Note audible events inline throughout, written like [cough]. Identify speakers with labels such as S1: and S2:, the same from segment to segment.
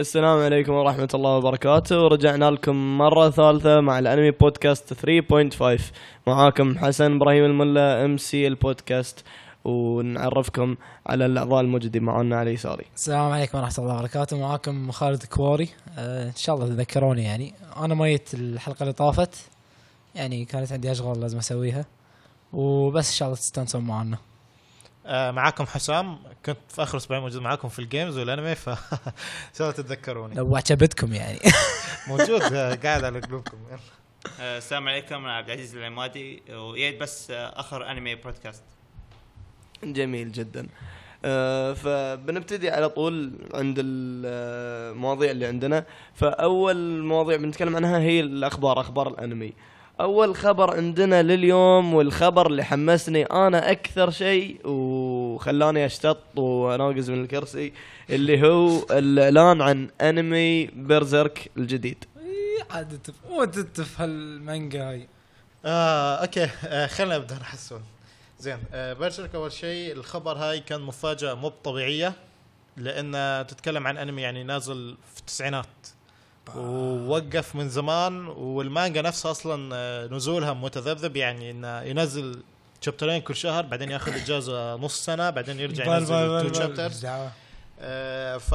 S1: السلام عليكم ورحمة الله وبركاته ورجعنا لكم مرة ثالثة مع الأنمي بودكاست 3.5 معاكم حسن إبراهيم الملا ام سي البودكاست ونعرفكم على الأعضاء الموجودين معنا على يساري
S2: السلام عليكم ورحمة الله وبركاته معاكم خالد كوري آه، إن شاء الله تذكروني يعني أنا ميت الحلقة اللي طافت يعني كانت عندي أشغال لازم أسويها وبس إن شاء الله تستانسون معنا
S3: آه، معاكم حسام كنت في اخر اسبوعين موجود معاكم في الجيمز والانمي ف [laughs] إن شاء الله تتذكروني
S2: لو عجبتكم يعني [laughs]
S3: موجود آه، قاعد على قلوبكم
S4: آه، السلام عليكم انا عبد العزيز العمادي ويا بس آه، اخر انمي بودكاست
S1: جميل جدا آه، فبنبتدي على طول عند آه، المواضيع اللي عندنا فأول مواضيع بنتكلم عنها هي الأخبار أخبار الأنمي أول خبر عندنا لليوم والخبر اللي حمسني أنا أكثر شيء وخلاني أشتط وأناقز من الكرسي اللي هو الإعلان عن أنمي بيرزيرك الجديد
S2: عاد وانت في هالمانجا هاي
S3: آه، اوكي آه، خلينا نبدا نحسون زين آه، برشلك اول شيء الخبر هاي كان مفاجاه مو طبيعيه لان تتكلم عن انمي يعني نازل في التسعينات ووقف من زمان والمانجا نفسها اصلا آه، نزولها متذبذب يعني انه ينزل شابترين كل شهر بعدين ياخذ اجازه نص سنه بعدين يرجع ينزل تو شابترز آه، ف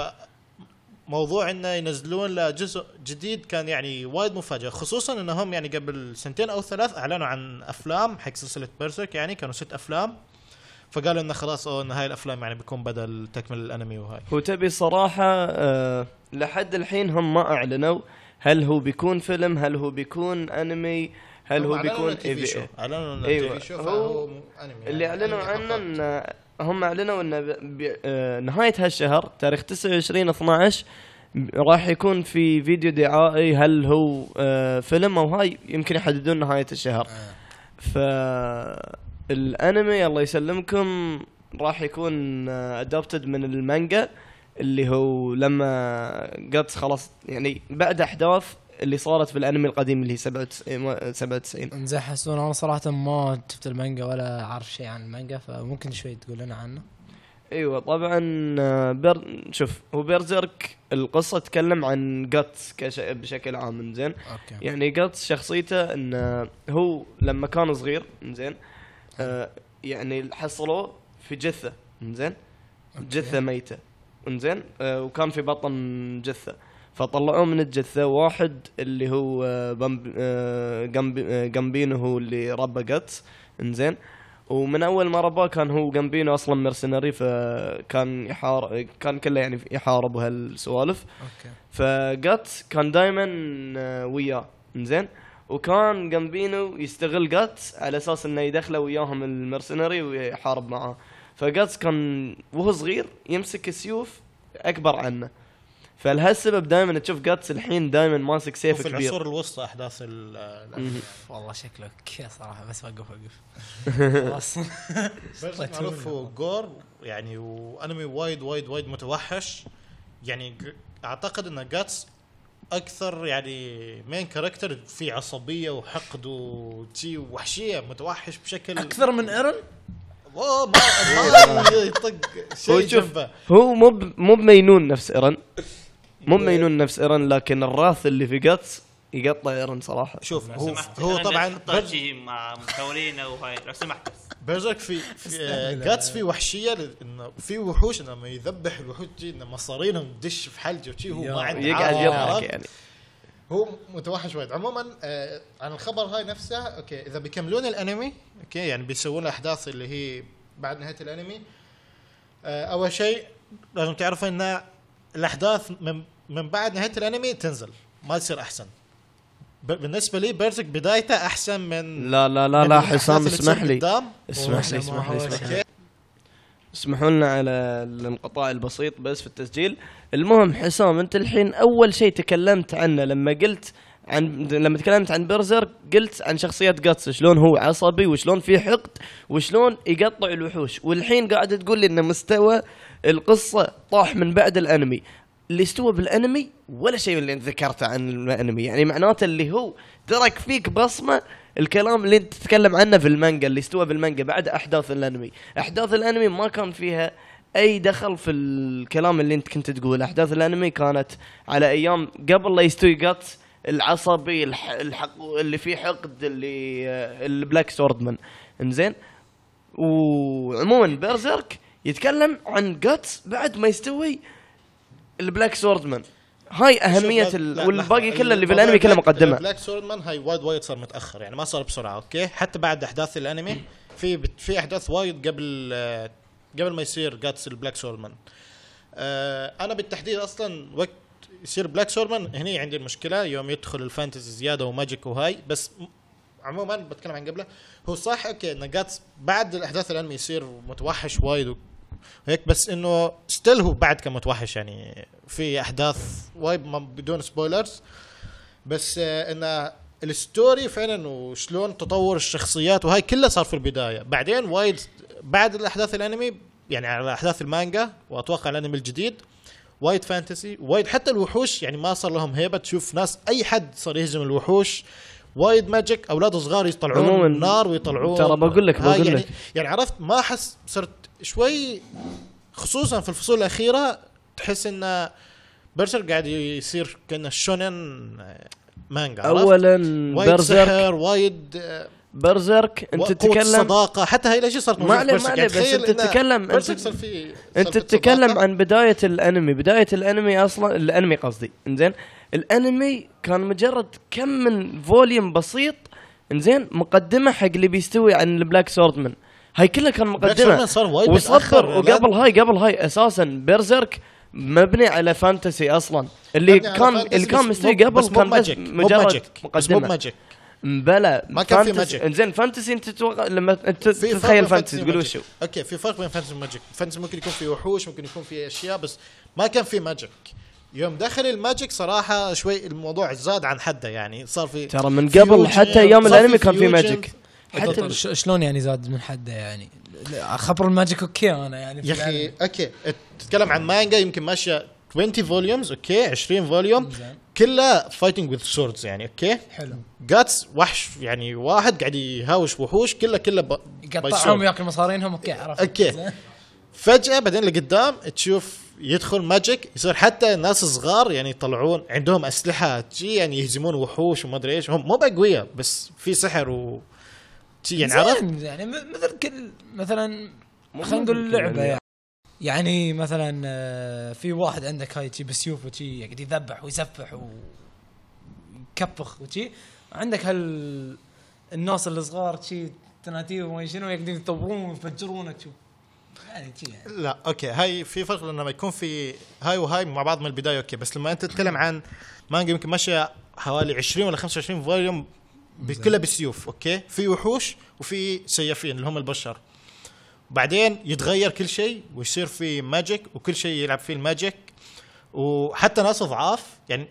S3: موضوع انه ينزلون له جزء جديد كان يعني وايد مفاجاه خصوصا انهم يعني قبل سنتين او ثلاث اعلنوا عن افلام حق سلسله بيرسك يعني كانوا ست افلام فقالوا انه خلاص أوه ان هاي الافلام يعني بيكون بدل تكمل الانمي وهاي
S1: وتبي صراحة آه، لحد الحين هم ما أعلنوا هل هو بيكون فيلم هل هو بيكون أنمي هل هو بيكون
S3: تي في
S1: إيه-
S3: شو اعلنوا انه
S1: أيوة.
S3: تي في شو
S1: هو
S3: فهو انمي
S1: اللي اعلنوا عنه
S3: عنه
S1: ان هم اعلنوا ان ب- ب- آه، نهايه هالشهر تاريخ 29 12 ب- راح يكون في فيديو دعائي هل هو آه، فيلم او هاي يمكن يحددون نهايه الشهر ف الانمي الله يسلمكم راح يكون ادابتد من المانجا اللي هو لما جاتس خلاص يعني بعد احداث اللي صارت في الانمي القديم اللي هي 97 97
S2: انزين حسون انا صراحة ما شفت المانجا ولا عارف شيء عن المانجا فممكن شوي تقول لنا عنه
S1: ايوه طبعا آه، بير شوف هو بيرزيرك القصه تتكلم عن جاتس كش... بشكل عام انزين
S2: اوكي
S1: يعني جاتس شخصيته انه هو لما كان صغير انزين آه يعني حصلوه في جثه انزين جثه ميته انزين آه وكان في بطن جثه فطلعوه من الجثه واحد اللي هو آه، بامب- آه، جامبي- آه، جامبينو هو اللي ربى جاتس انزين ومن اول ما رباه كان هو جامبينو اصلا مرسنري فكان يحارب كان كله يعني يحارب هالسوالف
S2: اوكي
S1: فجات كان دائما وياه زين وكان جامبينو يستغل جات على اساس انه يدخله وياهم المرسنري ويحارب معاه فجاتس كان وهو صغير يمسك سيوف اكبر عنه فلهالسبب دائما تشوف جاتس الحين دائما ماسك سيف
S3: في
S1: كبير
S3: العصور الوسطى احداث ال- الأنمي.
S1: مهم.
S2: والله شكلك صراحة بس وقف وقف خلاص [laughs] طيب،
S3: بيرسك معروف هو جور يعني وانمي وايد وايد وايد متوحش يعني ج- اعتقد ان جاتس اكثر يعني مين كاركتر في عصبيه وحقد وشي وحشيه متوحش بشكل
S2: اكثر من ايرن
S3: اوه ما ما يطق
S1: هو
S3: شيء
S1: شوف،
S3: جنبه
S1: هو مو ب- مو بمينون نفس ايرن مو بمينون نفس ايرن لكن الراث اللي في جاتس يقطع ايرن صراحه
S3: شوف هو
S4: سمحت
S3: هو
S4: أنا
S3: طبعا
S4: أحط شيء مع مكولينا وهاي لو سمحت بس
S3: بيرزرك في جاتس في وحشيه ل- انه في وحوش انه لما يذبح الوحوش جي انه مصارينهم تدش في حلجه وشي هو
S2: يا.
S3: ما عنده
S1: يقعد
S3: عارف.
S1: يضحك يعني
S3: هو متوحش وايد عموما آه عن الخبر هاي نفسها اوكي اذا بيكملون الانمي اوكي يعني بيسوون الاحداث اللي هي بعد نهايه الانمي آه اول شيء لازم تعرفوا ان الاحداث من من بعد نهايه الانمي تنزل ما تصير احسن ب- بالنسبه لي بيرسك بدايته احسن من
S1: لا لا لا
S3: من
S1: لا
S3: الأحداث
S1: حسام
S3: اللي تصير
S1: اسمح لي
S3: قدام.
S1: اسمح لي اسمح
S2: والله ما
S1: لي
S2: هو
S1: اسمح لي
S3: اوكي
S1: اسمحوا لنا على الانقطاع البسيط بس في التسجيل المهم حسام انت الحين اول شيء تكلمت عنه لما قلت عن لما تكلمت عن برزر قلت عن شخصيه جاتس شلون هو عصبي وشلون فيه حقد وشلون يقطع الوحوش والحين قاعد تقول لي ان مستوى القصه طاح من بعد الانمي اللي استوى بالانمي ولا شيء من اللي انت ذكرته عن الانمي يعني معناته اللي هو ترك فيك بصمه الكلام اللي انت تتكلم عنه في المانجا اللي استوى بالمانجا بعد احداث الانمي احداث الانمي ما كان فيها اي دخل في الكلام اللي انت كنت تقوله احداث الانمي كانت على ايام قبل لا يستوي جاتس العصبي الح... الحق اللي فيه حقد اللي آه، البلاك سوردمان انزين وعموما بيرزيرك يتكلم عن جاتس بعد ما يستوي البلاك سوردمان هاي اهميه
S3: شوف، لا-
S1: ال...
S3: لا،
S1: والباقي
S3: لحظة.
S1: كله اللي في
S3: الموضوع
S1: الانمي كله
S3: بلاك-
S1: مقدمه
S3: بلاك سورمان هاي وايد وايد صار متاخر يعني ما صار بسرعه اوكي حتى بعد احداث الانمي في بت- في احداث وايد قبل آه، قبل ما يصير جاتس البلاك سورمان آه، انا بالتحديد اصلا وقت يصير بلاك سورمان هني عندي المشكله يوم يدخل الفانتزي زياده وماجيك وهاي بس م- عموما بتكلم عن قبله هو صح اوكي ان جاتس بعد الاحداث الانمي يصير متوحش وايد هيك بس انه ستيل هو بعد كان متوحش يعني في احداث وايد ما- بدون سبويلرز بس آه، انه الستوري فعلا وشلون تطور الشخصيات وهاي كلها صار في البدايه بعدين وايد بعد الاحداث الانمي يعني على احداث المانجا واتوقع الانمي الجديد وايد فانتسي وايد حتى الوحوش يعني ما صار لهم هيبه تشوف ناس اي حد صار يهزم الوحوش وايد ماجيك اولاد صغار يطلعون
S1: عموماً،
S3: نار ويطلعون
S1: ترى بقول لك-
S3: هاي
S1: بقول
S3: يعني
S1: لك.
S3: يعني عرفت ما احس صرت شوي خصوصا في الفصول الاخيره تحس ان برشر قاعد يصير كانه شونن آه، مانجا عرفت؟
S1: اولا
S3: وايد
S1: برزرك
S3: سحر وايد آه،
S1: برزرك
S3: و-
S1: انت
S3: قوة
S1: تتكلم
S3: الصداقه حتى هاي الاشياء صارت
S1: ما
S3: موجودة
S1: عليه-
S3: في
S1: ما
S3: Berserk.
S1: عليه،
S3: يعني
S1: بس
S3: تخيل
S1: أنت
S3: إن
S1: تتكلم- أنت-
S3: Berserk صار في- صار
S1: انت
S3: في
S1: تتكلم
S3: صداقة.
S1: عن بدايه الانمي بدايه الانمي اصلا الانمي قصدي انزين الانمي كان مجرد كم من فوليوم بسيط انزين مقدمه حق اللي بيستوي عن البلاك سوردمان هاي كلها كان
S3: Black Swordsman
S1: مقدمه
S3: صار وايد
S1: وصبر
S3: متأخر. لا-
S1: وقبل هاي قبل هاي اساسا بيرزيرك مبني على فانتسي اصلا اللي
S3: مبني على
S1: كان
S3: fantasy
S1: اللي
S3: يعني بس
S1: كان
S3: مو-
S1: مستوي
S3: بس
S1: قبل
S3: مو
S1: كان بس
S3: magic، مو
S1: مجرد
S3: magic، بس مو
S1: مقدمه
S3: magic.
S1: بلا
S3: ما كان في
S1: fantasy-
S3: magic.
S1: انزين فانتسي انت تتوقع لما انت
S3: في فرق
S1: تتخيل
S3: بين
S1: فانتسي
S3: fantasy
S1: تقول
S3: وmagic.
S1: وشو
S3: اوكي في فرق بين فانتسي وماجيك فانتسي ممكن يكون في وحوش ممكن يكون في اشياء بس ما كان في ماجيك يوم دخل الماجيك صراحه شوي الموضوع زاد عن حده يعني صار في
S1: ترى من قبل
S3: fusion،
S1: حتى ايام
S3: صار
S1: الانمي كان في
S3: fusion.
S1: ماجيك
S2: حتى ش- شلون يعني زاد من حده يعني لا، خبر الماجيك اوكي انا يعني في
S3: يا اخي
S2: العالم.
S3: اوكي تتكلم عن مانجا يمكن ماشيه 20 فوليومز اوكي 20 فوليوم
S2: زين.
S3: كلها فايتنج وذ سوردز يعني اوكي
S2: حلو
S3: جاتس وحش يعني واحد قاعد يهاوش وحوش كله كله ب... by sword.
S2: يقطعهم ياكل مصارينهم اوكي عرفت
S3: أوكي.
S2: زين.
S3: فجاه بعدين لقدام تشوف يدخل ماجيك يصير حتى ناس صغار يعني يطلعون عندهم اسلحه تجي يعني يهزمون وحوش وما ادري ايش هم مو باقوياء بس في سحر و تجي يعني عرفت
S2: زين، يعني م- مثل كل مثلا خلينا نقول لعبه يعني يعني مثلا آه، في واحد عندك هاي شي بسيوف وشي يقعد يذبح ويسفح ويكفخ وشي عندك هال الناس الصغار شي تناتير وما شنو يقعدون يطورون ويفجرونك شو يعني شي يعني
S3: لا اوكي هاي في فرق لما يكون في هاي وهاي مع بعض من البدايه اوكي بس لما انت تتكلم عن مانجا يمكن ماشيه حوالي 20 ولا 25 فوليوم ب- كلها بالسيوف اوكي في وحوش وفي سيافين اللي هم البشر بعدين يتغير كل شيء ويصير في ماجيك وكل شيء يلعب فيه الماجيك وحتى ناس ضعاف يعني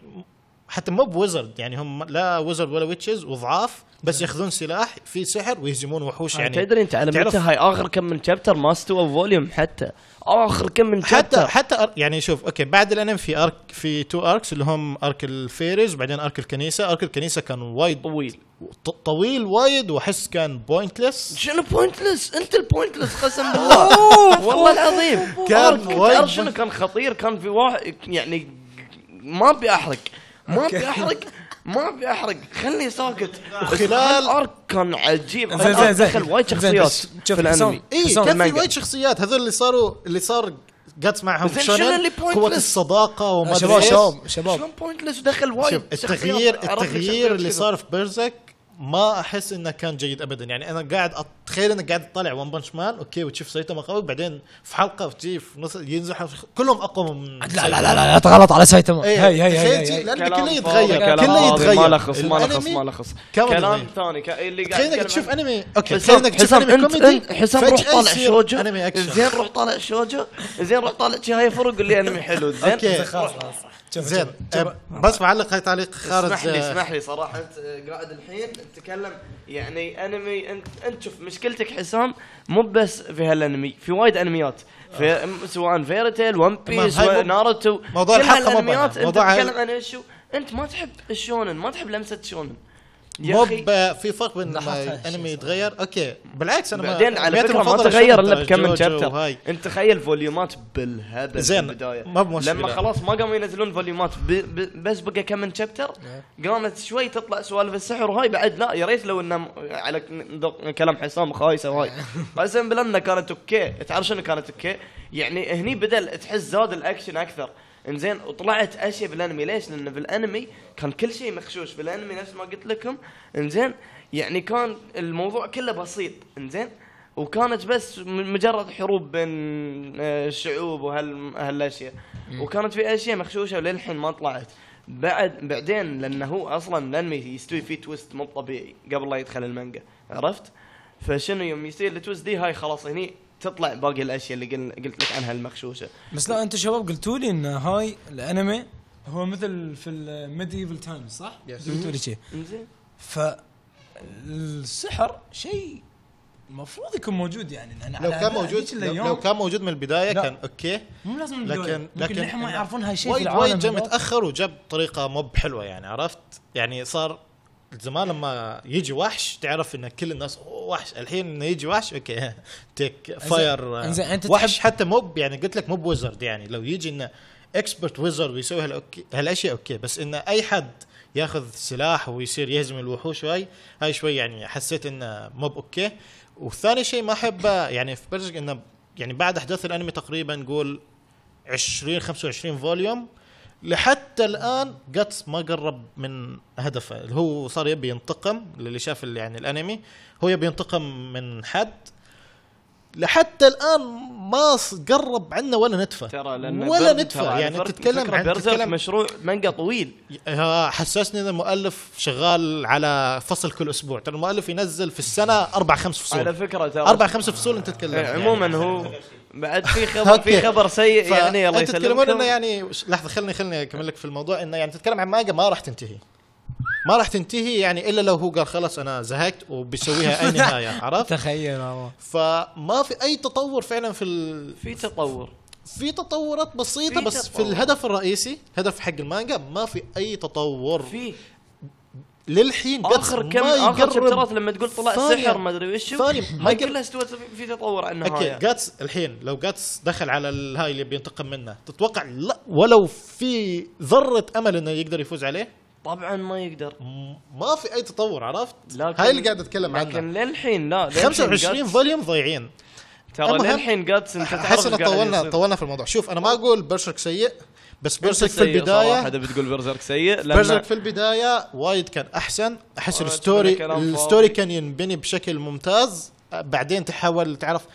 S3: حتى مو بوزرد يعني هم لا وزرد ولا ويتشز وضعاف بس ياخذون سلاح في سحر ويهزمون وحوش
S1: يعني
S3: يعني
S1: تدري انت على
S3: تعرف-
S1: متى هاي اخر كم من شابتر ما استوى فوليوم حتى اخر كم من
S3: حتى
S1: شابتر
S3: حتى أر- يعني شوف اوكي بعد الانمي في ارك في تو اركس اللي هم ارك الفيريز وبعدين ارك الكنيسه ارك الكنيسه كان وايد
S1: طويل
S3: ط- طويل وايد واحس كان بوينتلس
S1: شنو بوينتلس انت البوينتلس [laughs] قسم بالله والله العظيم
S3: كان
S1: كان
S3: وايد
S1: تعرف شنو كان خطير كان في واحد يعني ما ابي احرق ما ابي احرق ما ابي احرق خلني ساكت
S3: وخلال-
S1: الارك كان عجيب
S2: زين زين زين
S1: دخل وايد
S2: زين،
S1: شخصيات
S2: بس
S1: في
S2: شوف،
S1: الانمي
S2: حسام، حسام
S3: اي إيه، كان في
S1: المانجا.
S3: وايد شخصيات هذول اللي صاروا اللي صار جاتس معهم
S1: زين،
S3: شونن،
S1: شنو اللي
S3: قوه
S1: pointless؟
S3: الصداقه وما ادري
S2: شباب
S3: ايش
S2: شباب شباب
S1: شلون بوينتلس ودخل وايد
S3: شوف
S1: شخصيات؟
S3: التغيير
S1: عرفت
S3: التغيير
S1: شخصيات
S3: اللي
S1: كذا.
S3: صار في بيرزك ما احس انه كان جيد ابدا يعني انا قاعد أط- تخيل انك قاعد تطالع ون بنش مان اوكي وتشوف سايتاما قوي بعدين في حلقه وتجي في نص ينزح كلهم اقوى من
S2: لا لا لا لا تغلط على سايتاما
S3: اي
S2: هي هي هي,
S3: تخيل شي-
S2: هي, هي.
S3: إيه، لا- لأن
S1: كلام
S3: كله
S1: فاضي،
S3: يتغير،
S1: كلام
S3: كله
S1: فاضي،
S3: يتغير.
S1: ما لخص ما لخص ما
S3: الأنمي
S1: لخص
S3: كان
S1: كلام
S3: يتغير.
S1: ثاني ك- اللي قاعد
S3: تخيل انك
S1: يتكلم
S3: تشوف
S1: عنه.
S3: انمي اوكي تخيل
S1: حسام
S3: انك تشوف
S1: حسام
S3: انمي
S1: انت
S3: كوميدي
S1: انت حسام روح
S3: فجأة
S1: طالع
S3: يصير
S1: شوجو
S3: انمي
S1: زين
S3: اكشن
S1: روح طالع شوجو زين روح طالع شهاي فرق قول لي انمي حلو زين
S3: اوكي
S2: خلاص خلاص شوف،
S3: زين
S2: شوف.
S3: أه، بس بعلق هاي تعليق خارج
S1: اسمح لي
S3: آه،
S1: اسمح لي صراحه انت قاعد الحين تتكلم يعني انمي انت انت شوف مشكلتك حسام مو بس في هالانمي في وايد انميات في سواء فيري تيل ون بيس
S3: آه. هاي مو-
S1: ناروتو
S3: موضوع
S1: كل
S3: الحلقة مو
S1: هالانميات
S3: بنا.
S1: انت
S3: موضوع
S1: تتكلم عن شو انت ما تحب الشونن ما تحب لمسه شونن يا
S3: مو
S1: أخي.
S3: ب- في فرق بين لما
S2: لاحظت هالشيء
S3: الانمي
S2: صراحة.
S3: يتغير اوكي بالعكس انا
S1: بعدين على
S3: أنمياتي
S1: فكره ما
S3: المفضلة
S1: تغير الا
S3: شنطة،
S1: بكم من
S3: جوجو
S1: شابتر
S3: وهاي.
S1: انت تخيل فوليومات بالهبل
S3: زين،
S1: في البدايه
S3: ما بمشكلة.
S1: لما خلاص ما قاموا ينزلون فوليومات ب... ب... بس بقى كم من شابتر
S3: نعم.
S1: قامت شوي تطلع سوالف السحر وهاي بعد لا يا ريت لو انه م- على ك- ذوق- كلام حسام خايسه
S3: [laughs]
S1: وهاي قسم بالله انها كانت اوكي تعرف شنو كانت اوكي؟ يعني هني بدل تحس زاد الاكشن اكثر انزين وطلعت اشياء بالانمي ليش؟ لان بالانمي كان كل شيء مخشوش بالانمي نفس ما قلت لكم انزين يعني كان الموضوع كله بسيط انزين وكانت بس م- مجرد حروب بين آه، الشعوب وهال هالاشياء وكانت في اشياء مخشوشه وللحين ما طلعت بعد بعدين لانه هو اصلا الانمي يستوي فيه تويست مو طبيعي قبل لا يدخل المانجا عرفت؟ فشنو يوم يصير التويست دي هاي خلاص هني تطلع باقي الاشياء اللي قل- قلت لك عنها المخشوشه
S5: بس لا انتم شباب قلتوا لي ان هاي الانمي هو مثل في الميديفل تايمز صح؟ قلتوا لي شيء
S1: انزين
S5: فالسحر شيء المفروض يكون موجود يعني لأن
S3: لو
S5: على
S3: كان
S5: هذيك
S3: موجود لو,
S5: الأيام
S3: لو كان موجود من البدايه
S5: لا.
S3: كان اوكي
S5: مو لازم من
S3: لكن-
S5: البداية. ممكن
S3: لكن
S5: الحين ما
S3: إنه
S5: يعرفون هالشيء في
S3: وايد
S5: العالم
S3: وايد جاء
S5: هذاك.
S3: متاخر وجاب بطريقه مو بحلوه يعني عرفت؟ يعني صار زمان لما يجي وحش تعرف ان كل الناس "أوه، وحش الحين انه يجي وحش [laughs] اوكي تيك فاير
S5: إنزين، أنت
S3: وحش
S5: تحب-
S3: حتى مو ب- يعني قلت لك مو بويزرد يعني لو يجي انه اكسبرت ويزرد ويسوي هالأوكي هالاشياء اوكي بس انه اي حد ياخذ سلاح ويصير يهزم الوحوش هاي هاي شوي يعني حسيت انه مو اوكي وثاني شيء ما احبه يعني في برزق انه يعني بعد احداث الانمي تقريبا نقول 20 25 فوليوم لحتى الان جاتس ما قرب من هدفه اللي هو صار يبي ينتقم اللي شاف ال- يعني الانمي هو يبي ينتقم من حد لحتى الان ما ص- قرب عنا ولا نتفه
S1: ترى لان
S3: ولا
S1: بر- ترى
S3: نتفه
S1: على
S3: يعني
S1: فرق-
S3: تتكلم
S1: فكرة
S3: عن
S1: برزيرك
S3: تتكلم
S1: مشروع مانجا طويل
S3: ها- حسسني ان المؤلف شغال على فصل كل اسبوع ترى المؤلف ينزل في السنه اربع خمس
S1: على
S3: فصول
S1: فكره ترى
S3: اربع خمس فصول انت تتكلم
S1: آه،
S3: يعني.
S1: عموما هو بعد في خبر في
S3: أوكي.
S1: خبر سيء يعني الله
S3: انت تتكلمون انه
S1: يسلمك
S3: يعني ش- لحظه خلني خلني اكمل لك في الموضوع انه يعني تتكلم عن ماجا ما راح تنتهي ما راح تنتهي يعني الا لو هو قال خلاص انا زهقت
S1: [laughs]
S3: وبيسويها اي نهايه عرفت؟
S5: تخيل والله
S3: فما في اي تطور فعلا في ال...
S1: في تطور
S3: في تطورات بسيطه
S1: في
S3: بس في
S1: تطور.
S3: الهدف الرئيسي هدف حق المانجا ما في اي تطور
S1: في
S3: للحين قد
S1: اخر كم
S3: ما
S1: اخر
S3: يقرب
S1: شابترات لما تقول طلع
S3: ثانية.
S1: السحر ما ادري وش هو،
S3: ثانية. ما
S1: هاي
S3: يقل-
S1: كلها استوت في تطور عن
S3: اوكي
S1: النهايه
S3: جاتس الحين لو جاتس دخل على الهاي اللي بينتقم منه تتوقع لا ولو في ذره امل انه يقدر يفوز عليه
S1: طبعا ما يقدر
S3: م- ما في اي تطور عرفت؟
S1: لكن-
S3: هاي اللي قاعد اتكلم عنه
S1: لكن للحين لا للحين
S3: 25
S1: جاتس-
S3: فوليوم ضايعين
S1: ترى
S3: المهم،
S1: للحين جاتس انت تعرف
S3: احس ان
S1: إيش قاعد
S3: طولنا
S1: يصير.
S3: طولنا في الموضوع شوف انا ما اقول برشك سيء بس
S1: أنت
S3: برشك في
S1: سيء صراحة،
S3: البدايه
S1: اذا بتقول برزرك سيء لان
S3: برزرك في البدايه وايد كان احسن احس
S1: آه،
S3: الستوري
S1: كلام فاضي.
S3: الستوري كان ينبني بشكل ممتاز أه، بعدين تحول تعرف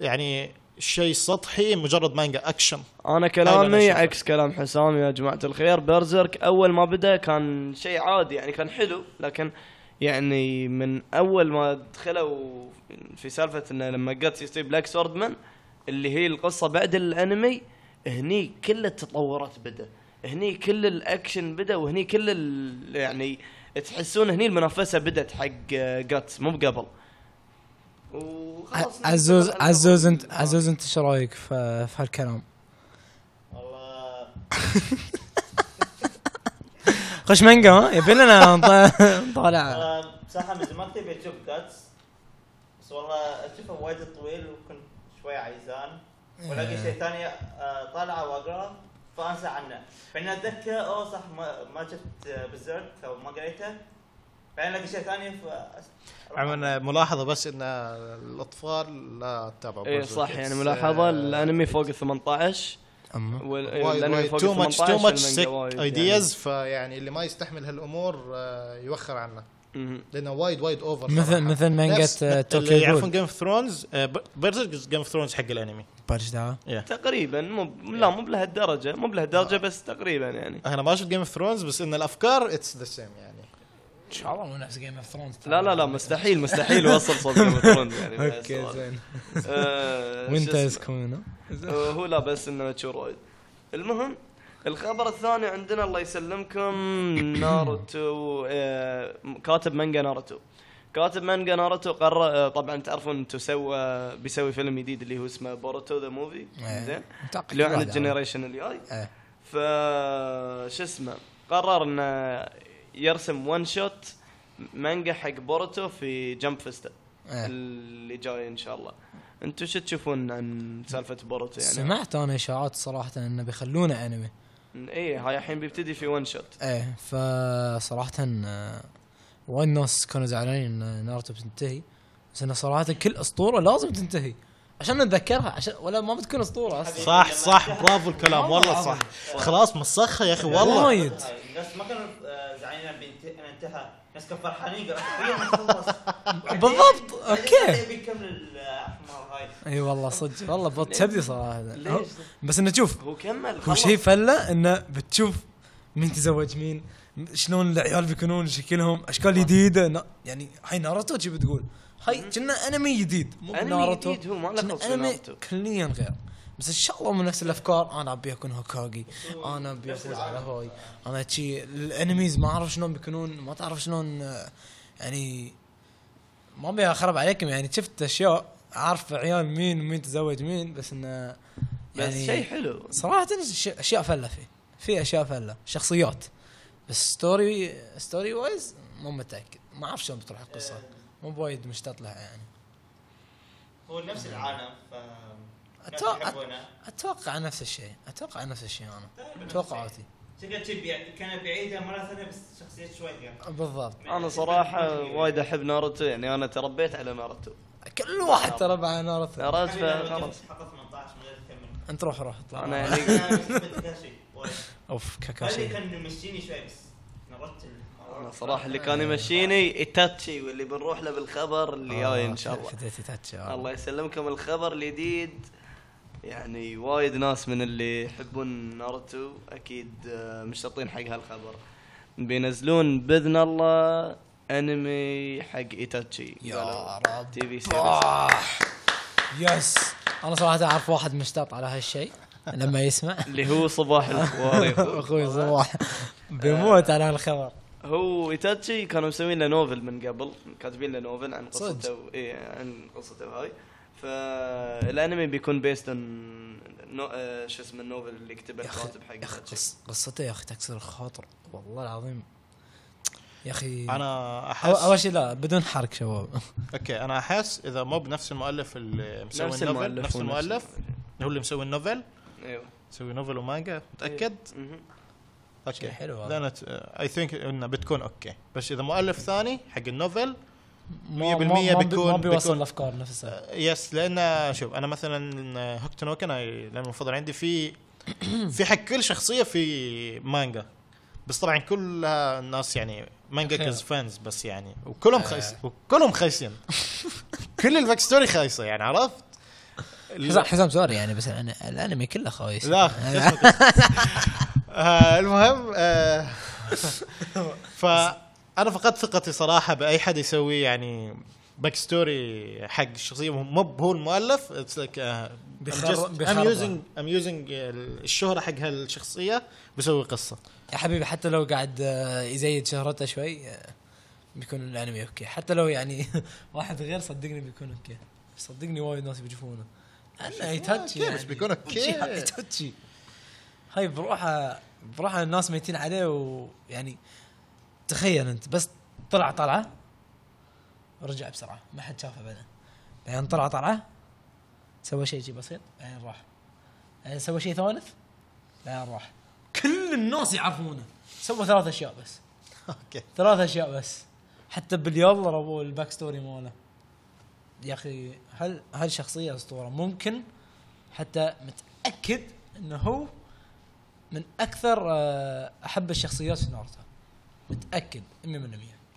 S3: يعني شيء سطحي مجرد مانجا اكشن
S1: انا
S3: دايماً
S1: كلامي
S3: أشوفه.
S1: عكس كلام حسام يا جماعه الخير برزرك اول ما بدا كان شيء عادي يعني كان حلو لكن يعني من اول ما دخلوا في سالفه انه لما جاتس يصير بلاك سوردمان اللي هي القصه بعد الانمي هني كل التطورات بدا هني كل الاكشن بدا وهني كل ال- يعني تحسون هني المنافسه بدت حق جاتس مو بقبل وخلاص
S2: عزوز عزوز انت عزوز انت ايش رايك في في هالكلام؟ خش مانجا ها يبي
S5: [laughs]
S2: لنا نط- نطالع
S4: أنا بصراحه من زمان كنت اشوف جاتس بس والله اشوفه وايد طويل وكنت شوي عايزان والاقي شيء ثاني آه، طالعه واقراه فانسى عنه فاني اتذكر اوه صح ما, ما شفت بزيرك او ما قريته بعدين الاقي شيء ثاني ف
S3: عموما ملاحظه بس ان الاطفال لا تتابعوا
S1: اي
S3: Berserk.
S1: صح يعني
S3: It's-
S1: الانمي
S3: آه،
S1: الانمي فوق ال 18
S2: أما.
S3: وايد
S1: والانمي
S3: وايد
S1: فوق
S3: تو
S1: ال
S3: ماتش تو
S1: 18
S3: ماتش
S1: المانجا
S3: سيك
S1: وايد
S3: ايدياز فيعني اللي ما يستحمل هالامور آه، يوخر عنه
S1: يعني. مهم.
S3: لانه وايد وايد اوفر
S2: مثل مثل مانجا
S3: آه،
S2: توكيو
S3: اللي يعرفون
S2: جول
S3: جيم اوف ثرونز بيرزرك جيم اوف ثرونز حق الانمي
S2: بارش دعوه
S1: تقريبا مو لا مو بلهالدرجه مو بلهالدرجه
S3: آه.
S1: بس تقريبا يعني
S3: انا ما شفت جيم اوف ثرونز بس ان الافكار اتس ذا سيم يعني
S2: ان شاء الله مو نفس جيم اوف ثرونز
S1: لا لا لا مستحيل [laughs] مستحيل وصل صوت جيم اوف ثرونز يعني
S3: [laughs]
S1: ما
S2: اوكي
S1: يصير.
S2: زين
S1: آه، شو
S2: وانت
S1: اسمه؟
S2: از كومين [laughs]
S1: آه، هو لا بس انه ماتشورويد المهم الخبر الثاني عندنا الله
S2: [coughs]
S1: يسلمكم ناروتو آه، كاتب مانجا ناروتو كاتب مانجا ناروتو قرر آه، طبعا تعرفون تسوى بيسوي فيلم جديد اللي هو اسمه بوروتو ذا موفي
S2: إيه.
S1: زين
S2: متعقد
S1: اللي هو عن
S2: واحد عرفت.
S1: الجنريشن الجاي
S2: إيه.
S1: ف شو اسمه قرر انه يرسم وان شوت مانجا حق بورتو في جمب فيستا يعني.
S2: إيه.
S1: اللي جاي ان شاء الله انتم شو تشوفون عن سالفه بورتو يعني
S2: سمعت انا اشاعات صراحه انه بيخلونه انمي
S1: اي إيه، هاي الحين بيبتدي في ون شوت
S2: ايه فصراحه آه، وايد ناس كانوا زعلانين ان ناروتو بتنتهي بس انه صراحه كل اسطوره لازم تنتهي عشان نتذكرها عشان ولا ما بتكون اسطوره اصلا
S3: صح صح برافو [laughs] الكلام والله صح خلاص مسخها يا اخي والله
S2: وايد
S4: الناس ما كانوا آه، زعلانين إنه بينت- إنه انتهى الناس كانوا فرحانين قالوا خلينا نخلص
S2: بالضبط، أوكي.
S4: بيكمل الاحمر هاي
S2: اي والله صدق والله بط تبدي صراحه
S1: ليش؟
S2: بس انه شوف
S1: هو كمل
S2: هو
S1: خلص.
S2: شيء فله انه بتشوف مين تزوج مين شلون العيال بيكونون شكلهم اشكال جديده نا- يعني هاي ناروتو شي بتقول هاي كنا انمي جديد مو
S1: أنمي
S2: ناروتو
S1: جديد هو ما له
S2: كنا
S1: خلق في
S2: انمي
S1: ناروتو.
S2: كليا غير بس ان شاء الله من نفس الافكار انا ابي اكون هوكاغي انا ابي افوز على هاي انا شي الانميز ما اعرف شلون بيكونون ما تعرف شلون آه، يعني ما ابي اخرب عليكم يعني شفت اشياء عارف عيال مين ومين تزوج مين بس يعني انه
S1: بس شيء حلو
S2: صراحة ش- اشياء فلة فيه في اشياء فلة شخصيات بس ستوري ستوري وايز مو متاكد ما اعرف شلون بتروح القصة مو وايد مشتاق لها يعني
S4: آه، هو نفس العالم ف الناس
S2: أتوقع-
S4: يحبونه
S2: اتوقع نفس الشيء اتوقع نفس الشيء انا توقعاتي
S4: شكلها شي بيع- كان بعيدة مرة ثانية بس شخصية شوي غير
S2: بالضبط
S1: انا صراحه وايد احب ناروتو يعني انا تربيت على ناروتو
S2: كل واحد ترى بعد ناروتو
S1: عرفت فخلاص
S4: حطت 18 من غير كمل
S2: انت روح روح اطلع
S1: انا يعني [laughs]
S4: انا مش بتكاشي وايد.
S2: اوف
S4: هذه
S2: كاكاشي
S4: كان يمشيني شوي بس نردت
S1: أنا صراحه اللي كان يمشيني ايتاتشي واللي بنروح له بالخبر اللي
S2: آه،
S1: جاي ان شاء الله
S2: فديتي تاتش
S1: الله يسلمكم الخبر الجديد يعني وايد ناس من اللي يحبون ناروتو اكيد آه، مشتاقين حق هالخبر بينزلون باذن الله انمي حق ايتاتشي
S2: يا رب. آه.
S1: تي في سيريس
S2: يس انا صراحة اعرف واحد مشتاق على هالشيء لما
S1: [laughs]
S2: يسمع
S1: اللي هو صباح الكواري
S2: اخوي صباح بيموت على هالخبر
S1: هو ايتاتشي كانوا مسوين له نوفل من قبل كاتبين له نوفل عن
S2: صدق؟
S1: قصته و... إيه عن قصته هاي فالانمي بيكون بيست اون نو... آه، شو اسمه النوفل اللي كتبه
S2: يا اخي
S1: الكاتب حق
S2: يا اخي
S1: إيتاتشي.
S2: قص- قصته يا اخي تكسر الخاطر والله العظيم يا اخي
S3: انا
S2: أو- اول
S3: احس
S2: شيء لا بدون حرق
S3: [laughs]
S2: شباب
S3: اوكي انا احس اذا مو بنفس المؤلف اللي مسوي
S1: نفس
S3: النوفل
S1: المؤلف ونفس
S3: نفس المؤلف هو اللي مسوي النوفل
S1: ايوه
S3: مسوي نوفل ومانجا متاكد؟
S1: مهم.
S3: اوكي uh,
S2: حلو هذا.
S3: هذا اي ثينك انه بتكون اوكي بس اذا مؤلف ثاني حق النوفل uh,
S2: ما-
S3: 100%
S2: ما- ما بي-
S3: بيكون-
S2: ما بيوصل
S3: بيكون- آه،
S2: الافكار نفسها
S3: يس لان شوف uh, انا مثلا هوك تنوكن لان المفضل عندي
S2: [coughs]
S3: في في حق كل شخصيه في مانجا بس طبعا كلها الناس يعني مانجا كز فانز بس يعني
S2: آه.
S3: وكلهم خايس وكلهم خايسين
S2: [laughs]
S3: كل الباك ستوري خايسه يعني عرفت؟
S2: حسام حسام سوري يعني بس الأن- الانمي كله خايس
S3: لا آه المهم آه فانا فقدت ثقتي صراحه باي حد يسوي يعني باك ستوري حق الشخصيه مو مو هو المؤلف آه، اتس لايك
S2: بيخرب-
S3: ام
S2: بيخربها.
S3: يوزنج ام يوزنج الشهره حق هالشخصيه بسوي قصه [laughs]
S2: يا حبيبي حتى لو قاعد آه، يزيد شهرته شوي آه، بيكون الانمي اوكي حتى لو يعني [laughs] واحد غير صدقني بيكون اوكي صدقني وايد ناس بيشوفونه انا يتاتشي يعني.
S3: أوكي، بس
S2: [laughs]
S3: بيكون أوكي.
S2: يتاتشي هاي بروحه بروحه الناس ميتين عليه ويعني تخيل انت بس طلع طلعه رجع بسرعه ما حد شافه بعدين بعدين طلع طلعه سوى شيء شي بسيط بعدين راح بعدين سوى شيء ثالث بعدين راح كل الناس يعرفونه سوى ثلاث اشياء بس
S3: اوكي
S2: ثلاث اشياء بس حتى باليلا ربو الباك ستوري ماله يا اخي هل هل شخصيه اسطوره ممكن حتى متاكد انه هو من اكثر آه، احب الشخصيات في ناروتو متاكد 100%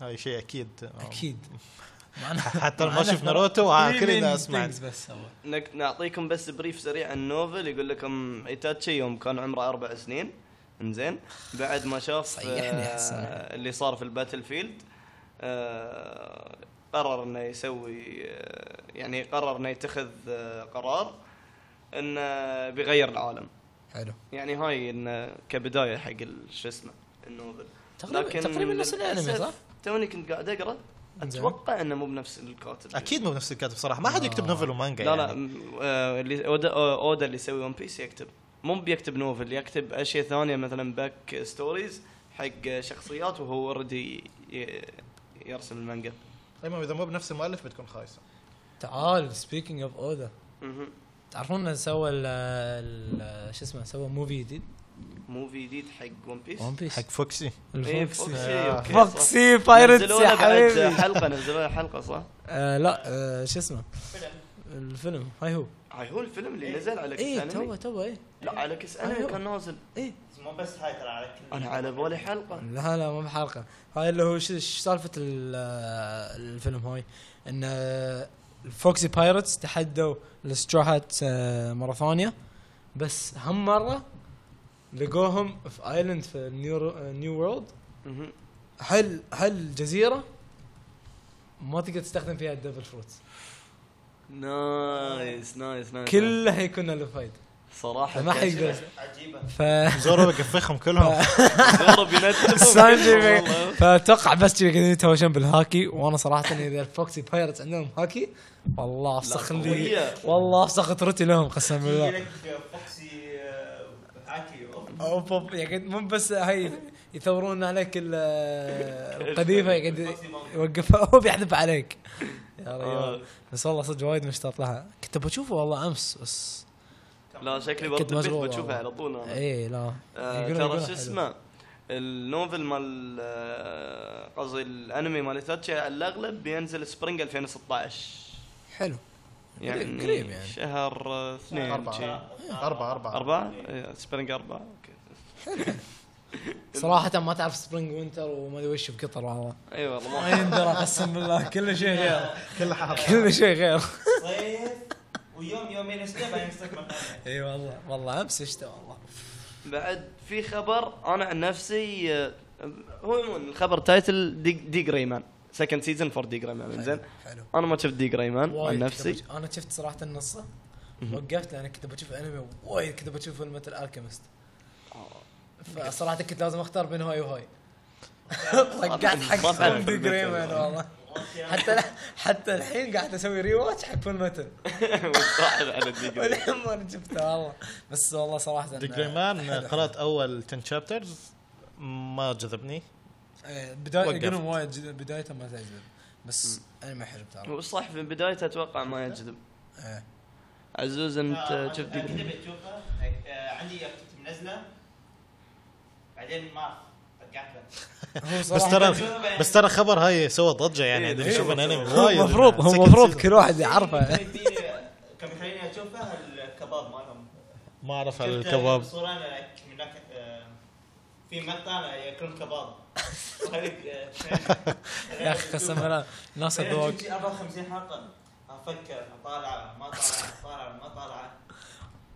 S3: هاي شيء اكيد
S2: اكيد [laughs] مع أنه-
S3: حتى
S2: مع
S3: ما
S2: أنه
S3: شفنا ناروتو، آه،
S2: three
S3: كلنا
S2: main
S3: أسمع.
S2: things بس هو.
S1: نك- نعطيكم بس بريف سريع عن نوفل يقول لكم ايتاتشي يوم كان عمره اربع سنين انزين بعد ما شاف
S2: صيحني يا
S1: آه،
S2: حسن.
S1: اللي صار في الباتل فيلد آه، قرر انه يسوي آه، يعني قرر انه يتخذ آه، قرار انه بيغير العالم
S2: حلو
S1: يعني هاي انه كبدايه حق ال- شو اسمه النوفل
S2: تقريبا- تقريباً نفس الأنمي،
S1: للأسف
S2: صح؟
S1: توني كنت قاعد اقرا
S2: إنزين.
S1: اتوقع انه مو بنفس الكاتب
S3: اكيد مو بنفس الكاتب صراحه ما حد يكتب نوفل ومانجا
S1: لا لا
S3: يعني.
S1: م- آه، اللي اودا آه، اودا اللي يسوي ون بيس يكتب مو بيكتب نوفل يكتب اشياء ثانيه مثلا باك ستوريز حق شخصيات وهو اوريدي يرسم المانجا
S3: المهم اذا مو بنفس المؤلف بتكون خايسه
S2: تعال سبيكينج اوف اودا
S1: مهم.
S2: تعرفون إنه سوى ال- ال- شو اسمه سوى موفي جديد
S1: موفي جديد حق ون بيس
S2: ون بيس
S3: فوكسي
S1: إيه،
S2: الفوكسي
S1: فوكسي أوكي، صح.
S2: فوكسي بايرتس
S1: نزلوا
S2: آه.
S1: له
S2: يا
S1: بعد
S2: حبيبي
S1: حلقه نزلوا له حلقه صح؟
S2: آه، لا آه، شو اسمه الفيلم هاي هو
S1: هاي هو الفيلم اللي نزل على كيس
S2: ايه
S1: انمي
S2: تو تو ايه
S1: لا على كيس
S2: أيوه.
S1: انمي كان نازل
S4: مو بس هاي ترى على كل
S1: انا على بالي حلقه
S2: لا لا مو بحلقه هاي اللي هو شو شو سالفه ال- آه، الفيلم هاي ان آه، الفوكسي بايرتس تحدوا الستروهات آه، مره ثانيه بس هم مره لقوهم في ايلاند في آه، نيو نيو وورلد
S1: مهم.
S2: هل هل جزيره ما تقدر تستخدم فيها الدبل فروت
S1: نايس نايس نايس
S2: كلها يكون له فايده
S1: صراحه
S2: ما حد يقدر
S4: عجيبه
S2: ف
S3: زورو بقفخهم كلهم
S1: زورو
S2: [laughs]
S1: بينتفخ.
S2: سانجي بي-
S1: والله.
S2: فتوقع بس كذا قاعدين يتهاوشون بالهاكي وانا صراحه اذا الفوكسي بايرتس عندهم هاكي والله افسخ لي
S1: قوية.
S2: والله افسخ ترتي لهم قسما
S4: يجي
S2: بالله
S4: لك فوكسي آه، هاكي أوف.
S2: أوف أوف، يقعد يعني مو بس هاي يثورون عليك ال- القذيفه يقعد يوقفها هو بيحذف عليك يا
S1: آه.
S2: رجال بس والله صدق وايد مشتاق لها كنت بشوفه والله امس بس
S1: لا شكلي
S2: كنت
S1: برضه
S2: مشغول
S1: البيت بتشوفها
S2: والله.
S1: على طول انا
S2: اي إيه، لا
S1: آه،
S2: يقولون-
S1: ترى
S2: يقولون
S1: شو
S2: حلو.
S1: اسمه النوفل مال آه، قصدي الانمي مال ايتاتشي على الاغلب بينزل سبرينج 2016
S2: حلو
S1: يعني
S2: قريب يعني.
S1: شهر آه، اثنين
S3: أربعة.
S1: شي.
S3: اربعه اربعه
S1: أربعة إيه، سبرينج أربعة أوكي.
S2: صراحه ما تعرف سبرينج وينتر وما ادري وش بقطر والله
S1: اي والله
S2: ما
S1: ما-
S2: يندرى قسم بالله كل شيء غير
S3: كل حرف
S2: كل شيء غير
S4: صيف ويوم يومين اسبوع بعدين يصير مكان
S2: اي والله والله امس شتا والله
S1: بعد في خبر انا عن نفسي آه، هو عموما الخبر تايتل دي, دي جريمان سكند سيزون فور دي جريمان زين
S2: حلو
S1: انا ما شفت دي جريمان عن
S2: أيوة. وايد
S1: نفسي
S2: كنت بج- انا شفت صراحه النصه وقفت لان كنت بشوف انمي وايد كنت بشوف فيلم مثل الكيمست
S1: آه.
S2: فصراحه كنت لازم اختار بين هاي وهاي طقعت حق
S1: [laughs] ما تعرف
S2: فيلم دي
S1: المثل
S2: جريمان
S1: والله.
S2: والله حتى حتى الحين قاعد اسوي ري واتش حق فيلم مثل
S1: [laughs] والصاحب على دي جريمان
S2: والحين ما شفته والله بس والله صراحه
S3: دي جريمان قرات اول 10 شابترز ما جذبني
S2: بدايه
S3: وقفت.
S2: إيه، يقولون وايد جد- بدايته ما تعجبني بس انمي حلو ترى
S1: والصح في بدايته اتوقع ما يجذب
S2: إيه.
S1: عزوز
S2: آه،
S1: انت شفت دي
S4: آه، كنت
S1: جريمان
S4: بتشوفها آه، عندي كنت منزله بعدين ما رجعت لها.
S2: هو
S3: بس
S2: صراحه
S4: [laughs]
S3: ترى بس ترى خبر هاي سوى ضجه يعني عندنا
S1: إيه.
S3: يشوف انمي
S2: هو
S3: وايد
S2: المفروض
S3: Second
S2: هو المفروض
S3: season.
S2: كل واحد
S4: كان
S2: يعرفه
S4: يخليني- كان يخليني اشوفها الكباب مالهم
S3: ما اعرف
S4: شفت
S3: الكباب
S4: صورة لك من هناك، آه، في مقطع ياكلون كباب آه،
S2: يا اخي قسم بالله ناس الذوق
S4: 54 حلقة افكر اطالع ما طالع اطالع ما طالع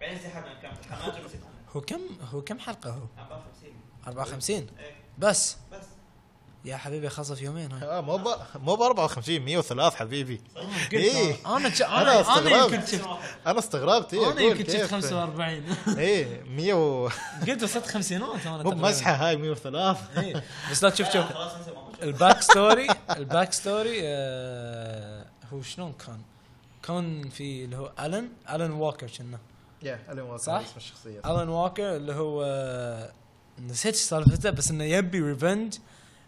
S4: بعدين سحبنا كم حماجة وسحبنا
S2: هو كم هو كم حلقه هو
S4: 54
S2: 54
S4: إيه،
S2: بس
S4: بس
S2: يا حبيبي خلص في يومين هاي
S3: آه، مو ب... مو ب 54 103 حبيبي ايه
S2: انا ج-
S3: أنا
S2: انا انا
S3: استغربت.
S2: يمكن شفت
S3: انا استغربت ايه
S2: انا يمكن شفت 45
S3: ايه 100 و...
S2: [laughs] قلت وصلت خمسينات انا
S3: مو
S2: تقريباً.
S3: بمزحه هاي 103
S2: إيه. بس لا تشوف شوف
S4: خلاص انسى ما بشوف.
S2: الباك ستوري الباك ستوري آه، هو شلون كان؟ كان في اللي هو الن الن واكر كنا
S3: يا الين ووكر
S2: صح؟
S3: اسم [laughs] الشخصيه
S2: الان واكر اللي هو آه، نسيت ايش سالفته بس انه يبي ريفنج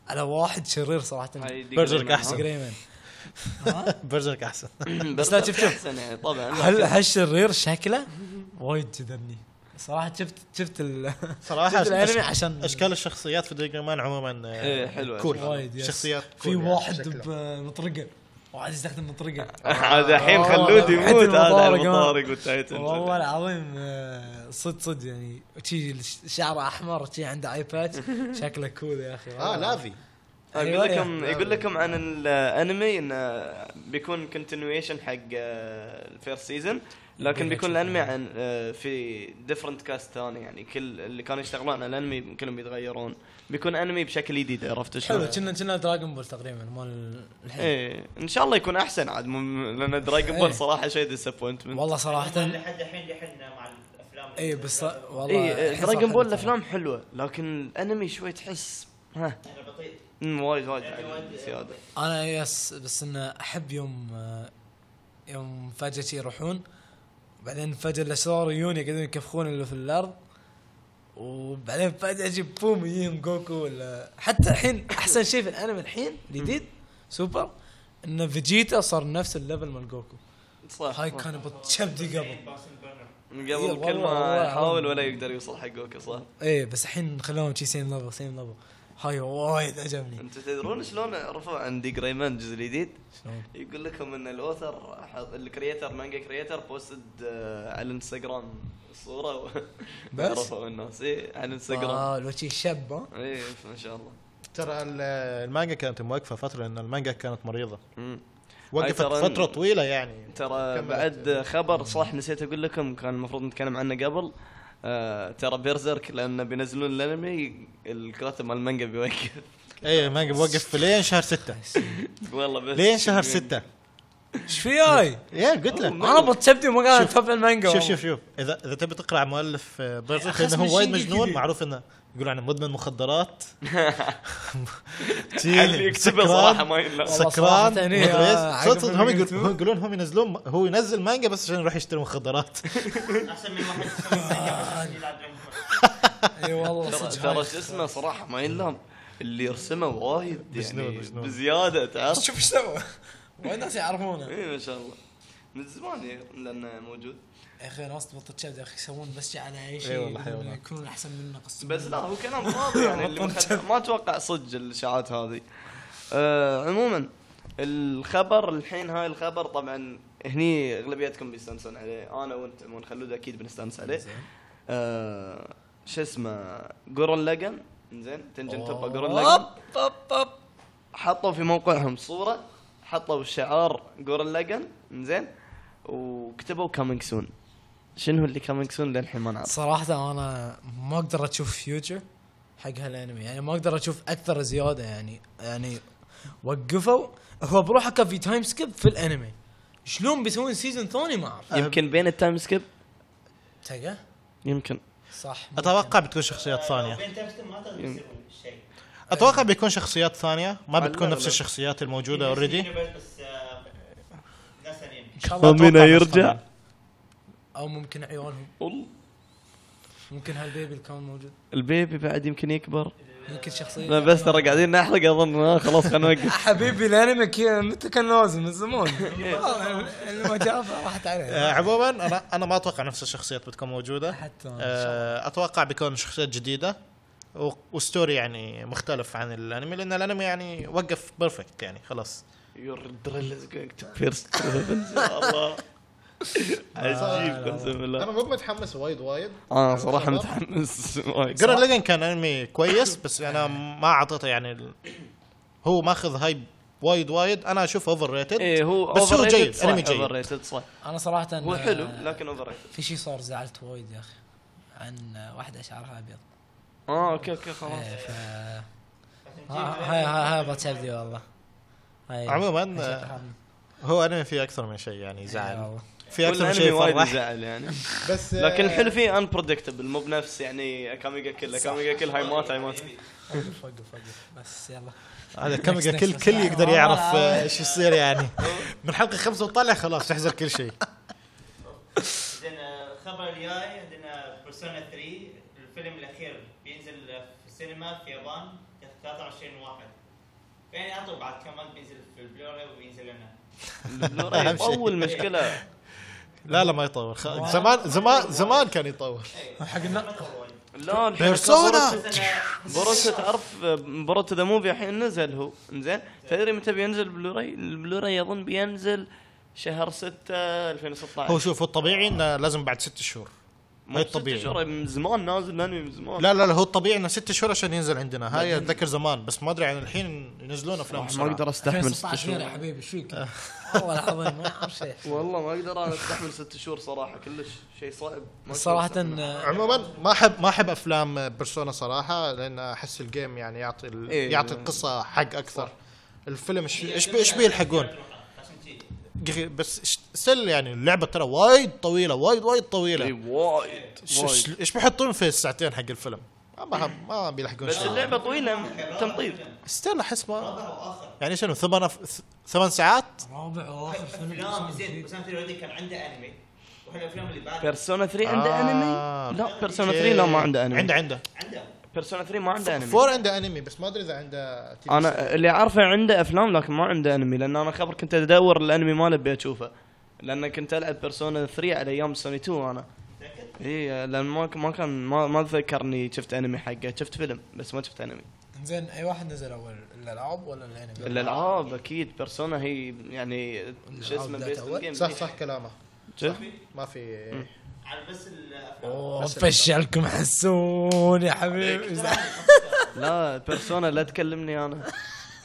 S2: على واحد شرير صراحه
S1: هاي دي
S3: برجرك
S1: جريمان،
S3: أحسن.
S2: جريمان
S3: برجرك احسن
S1: ها؟
S2: بس لا شوف- شوف.
S1: أحسن يعني طبعا
S2: هل هالشرير شكله وايد جذبني صراحه شفت شفت ال
S3: صراحه
S2: شفت الانمي
S3: أش-
S2: عشان
S3: اشكال الشخصيات في ديجري مان عموما آه،
S1: إيه، حلوة.
S3: كول
S2: وايد، يس.
S3: شخصيات
S2: في
S3: كول يعني
S2: واحد
S3: شكله.
S2: بمطرقه واحد يستخدم مطرقه
S1: [laughs] هذا الحين
S2: آه، والله
S1: خلود
S2: العظيم.
S1: يموت هذا على
S2: المطارق، ها.
S1: المطارق والتايتن
S2: والله العظيم آه، صد صد يعني شي شعره احمر شي عنده اي باتش
S1: [laughs]
S2: شكله كول يا اخي
S3: اه لافي
S1: اقول
S2: أيوة،
S1: لكم
S2: يا.
S1: يقول لكم عن الانمي انه بيكون كونتينيويشن حق آه، الفيرست سيزون لكن بيكون الانمي عن آه، في ديفرنت كاست ثاني يعني كل اللي كانوا يشتغلون على الانمي كلهم يتغيرون بيكون انمي بشكل جديد عرفت شلون؟
S2: حلو كنا كنا دراجون بول تقريبا مال الحين
S1: ايه ان شاء الله يكون احسن عاد مو- لان دراجون
S2: إيه.
S1: بول صراحه شيء ديسابوينتمنت
S2: والله صراحه
S4: لحد الحين يحلنا مع الافلام
S2: اي إيه، بس والله
S1: اي
S2: الحين
S1: دراجون
S2: صار
S1: بول
S2: حلو
S1: الافلام حلوه لكن الانمي شوي تحس ها
S4: احنا بطيء
S1: مم، وايد وايد
S4: يعني
S1: عاد
S4: وايد-
S1: زياده
S2: ترى. انا يس بس انه احب يوم آه، يوم فجاه شي يروحون بعدين فجاه الاشرار يجون يقعدون يكفخون اللي في الارض وبعدين فجاه يجي بوم يجيهم جوكو ولا حتى الحين احسن شيء في الانمي الحين الجديد سوبر ان فيجيتا صار نفس الليفل مال جوكو
S1: صح
S2: يعني هاي كان بتشبدي قبل
S1: من
S2: إيه،
S1: قبل كل
S2: والله-
S1: ما يحاول ولا يقدر يوصل حق جوكو صح
S2: ايه بس الحين خلوهم شي سيم ليفل سيم ليفل هاي وايد عجبني
S1: انتم تدرون شلون عرفوا عن ديك ريمان الجزء الجديد؟
S2: شلون؟
S1: يقول لكم ان الاوثر حط- الكرييتر مانجا كرييتر بوستد آه، على الانستغرام صوره و-
S2: بس؟
S1: عرفوا الناس اي على الانستغرام
S2: اه لو شي شب ها
S1: اي ما شاء الله
S3: ترى ال- المانجا كانت موقفه فتره لان المانجا كانت مريضه
S1: مم.
S3: وقفت
S1: ترى-
S3: فتره طويله يعني
S1: ترى
S3: كملت.
S1: بعد خبر صح نسيت اقول لكم كان المفروض نتكلم عنه قبل آه ترى بيرزرك لانه بينزلون الانمي الكاتب مال المانجا بيوقف [laughs]
S3: اي المانجا بوقف لين شهر
S2: [laughs]
S3: ستة
S1: والله بس
S3: لين شهر
S1: [laughs]
S3: ستة
S2: ايش في
S3: [laughs]
S2: هاي؟
S3: يا قلت لك
S2: انا بتشبدي ما قاعد اتفق المانجا
S3: شوف شوف شوف اذا اذا تبي تقرا عن مؤلف آه، بيرزرك
S2: أخي
S3: لانه
S2: اسمه
S3: هو وايد
S2: شينجي
S3: مجنون
S2: كيدي.
S3: معروف انه يقول عنه مدمن
S2: [laughs]
S3: مخدرات شي
S1: اللي يكتبه صراحه ما ينلام
S2: والله
S3: سكران
S2: صراحة أنا،
S3: مدري إيش.
S2: آه،
S3: صدق صدق
S2: عقب
S3: هم
S2: اللي
S3: يقول-
S2: قلتوه.
S3: هم يقولون هم ينزلون هو ينزل مانجا بس عشان يروح يشتري
S2: [laughs]
S3: مخدرات
S6: احسن من واحد يسوي
S2: آه،
S6: سنة بس يلعب عمر.
S2: اي والله
S1: ترى
S2: صدق هاي.
S1: ترى شو اسمه صراحه ما ينلام اللي يرسمه وايد
S3: مجنون-
S1: يعني
S3: مجنون.
S1: بزياده تعرف
S2: شوف ايش سوى وايد ناس يعرفونه
S1: اي ما شاء الله من زمان يعني لانه موجود
S2: يا اخي ناس تبطل تشبد يا اخي يسوون بس شي على اي
S3: إي
S2: شيء
S3: والله
S2: يقولون
S3: حيوانات.
S2: يكونون احسن منا قسم
S1: بس لا هو كلام فاضي يعني اللي ما خد- ما اتوقع صدق الاشاعات هذه آه عموما الخبر الحين هاي الخبر طبعا هني اغلبيتكم بيستانسون عليه انا وانت عموما خلود اكيد بنستانس عليه آه شو اسمه جورن لجن زين تنجن تبقى جورن لجن حطوا في موقعهم صوره حطوا شعار جورن لجن زين وكتبوا كامينج سون شنو اللي كامينج سون للحين ما نعرف
S2: صراحة انا ما اقدر اشوف فيوتشر حق هالانمي يعني ما اقدر اشوف اكثر زيادة يعني يعني وقفوا هو بروحه كان في تايم سكيب في الانمي شلون بيسوون سيزون ثاني ما اعرف
S1: يمكن بين التايم سكيب
S2: تلقى
S1: يمكن
S2: صح
S3: اتوقع بتكون شخصيات
S6: لو
S3: ثانيه
S6: بين تمسك ما تقدر يسوون شيء
S3: اتوقع بيكون شخصيات ثانيه ما
S1: لا،
S3: بتكون
S1: لا،
S3: نفس
S1: لا.
S3: الشخصيات الموجوده اوريدي
S6: بس بس آه، ناس ثانيين
S2: ان شاء الله
S3: أتوقع نفس ثانية.
S2: او ممكن عيالهم
S1: والله
S2: ممكن هالبيبي اللي كان موجود
S1: البيبي بعد يمكن يكبر
S2: يمكن شخصية
S1: لا بس ترى قاعدين نحرق اظن آه، خلاص خلينا [laughs] نوقف
S2: حبيبي الانمي كي- متى كان نازل من زمان اللي ما جابه راحت
S3: آه،
S2: عليه
S3: عموما انا انا ما اتوقع نفس الشخصيات بتكون موجوده
S2: حتى أنا.
S3: آه، اتوقع بيكون شخصيات جديده و- وستوري يعني مختلف عن الانمي لان الانمي يعني وقف بيرفكت يعني خلاص
S1: Your drill is going to pierce
S3: [laughs]
S1: to heavens. الله
S3: آه.
S1: عجيب قسم بالله
S3: مو متحمس وايد وايد
S1: انا صراحه متحمس وايد.
S3: جرن ليجن كان انمي كويس بس انا ما اعطيته يعني ال- هو ماخذ هايب وايد وايد انا اشوفه اوفر ريتد
S1: ايه هو
S3: بس هو
S1: overrated
S3: جيد،
S1: صح،
S3: أنمي جيد.
S1: overrated صح
S2: انا صراحة
S1: هو
S2: آه،
S1: حلو لكن اوفر ريتد
S2: في شيء صار زعلت وايد يا اخي عن آه، واحدة شعرها ابيض
S1: اه اوكي اوكي خلاص
S2: آه، ف
S6: عشان
S2: ها-
S6: نجيب
S2: هاي هاي هاي بتشبدي والله هاي
S3: عموما آه، هو انمي فيه اكثر من شيء يعني
S2: إي
S3: زعل
S2: والله.
S3: في
S1: كل
S3: اكثر من
S1: انمي
S3: شيء
S1: إيه، وايد
S3: فرح
S1: يزعل
S3: [laughs]
S1: يعني
S3: بس آه،
S1: لكن الحلو فيه انبريدكتبل مو بنفس يعني كاميجا كل كاميجا كل هاي مات هاي
S3: [laughs]
S6: [laughs]
S1: مات
S2: وقف وقف وقف بس يلا
S3: هذا كاميجا
S2: next,
S3: كل
S2: next.
S3: كل يقدر يعرف
S2: آه.
S3: آه، ايش يصير يعني من حلقه خمسه وطلع خلاص تحزر كل شيء
S6: عندنا آه، خبر الجاي عندنا بيرسونا 3 الفيلم الاخير بينزل في السينما في اليابان 23 واحد يعني اعطوا بعد كم وقت بينزل في البلوراي وبينزل لنا
S1: البلوراي
S3: أهم شيء.
S1: اول مشكله
S3: لا لا ما يطول خ- زمان زمان زمان كان يطول
S2: حق
S6: ما
S2: النا-
S6: طول وايد.
S1: لا الحين
S3: بيرسونا
S6: [laughs] بس أنا-
S1: بروتو تعرف بروتو ذا موفي الحين نزل هو انزين تدري متى بينزل البلوراي؟ البلوراي اظن بينزل شهر 6 2016
S3: هو شوف هو الطبيعي انه لازم بعد ست شهور
S1: مو
S3: هي
S1: ست
S3: الطبيعي.
S1: شهور، من زمان نازل الانمي من زمان
S3: لا لا لا هو الطبيعي انه ست شهور عشان ينزل عندنا هاي اتذكر زمان بس ما ادري عن الحين ينزلون افلام
S1: ما
S3: بسرعة.
S1: اقدر استحمل ست
S2: 16
S1: شهور
S2: يا حبيبي ايش فيك؟ والله العظيم ما اعرف شيء
S1: والله ما اقدر انا استحمل ست شهور صراحه كلش شيء صعب ما [laughs]
S2: صراحة
S1: أقدر أستحمله.
S2: آه،
S3: عموما ما احب ما احب افلام بيرسونا صراحه لان احس الجيم يعني يعطي ال...
S1: إيه.
S3: يعطي القصه حق اكثر الفيلم ايش ايش بي- ايش بيلحقون
S6: عشان شي.
S3: بس إيش- سل يعني اللعبه ترى وايد طويله وايد وايد
S1: إي،
S3: طويله
S1: وايد
S3: إيش-
S1: إيه، وايد
S3: ايش بيحطون في الساعتين حق الفيلم ما ما بيلحقون
S1: بس
S3: شيء
S1: اللعبه طويله تمطيط
S3: استنى احس ما يعني شنو ثمان أف- ثمان ساعات
S2: رابع واخر فيلم
S6: افلام زين اسامه الودي كان عنده انمي واحد الافلام اللي بعد
S1: بيرسونا 3 عنده
S3: آه،
S1: انمي؟ لا بيرسونا
S3: إيه.
S1: 3 لا ما عنده انمي
S3: عنده عنده
S6: عنده
S1: بيرسونا 3 ما عنده انمي
S3: فور عنده انمي بس ما ادري اذا عنده TV
S1: انا اللي اعرفه عنده افلام لكن ما عنده انمي لان انا خبر كنت ادور الانمي ماله ابي اشوفه لان كنت العب بيرسونا 3 على ايام سوني 2 انا اي لان ما ك- ما كان ما, ما اتذكر اني شفت انمي حقه شفت فيلم بس ما شفت انمي
S2: زين اي واحد نزل اول الالعاب ولا الانمي؟
S1: الالعاب اكيد بيرسونا هي يعني شو اسمه
S2: الألعاب
S1: بيست
S2: ذات أول؟
S1: جيم
S3: صح صح كلامه
S1: شوف
S3: ما في
S6: على بس الافلام
S2: اوه
S3: بس
S2: فشلكم حسون يا حبيبي
S1: لا بيرسونا لا تكلمني انا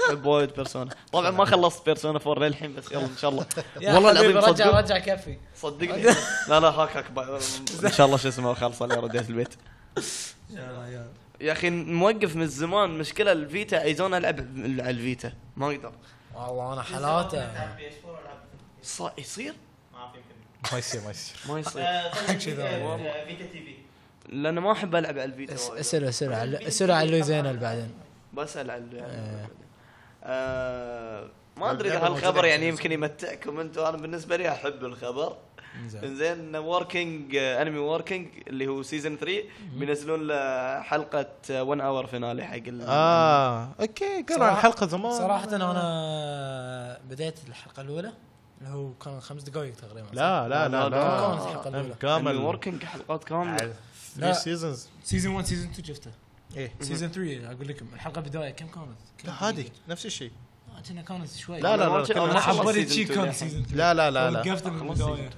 S1: احب وايد بيرسونا طبعا ما خلصت بيرسونا 4 للحين بس يلا ان شاء الله
S3: [laughs]
S2: يا
S1: والله
S2: حبيبي،
S1: العظيم
S2: رجع
S1: صدق
S2: رجع كفي
S1: صدقني لا لا هاك هاك بعد. ان شاء الله شو اسمه خلص انا رديت البيت يا اخي موقف من زمان مشكله الفيتا عايزون العب على الفيتا ما اقدر
S2: والله انا حالاته
S1: ص- يصير
S6: ما في يمكن
S3: ما يصير ما يصير
S1: ما يصير
S6: آه، طيب،
S2: كذا.
S6: آه، فيتا تي في
S1: لان ما احب العب على الفيتا
S2: اس-
S1: وايد.
S2: اسأله اسأله على اسأله على لويزينا بعدين
S1: بسال على ال-
S2: إيه.
S1: آه، ما ادري اذا
S3: اللعبة
S1: هالخبر
S3: موجودة
S1: يعني
S3: عندنا.
S1: يمكن يمتعكم انتم انا بالنسبه لي احب الخبر
S2: زين
S1: انزين وركينج انمي وركينج اللي هو سيزون 3 بينزلون له أه، حلقه 1 اور فينالي حق ال-
S3: اه اوكي قرا
S2: صراحة-
S3: الحلقه زمان
S2: صراحة انا بديت الحلقة الأولى اللي هو كان خمس دقائق تقريبا
S3: لا لا لا
S2: كانت
S3: لا
S1: آه.
S2: الحلقة الأولى
S1: انمي
S3: كامل
S1: وركينج حلقات كامله
S2: لا.
S3: 3 سيزونز
S2: سيزون 1 سيزون 2 شفته
S3: ايه
S2: سيزون 3 اقول لكم الحلقة بداية كم كانت؟ كم
S3: لا عادي نفس الشيء
S2: دقيقة؟ آه، كنا كانت شوي
S3: لا، لا، لا، كنا
S1: أنا
S2: انا
S1: خلصت
S2: حضرت
S1: سيزون
S2: شي
S1: تو
S2: كان
S1: دحين.
S2: سيزون 3
S3: لا لا لا لا
S2: وقفت من البداية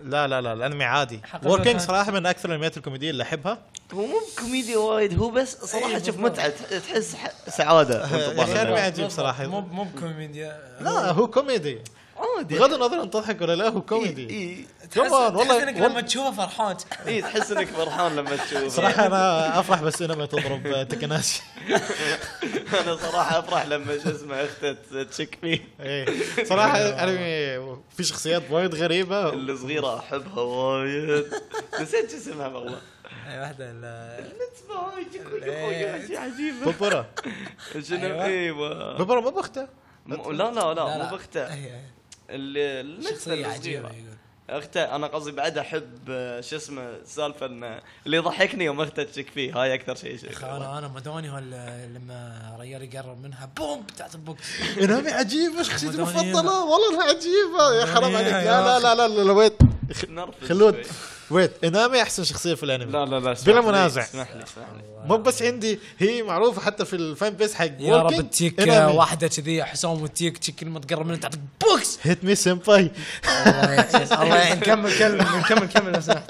S3: لا لا لا الانمي عادي
S2: حلقة
S3: وركينج
S2: ثلاثة.
S3: صراحه من اكثر الانميات الكوميديه اللي احبها
S1: هو مو بكوميديا وايد هو بس صراحه
S2: أي
S1: شوف
S2: بالضبط.
S1: متعه تحس ح- سعاده وأنت
S3: يا
S1: طالع.
S3: أخي أنا- عجيب صراحة.
S2: مو مو بكوميديا
S3: لا هو كوميدي
S1: عادي
S3: بغض النظر انت تضحك ولا لا هو كوميدي
S1: اي
S2: تحس
S3: كمان، والله-
S2: والله انك لما تشوفه فرحان
S1: اي إيه، تحس انك فرحان لما تشوفه
S3: صراحه انا افرح بس انما تضرب [laughs] تكناسي
S1: انا صراحه افرح لما شو اسمه اخته تشك فيه
S3: ايه صراحه انمي في شخصيات وايد غريبه
S1: الصغيره احبها وايد نسيت شو اسمها والله
S2: اي واحدة ال-
S1: نتبع هاي جيكو جيكو يا شي عجيبه
S3: ببرة
S1: شنو
S2: أيوة.
S1: ايوه
S3: ببرة مو باخته
S1: م- لا لا لا مو باخته
S2: أي- أي.
S1: اللي اللي
S2: شخصية
S1: الصغيرة.
S2: عجيبة يقول
S1: اخته انا قصدي بعد احب آه، شو اسمه سالفه انه اللي يضحكني يوم اخته تشك فيه هاي اكثر شيء شيء
S2: أخي انا انا مدوني ولا لما ريال يقرب منها بوم بتاعت البوكس
S3: انمي عجيبه شخصيتي
S2: مدنية.
S3: المفضله والله انها عجيبه يا حرام
S2: مدنية
S3: عليك
S2: يا
S3: لا لا
S2: أخي.
S3: لا لا, لا, لا ويت
S1: نرفز
S3: خلود
S1: شوي.
S3: ويت انامي احسن شخصيه في الانمي
S1: لا لا لا اسمح
S3: بلا
S1: لي،
S3: منازع.
S1: اسمح لي اسمح لي
S3: مو بس عندي هي معروفه حتى في الفان بيس حق
S2: يا رب التيك آه، واحدة كذي حسام والتيك تشي كل ما تقرب منها تعطيك بوكس
S3: هيت مي سمباي
S2: الله يعين الله يعين كمل كمل كمل كمل لو سمحت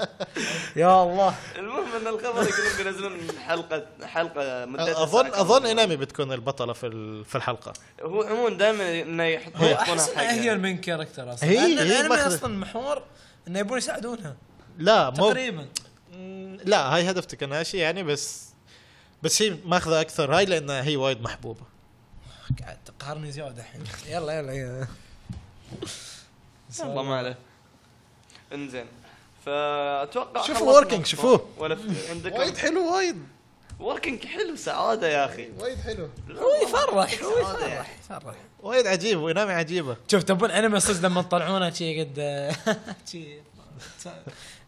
S2: يا الله
S1: المهم ان الخبر يقولون بينزلون حلقه حلقه مدتها
S3: اظن
S1: ساعة.
S3: اظن انامي بتكون البطله في ال- في الحلقه
S1: هو عموما دائما انه يحطون
S2: هو
S1: يحطونها
S2: احس إنها
S1: حقها.
S2: هي المين كاركتر اصلا
S3: هي-
S2: لأن
S3: هي
S2: الانمي
S3: ماخذة.
S2: اصلا محور انه يبون يساعدونها
S3: لا مو
S2: تقريبا
S3: مم، لا هاي هدف تكناشي يعني بس بس هي ماخذه اكثر هاي لانها هي وايد محبوبه
S2: قاعد تقهرني زياده الحين [laughs] يلا يلا يلا
S1: والله ما عليه انزين فاتوقع
S3: شوفوا
S1: خلصنا.
S3: working، شوفوه.
S1: ولا في عندكم
S3: وايد حلو وايد
S1: وركينج حلو سعاده يا اخي
S3: وايد حلو
S2: هو يفرح هو يفرح يفرح
S3: وايد عجيب وانامي عجيبه
S2: شوف تبون انمي صدق لما تطلعونه شي قد [laughs] شي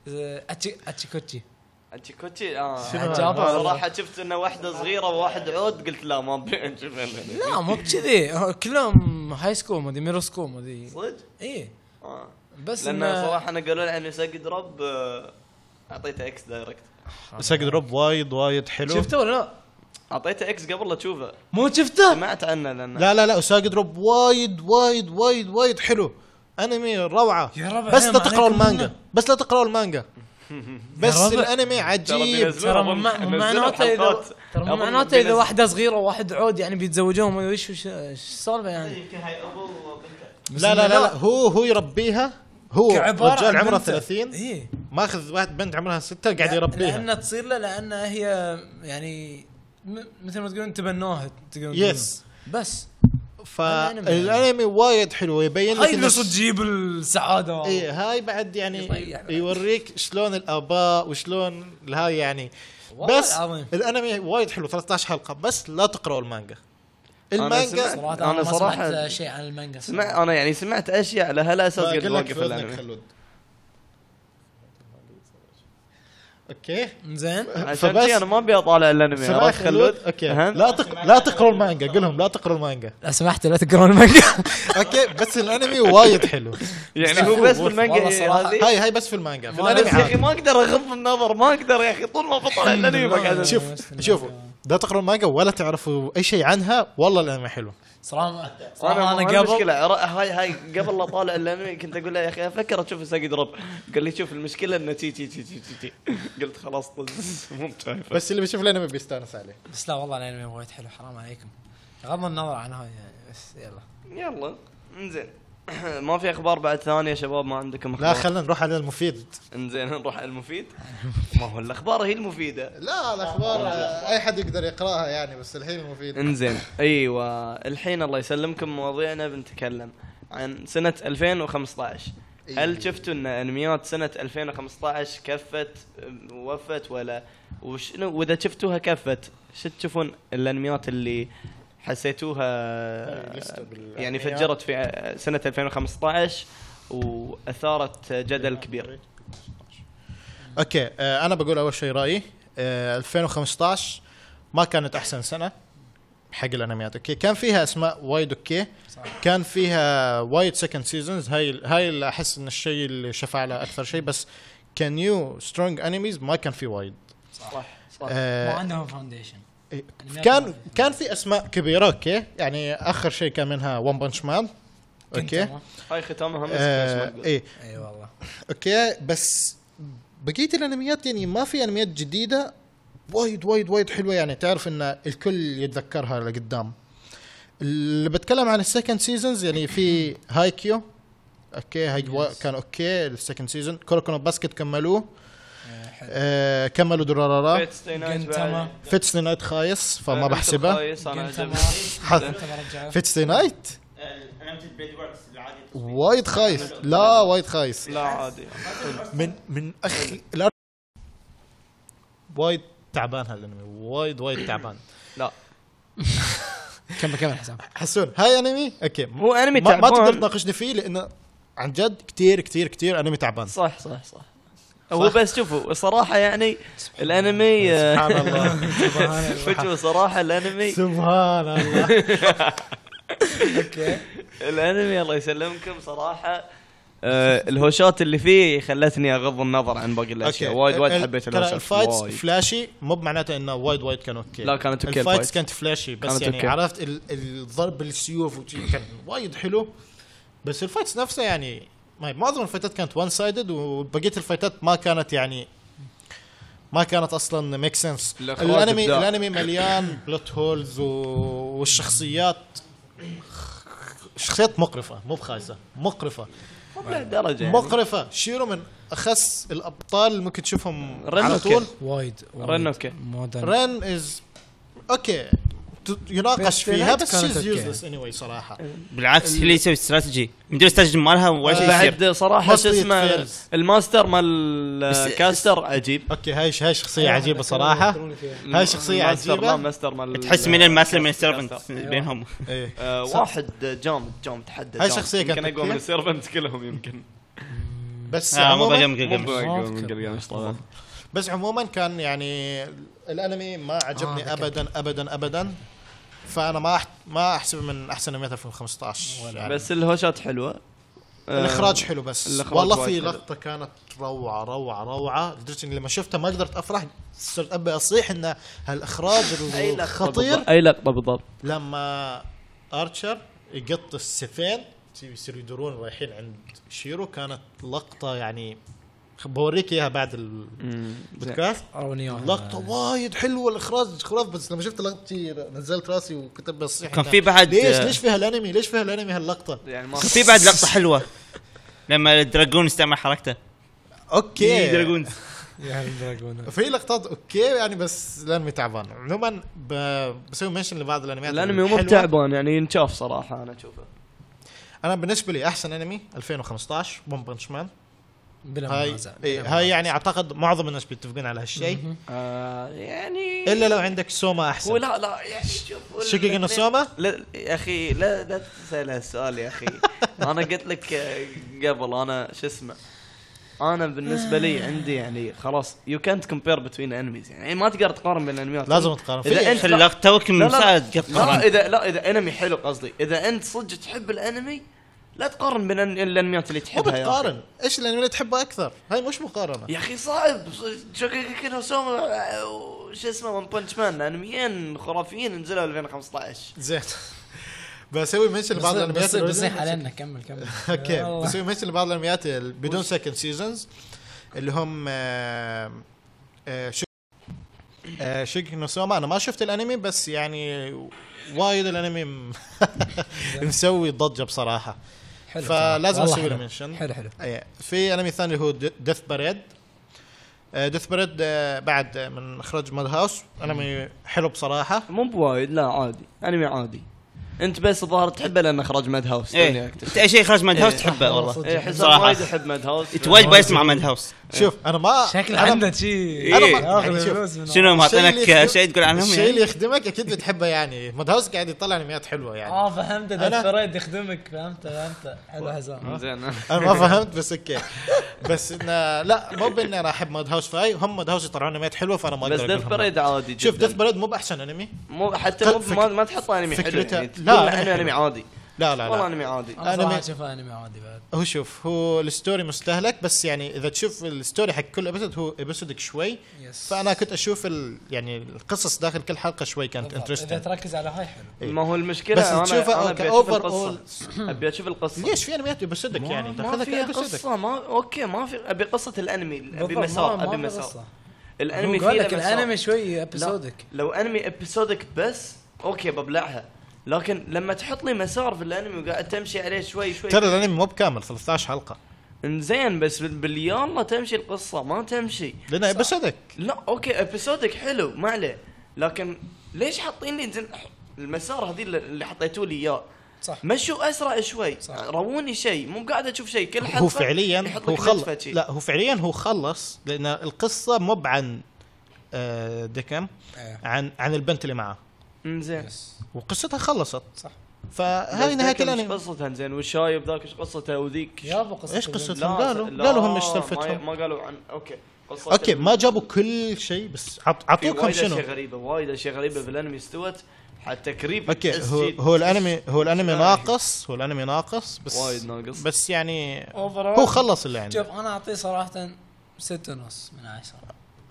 S2: اتشي اتشيكوتشي
S1: اتشيكوتشي اه
S3: شنو
S2: عجابة
S1: آه،
S2: والله.
S1: صراحه شفت انه واحده صغيره وواحد عود قلت لا ما بنشوف
S2: لا
S3: إيه.
S2: مو بكذي هو كلهم هاي سكول ما ادري ميرو سكول ما ادري
S1: صدق
S2: اي
S1: اه
S2: إيه. بس
S1: لان
S2: إنه-
S1: صراحه انا قالوا لي انه سجد رب آه، اعطيته اكس دايركت
S3: بس دروب وايد وايد حلو
S2: شفته ولا لا؟
S1: اعطيته اكس قبل لا تشوفه
S2: مو شفته؟
S1: سمعت عنه لانه
S3: لا لا لا وساق دروب وايد وايد وايد وايد حلو انمي روعه
S2: يا ربع
S3: بس
S2: عين
S3: لا تقرأوا
S2: عليكم
S3: المانجا
S2: منه.
S3: بس لا تقرأوا
S2: [laughs]
S3: المانجا بس
S2: ربع.
S3: الانمي عجيب
S2: ترى مو مع- مو معناته اذا ترى مو معناته اذا واحده صغيره وواحد عود يعني بيتزوجوهم ما ادري وش وش- ايش السالفه يعني
S6: يمكن هاي ابو وبنته
S2: بس
S3: لا لا لا,
S2: إنه
S3: لا هو هو يربيها هو
S2: كعبارة إيه. عن
S3: رجال عمره
S2: بنته.
S3: 30
S2: اي
S3: ماخذ واحد بنت عمرها 6 قاعد يربيها
S2: لانها تصير له لانها هي يعني م- مثل ما تقولون تبنوها تقولون
S3: يس.
S2: بس الأنمي.
S3: فالانمي وايد حلو يبين لك
S2: هاي
S3: إنه
S2: اللي صدق تجيب السعاده
S3: اي هاي بعد يعني
S2: يطيح بعد.
S3: يوريك شلون الاباء وشلون هاي يعني
S2: والله
S3: بس
S2: العظيم.
S3: الانمي وايد حلو 13 حلقه بس لا تقرأوا المانجا
S1: سمعت-
S3: المانجا
S2: صراحه
S1: أنا
S2: انا
S1: صراحة-
S2: صراحه شيء عن المانجا
S1: سمع انا يعني سمعت اشياء على هالاساس قد
S3: أقول لك
S1: وقف
S3: في أذنك
S1: الانمي
S3: خلود اوكي
S1: [laughs]
S5: زين
S1: عشان
S3: فبس-
S1: كذي انا ما ابي اطالع الانمي
S3: سماح
S1: عرفت خلود
S3: خلود اوكي
S1: أها.
S3: لا تق... لا تقروا المانجا قل لهم لا
S1: [laughs]
S3: تقروا المانجا
S2: لو سمحت لا تقرون المانجا [laughs]
S3: اوكي بس الانمي وايد حلو
S1: [laughs] يعني هو بس بالمانجا
S2: والله
S1: هي
S2: صراحة.
S1: هذه
S3: هاي هاي بس في المانجا في
S1: بس
S3: الانمي
S1: يا اخي
S3: عادي.
S1: ما اقدر اغض النظر ما اقدر يا اخي طول ما
S3: [laughs]
S1: بطلع الانمي بقعد
S3: شوف شوفوا لا تقروا المانجا ولا تعرفوا اي شيء عنها والله الانمي حلو
S5: صراحه
S1: انا
S5: صراحه
S1: انا
S5: انا
S1: قبل
S5: قبل
S1: مشكلة را- هاي هاي قبل لا اطالع الانمي كنت اقول له يا اخي افكر اشوف ساقي دروب قال لي شوف المشكلة انه تي تي تي تي تي, تي. قلت خلاص طز [laughs] مو بتعرف
S3: بس اللي بيشوف الانمي بيستانس عليه
S5: بس لا والله الانمي وايد حلو حرام عليكم غض النظر عن هاي يعني بس يلا
S1: يلا انزين [clears throat] ما في اخبار بعد ثانية يا شباب ما عندكم
S3: لا
S1: اخبار
S3: خلينا نروح على المفيد
S1: انزين نروح على [laughs] المفيد ما هو الاخبار هي المفيدة
S3: لا الاخبار آه، اي حد يقدر يقراها يعني بس الحين المفيد
S1: انزين ايوه الحين الله يسلمكم مواضيعنا بنتكلم عن سنة 2015
S3: أيوه.
S1: هل شفتوا ان انميات سنة 2015 كفت أم، وفت ولا وشنو واذا شفتوها كفت شو تشوفون الانميات اللي حسيتوها يعني فجرت في ع- سنة 2015 واثارت جدل كبير
S3: اوكي آه، انا بقول اول شيء رايي آه، 2015 ما كانت احسن سنه حق الانميات اوكي كان فيها اسماء وايد اوكي
S5: صح.
S3: كان فيها وايد سكند سيزونز هاي هاي اللي احس ان الشيء اللي شفع له اكثر شيء بس كنيو سترونج انميز ما كان في وايد
S1: صح صح
S5: طيب، ما
S3: آه،
S5: عندهم فاونديشن
S3: إيه.
S5: أنميات ما
S3: كان
S5: في.
S3: كان في اسماء كبيره اوكي يعني اخر شيء كان منها ون بنش مان اوكي
S5: كنتما.
S1: هاي ختامها
S3: آه،
S1: مسك
S3: ايه
S5: اي والله
S3: اوكي بس بقيه الانميات يعني ما في انميات جديده وايد وايد وايد حلوه يعني تعرف ان الكل يتذكرها لقدام اللي بتكلم عن السكند سيزونز يعني في هايكيو اوكي هاي
S5: Yes.
S3: كان اوكي السكند سيزون كوركونو باسكت كملوه
S5: آه، حلو
S3: آه كملوا درارارا
S5: جنتما.
S3: فيتس نايت خايس فما بحسبه
S5: جنتما.
S3: حظ.
S5: جنتما رجعوا.
S3: فيتس نايت
S4: انمي البليد وركس العادي
S3: وايد خايس لا وايد خايس
S1: لا عادي
S3: من من اخي الأر... وايد تعبان هالانمي وايد وايد تعبان
S1: لا
S5: كمل كمل
S2: [laughs]
S5: حسام
S3: حسون هاي انمي اوكي ما,
S1: هو انمي
S3: ما تقدر
S1: تعبان
S3: تناقشني فيه لانه عن جد كتير كتير كتير انمي تعبان
S1: صح صح صح هو بس شوفوا صراحة يعني الانمي آه،
S3: سبحان الله
S1: [laughs] شوفوا صراحة الانمي
S3: [laughs] سبحان الله
S1: الانمي الله يسلمكم صراحة آه الهوشات اللي فيه خلتني اغض النظر عن باقي الاشياء يعني وايد وايد
S3: ال-
S1: حبيت
S3: ترى
S1: الهوشات
S3: الفايتس
S1: وايد.
S3: فلاشي مو معناته انه وايد وايد كان اوكي
S1: لا كانت اوكي
S3: الفايتس
S1: الفايت
S3: كانت فلاشي بس
S1: كانت
S3: يعني
S1: أوكي.
S3: عرفت ال- الضرب السيوف وشي كان وايد حلو بس الفايتس نفسها يعني ما- معظم الفايتات كانت وان سايدد وبقيه الفايتات ما كانت يعني ما كانت اصلا ميك سنس
S1: الإخراج
S3: الانمي
S1: إبداع.
S3: الانمي مليان بلوت هولز و... والشخصيات شخصيات مقرفه مو بخايسه مقرفه
S1: مو بهالدرجة يعني.
S3: مقرفه شيرو من اخس الابطال اللي ممكن تشوفهم
S1: رن
S3: على
S1: أوكي.
S3: طول
S5: وايد وايد.
S1: رن أوكي.
S5: مودرن
S3: رن از اوكي ت- يناقش
S5: بس
S3: فيها
S5: Tenet
S3: بس
S5: كانت
S3: شيز
S5: أوكي. إيه.
S3: يوزلس اني واي صراحه
S6: بالعكس هي اللي يسوي استراتيجي مدير استراتيجي مالها ولا شيء يصير
S1: بعد صراحة شو
S3: Mostly it
S1: اسمه
S3: fails.
S1: الماستر مال كاستر عجيب
S3: اوكي هاي هاي
S5: أيوة،
S3: شخصيه عجيبه صراحه هاي شخصية
S1: ماستر-
S3: عجيبة.
S1: لا، ماستر مال
S6: تحس من الماسل من
S1: كاستر.
S6: السيرفنت بينهم
S3: ايه
S1: آه، واحد جامد جامد حدد
S3: هاي
S1: جامد.
S3: شخصية كانت
S1: يمكن اقوى
S3: ذكية؟
S1: من السيرفنت كلهم
S6: [laughs]
S1: يمكن
S3: بس
S6: اه مو
S3: عموما
S6: بقى-
S1: مو
S6: بقى-
S1: بأقوى من قلقامش طبعا
S3: بس عموما كان يعني الانمي ما
S5: آه،
S3: عجبني ابدا ابدا ابدا فانا ما أح ما احسبه من احسن انميات 2015 يعني.
S1: بس الهوشات حلوه آه،
S3: الاخراج حلو بس
S1: الإخراج
S3: والله
S1: وايد
S3: في
S1: حلو.
S3: لقطه كانت روعه روعه روعه لدرجه اني لما شفتها ما قدرت افرح صرت ابي اصيح ان هالاخراج
S1: [laughs] أي لقطة
S3: الخطير
S1: بالضبط. اي لقطه بالضبط
S3: لما ارشر يقط السيفين يصيروا يدورون رايحين عند شيرو كانت لقطه يعني خ- بوريك اياها بعد البودكاست
S5: رونيون
S3: لقطه وايد حلوه الاخراج خرافي بس لما شفت اللقطه شي نزلت راسي وكنت بصيح
S6: كان في بعد
S3: ليش
S1: آه.
S3: ليش فيها الانمي ليش فيها الانمي هاللقطه
S1: يعني ما
S6: في بعد لقطه حلوه لما الدراجون استعمل حركته
S3: اوكي
S6: دراجون
S5: يا هل دراجون
S3: في لقطات اوكي يعني بس الانمي تعبان عموما ب- بسوي منشن لبعض الانميات
S1: الانمي مو
S3: الحلوة.
S1: بتعبان يعني ينشاف صراحه انا اشوفه
S3: انا بالنسبه لي احسن انمي 2015 ون بنش مان
S5: بلا
S3: هاي
S5: منازع
S3: إيه، هاي يعني اعتقد معظم الناس بيتفقون على هالشيء
S1: آه يعني
S3: الا لو عندك سوما
S1: هو
S3: احسن
S1: لا لا يعني شوف
S3: شقق انه سوما
S1: لا يا اخي لا لا
S3: [laughs]
S1: تسال هالسؤال يا اخي انا قلت لك آه، قبل انا شو اسمه انا بالنسبه لي عندي يعني خلاص يو كانت كومبير بتوين انميز يعني ما تقدر تقارن بين الانميات
S3: لازم تقارن
S1: اذا انت لا,
S6: حلقت توك من
S1: لا, لا,
S6: ساعه
S1: لا اذا لا اذا انمي حلو قصدي اذا انت صدق تحب الانمي لا تقارن بين الأن- الانميات اللي
S3: مو
S1: تحبها يا أخي.
S3: بتقارن ايش الانمي اللي تحبه اكثر هاي مش مقارنه
S1: يا اخي صعب شوكيكي نو سوما شو اسمه ون بنش مان انميين خرافيين نزلوا 2015
S3: زين [laughs] بسوي منشن لبعض الانميات
S2: بس
S3: اللي-
S2: بصيح علينا كمل
S3: [laughs]
S2: كمل
S3: اوكي
S2: والله.
S3: بسوي منشن لبعض الانميات ال- بدون سكند سيزونز اللي هم آه، آه، شو آه، شيك نوسوما انا ما شفت الانمي بس يعني وايد الانمي م- مسوي ضجه بصراحه
S2: حلو
S3: فلازم آه.
S2: والله
S3: اسوي له
S2: حلو.
S3: منشن
S2: حلو حلو
S3: أي. في انمي ثاني اللي هو ديث باريد ديث باريد بعد آه، من اخراج ماد هاوس انمي حلو بصراحه
S1: مو بوايد لا عادي انمي عادي انت بس الظاهر تحبه لان اخراج ماد هاوس
S3: إيه.
S6: ايه أنت اي شيء خرج ماد هاوس تحبه والله
S1: ايه حسام
S6: صراحة.
S1: وايد يحب ماد هاوس
S6: انت وايد بسمع ماد هاوس
S3: شوف انا ما
S2: شكل
S3: أنا-
S2: عنده شي
S6: أنا ما-
S3: يعني شوف،
S6: شنو
S3: الشيء اللي
S6: معطينك شيء
S3: يخدم-
S6: تقول عنهم
S3: الشيء اللي
S6: يعني؟
S3: يخدمك اكيد بتحبه يعني ماد هاوس قاعد يطلع انميات حلوه يعني
S2: اه فهمت
S3: أنا- آه.
S2: فريد يخدمك فهمت فهمت حلو [laughs] حسام
S1: زين
S3: انا ما فهمت بس اوكي بس انه لا مو باني انا احب ماد هاوس فاي هم ماد هاوس يطلعون انميات حلوه فانا ما
S1: بس
S3: اقدر أقول
S1: ديث
S3: هم.
S1: بريد عادي
S3: شوف
S1: جداً.
S3: ديث بريد مو باحسن انمي
S1: مو حتى مو
S3: فك-
S1: ما, ما تحطه انمي حلو
S3: فكرته-
S1: يعني
S3: لا،
S1: لا
S3: لا،
S1: احنا انمي عادي
S3: لا لا
S1: والله
S3: لا
S1: انمي عادي
S2: انا
S3: أنا
S2: صراحه
S3: ما-
S2: اشوفه انمي عادي بعد
S3: هو شوف هو الستوري مستهلك بس يعني اذا تشوف الستوري حق كل ابيسود هو ابيسودك شوي
S2: يس
S3: فانا كنت اشوف ال يعني القصص داخل كل حلقه شوي كانت
S2: بالضبط. اذا
S3: انترستنج
S2: تركز على هاي حلو
S3: إيه.
S1: ما هو المشكله
S3: بس
S1: انا
S3: تشوفه
S1: انا
S3: أوكي،
S1: ابي اشوف
S3: overall.
S1: القصه ابي اشوف القصه
S3: ليش في انميات ابيسودك يعني
S1: ما
S3: تاخذها
S1: في
S3: كابيسودك
S1: قصه ما اوكي ما في ابي قصه الانمي ابي مسار ابي مسار الانمي
S2: الانمي
S1: فيه
S2: قال
S1: له
S2: لك
S1: مسار.
S2: الانمي شوي
S1: لا،
S2: ابيسودك
S1: لو انمي ابيسودك بس اوكي ببلعها لكن لما تحط لي مسار في الانمي وقاعد تمشي عليه شوي شوي
S3: ترى الانمي مو بكامل 13 حلقه
S1: انزين بس بال- باليلا تمشي القصه ما تمشي
S3: لان ابيسودك
S1: لا اوكي ابيسودك حلو ما عليه لكن ليش حاطين لي زين المسار هذي اللي- اللي حطيتوا لي اياه
S2: صح
S1: مشوا اسرع شوي
S2: صح.
S1: رووني شيء مو قاعد اشوف شيء كل حلقه
S3: هو فعليا
S1: يحط
S3: هو
S1: لك
S3: خلص
S1: نزفة شي.
S3: لا هو فعليا هو خلص لان القصه مو عن آه، ديكم
S2: إيه.
S3: عن عن البنت اللي معاه
S1: انزين
S2: يس
S3: وقصتها خلصت
S2: صح.
S3: فهاي
S1: بس
S3: نهايه
S1: ذاك ايش
S3: الانمي
S1: قصته انزين والشايب ذاك ايش قصته وذيك
S2: يابا قصة
S3: ايش
S2: البنت.
S3: قصتهم قالوا قالوا هم ايش
S1: ما,
S3: سالفتهم
S1: ما قالوا عن اوكي قصة
S3: اوكي ما جابوا كل شيء بس عط-
S1: في
S3: عطوكم
S1: وايد اشياء
S3: شنو
S1: غريبه وايد اشياء غريبه في الانمي استوت حتى كريب
S3: اوكي
S1: تحس
S3: هو
S1: جد-
S3: هو الانمي هو الانمي
S1: آه.
S3: ناقص هو الانمي ناقص بس
S1: وايد ناقص
S3: بس يعني
S2: Overall.
S3: هو خلص اللي عنده
S2: شوف انا اعطيه صراحة ستة ونص من عشرة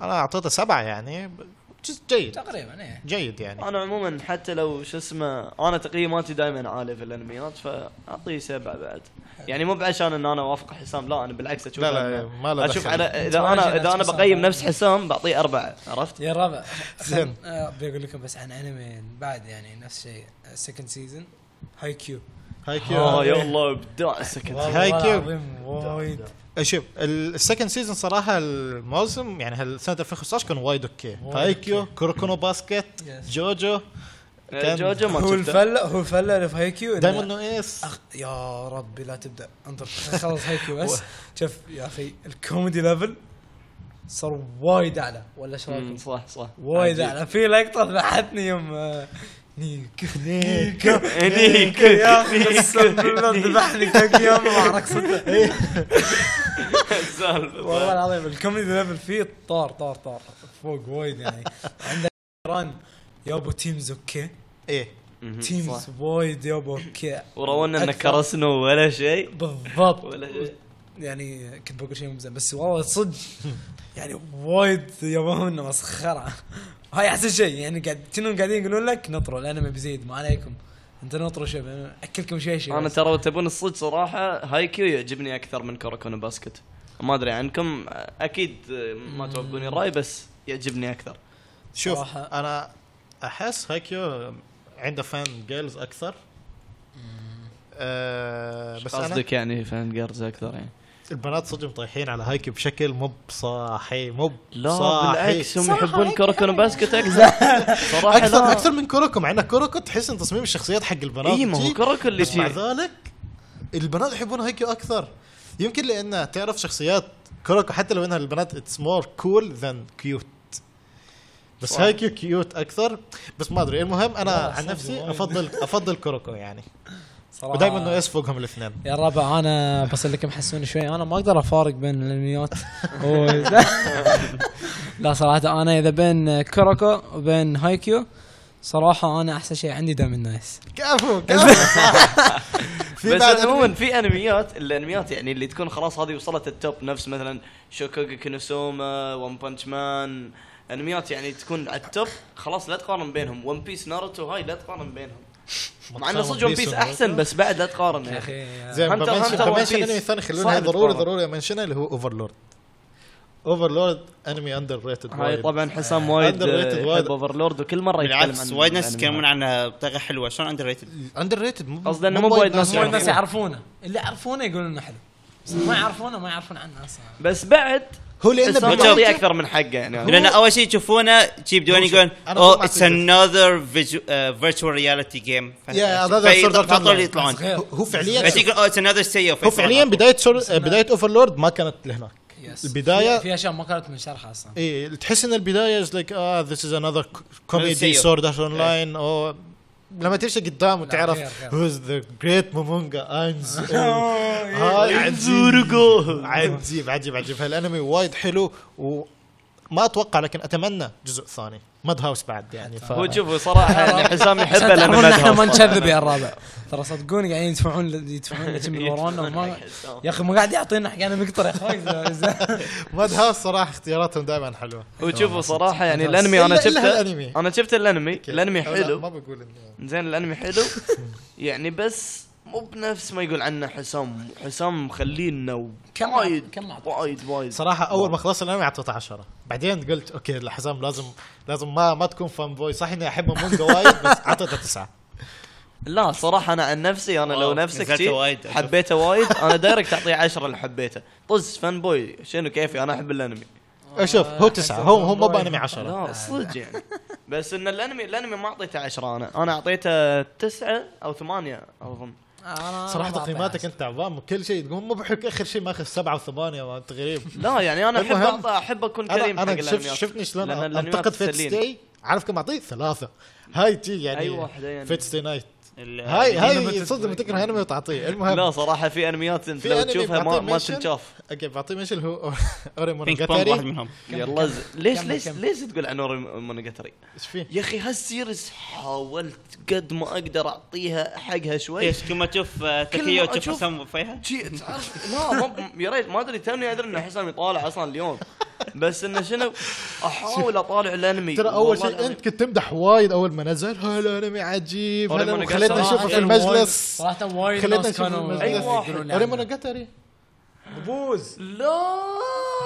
S3: انا اعطيته سبعه يعني ب- جزء جيد
S2: تقريبا ايه
S3: جيد يعني
S1: انا عموما حتى لو شو اسمه انا تقييماتي دائما عاليه في الانميات فاعطيه سبعه بعد يعني مو بعشان ان انا اوافق حسام لا انا بالعكس اشوف
S3: لا لا
S1: أن-
S3: ما له
S1: اشوف
S3: دخل.
S1: على اذا
S2: ما
S1: انا
S2: عشان
S1: اذا انا
S2: حسام.
S1: بقيم نفس حسام بعطيه اربعه عرفت؟
S2: يا الربع
S3: زين.
S2: زين بقول لكم بس عن انمي بعد يعني نفس الشيء السكند سيزون هاي كيو
S3: هاي كيو
S1: اه يا الله ابداع السكند
S3: والله. هاي كيو.
S2: وايد
S3: أه، شوف السكند سيزون صراحه الموسم يعني هالسنه 2015 كان وايد اوكي
S2: وايد
S3: هايكيو كوروكونو باسكت
S2: Yes.
S3: جوجو كان
S1: جوجو ما
S2: هو
S1: شفته
S2: الفله هو الفله اللي في هاي كيو
S3: دايموند نو ايس
S2: أخ... يا ربي لا تبدا انظر خلص هاي كيو بس شوف يا اخي الكوميدي ليفل صار وايد اعلى ولا ايش
S1: مم،
S2: رايكم؟
S1: صح صح
S2: وايد
S1: عجيب.
S2: اعلى في لقطه ذبحتني يوم آه، نيك نيك
S1: إيه، نيك.
S2: يا اخي قسم بالله
S1: [laughs]
S2: ذبحني كل يوم ما رقصته
S1: السالفه
S2: والله العظيم الكوميدي ليفل فيه طار طار طار فوق وايد يعني عندك ران يابا تيمز اوكي
S3: ايه
S1: مهم، صح.
S2: تيمز وايد يابا اوكي
S1: ورونا ان
S2: أكثر.
S1: كرسنو ولا شيء
S2: بالضبط
S1: ولا شيء
S2: يعني كنت بقول شيء مو زين بس والله صدق يعني وايد ياباهم انه مسخره هاي احسن شيء يعني قاعد كأنهم قاعدين يقولون لك نطروا الانمي بيزيد ما عليكم انت نطروا شيء أنا اكلكم شيء شيء
S1: انا
S2: بس.
S1: ترى تبون الصدق صراحه هايكيو يعجبني اكثر من كوروكونو باسكت ما ادري عنكم اكيد ما توافقوني الراي بس يعجبني اكثر
S3: شوف
S2: صراحة.
S3: انا احس هايكيو عنده فان جيرلز اكثر آه
S1: بس
S3: بس انا
S1: قصدك يعني فان جيرز اكثر يعني
S3: البنات صدق مطيحين على هايكيو بشكل مو بصاحي مو
S1: لا
S3: بصاحي.
S1: بالعكس هم يحبون كوروكونو باسكت [laughs] اكثر صراحه
S3: اكثر
S1: لا.
S3: اكثر من كوروكو مع ان كوروكو تحس ان تصميم الشخصيات حق البنات
S1: اي ما هو
S3: جي.
S1: كوروكو اللي
S3: بس مع
S1: جي
S3: ذلك البنات يحبون هايكيو اكثر يمكن لان تعرف شخصيات كوروكو حتى لو انها البنات اتس مور كول ذان كيوت بس
S1: صح.
S3: هايكيو كيوت اكثر بس ما ادري المهم انا
S2: لا،
S3: عن
S2: صدق
S3: نفسي
S2: وايد.
S3: افضل افضل كوروكو يعني
S2: صراحه
S3: ودائما انه يسبقهم الاثنين
S2: يا ربع انا بس لكم حسون شوي انا ما اقدر افارق بين الانميات و... لا صراحه انا اذا بين كوروكو وبين هايكيو صراحه انا احسن شيء عندي دايم النايس
S3: [laughs] كفو كفو في
S1: بس
S3: بعد
S1: عموما في انميات الانميات يعني اللي تكون خلاص هذه وصلت التوب نفس مثلا شوكوغو كينوسوما ون بانش مان انميات يعني تكون على التوب خلاص لا تقارن بينهم ون بيس ناروتو هاي لا تقارن بينهم مع انه صدق ون بيس احسن بس بعد لا تقارن يا اخي
S3: زين
S1: Hunter
S3: بمنشن
S1: Hunter One
S3: بمنشن
S1: Piece.
S3: انمي ثاني خلونا
S1: صعب
S3: هاي ضروري
S1: تقارن.
S3: ضروري منشنه اللي هو اوفرلورد اوفرلورد انمي اندر ريتد
S1: هاي طبعا حسام وايد
S3: Underrated وايد.
S1: يحب اوفرلورد وكل مره يتكلم عن
S6: بالعكس وايد ناس
S1: الأنميات.
S6: يتكلمون عنها بطريقه حلوه شلون اندر ريتد
S3: اندر ريتد مو
S1: قصدي إنه مو بوايد ناس يعرفون.
S3: مو وايد
S5: الناس يعرفونه اللي يعرفونه يقولون انه حلو بس ما يعرفونه ما يعرفون عنه اصلا
S1: بس بعد
S3: هو لانه
S1: حسام
S6: بالجو-
S1: معطيه
S3: بالمنطق-
S1: اكثر من حقه يعني
S6: لان اول شيء يشوفونه شي بدون
S3: هو شوف،
S6: يقول
S3: أنا
S6: اوه
S3: طمعت
S6: اتس
S3: فيه.
S6: انذر فيرتشوال رياليتي جيم
S3: Yeah, هذا Sword Art Online.
S6: يطلعون
S5: صغير.
S3: هو- هو فعليا
S6: بس يقول اوه اتس انذر سيو
S3: هو فعليا بدايه شر... بدايه اوفرلورد آه، ما كانت لهناك
S5: يس
S3: البداية-
S5: في اشياء ما كانت منشرحه اصلا
S3: اي إيه، تحس ان البدايه از لايك اه ذيس از انذر كوميدي
S6: سيء.
S3: سورد ارت اون لاين او لما تمشي قدام وتعرف
S5: غير- غير.
S3: هوز ذا جريت مومونجا اينز [laughs] هاي عجيب عجيب عجيب عجيب هالانمي وايد حلو وما اتوقع لكن اتمنى جزء ثاني ماد هاوس بعد يعني ف...
S1: هو شوفوا صراحه
S5: [laughs]
S1: [laughs] يعني حسام يحبه لانه
S5: تعرفون إن احنا ما
S1: مدهوش.
S5: نكذب يا الرابع ترى صدقوني قاعدين يدفعون [laughs] يدفعون لك من ورانا وما يا اخي ما قاعد يعطينا حقنا مقطر يا [laughs] اخوي
S3: ماد هاوس صراحه اختياراتهم دائما حلوه
S1: وشوفوا صراحه يعني الانمي انا
S3: إلا- إلا
S1: شفته
S3: هالأنمي.
S1: انا شفت الانمي الانمي
S3: أو لا،
S1: حلو [laughs]
S3: ما بقول إنه-
S1: زين الانمي حلو يعني بس مو بنفس ما يقول عنه حسام حسام مخلينا
S5: كم
S1: وايد
S5: كم أعطى؟
S1: وايد وايد
S3: صراحة
S1: نعم.
S3: أول ما خلصت الأنمي أعطيته 10 بعدين قلت أوكي لا، حسام لازم لازم ما ما تكون فان بوي صح إني أحب مونجا وايد
S1: [laughs]
S3: بس أعطيته تسعة
S1: لا صراحه انا عن نفسي انا لو
S6: واو،
S1: نفسك
S6: نزلت
S1: شي
S6: وايد.
S1: حبيته وايد انا دايركت اعطيه 10 اللي حبيته طز فان بوي شنو كيفي انا احب الانمي آه،
S3: شوف هو تسعة هو هو مو بأنمي 10
S1: لا صدق يعني بس ان الانمي الانمي ما اعطيته 10 انا انا اعطيته 9 او 8 اظن
S3: صراحة تقييماتك أنت تعبان كل شيء تقول مو بحك آخر شيء ماخذ سبعة وثمانية ما
S1: [laughs]
S3: أنت غريب
S1: لا يعني انا احب
S3: المهم،
S1: أعطى- احب اكون كريم
S3: أنا
S1: حق
S3: أنا شفت
S1: الانميات
S3: شفتني شلون
S1: لأن الأنميات
S3: أنتقد فيت
S1: تسليني.
S3: ستي عارف كم أعطيه ثلاثة هاي تي يعني
S1: أي واحدة يعني.
S3: فيت ستي نايت هاي
S6: هاي
S3: هاي صدق لما تكره أنمي وتعطيه المهم
S1: لا صراحه في انميات انت
S3: في
S1: لو
S3: أنمي
S1: تشوفها ما
S3: بعطيه
S1: ما
S3: mention.
S1: تنشاف
S3: اوكي بعطيه مش اللي هو اوريمون
S6: بينك بوم واحد
S3: جاتاري
S6: منهم
S1: يلا ز- ليش
S5: كمل،
S1: ليش
S5: كمل.
S1: ليش تقول عن اوري مونوجاتري؟
S3: ايش فيه؟
S1: يا اخي هالسيريز حاولت قد ما اقدر اعطيها حقها شوي
S6: ايش كل ما تشوف آه،
S1: كل ما
S6: تاكيو تشوف
S1: أشوف-
S6: حسام فيها
S1: شي تعرف لا ما يا ريت ما ادري توني ادري ان حسام يطالع اصلا اليوم بس انه شنو احاول اطالع الانمي
S3: ترى اول
S1: والله
S3: شيء
S1: العظيم.
S3: انت كنت تمدح وايد اول ما نزل هالانمي عجيب
S1: أوريمون
S3: هلا
S1: جاتاري.
S3: خليتنا نشوفه في المجلس
S5: صراحه وايد
S3: خليتنا
S5: ناس
S3: نشوفه في
S5: كانوا يعني.
S1: أي واحد.
S3: المجلس اوريمون جاتاري
S5: بوز
S1: لا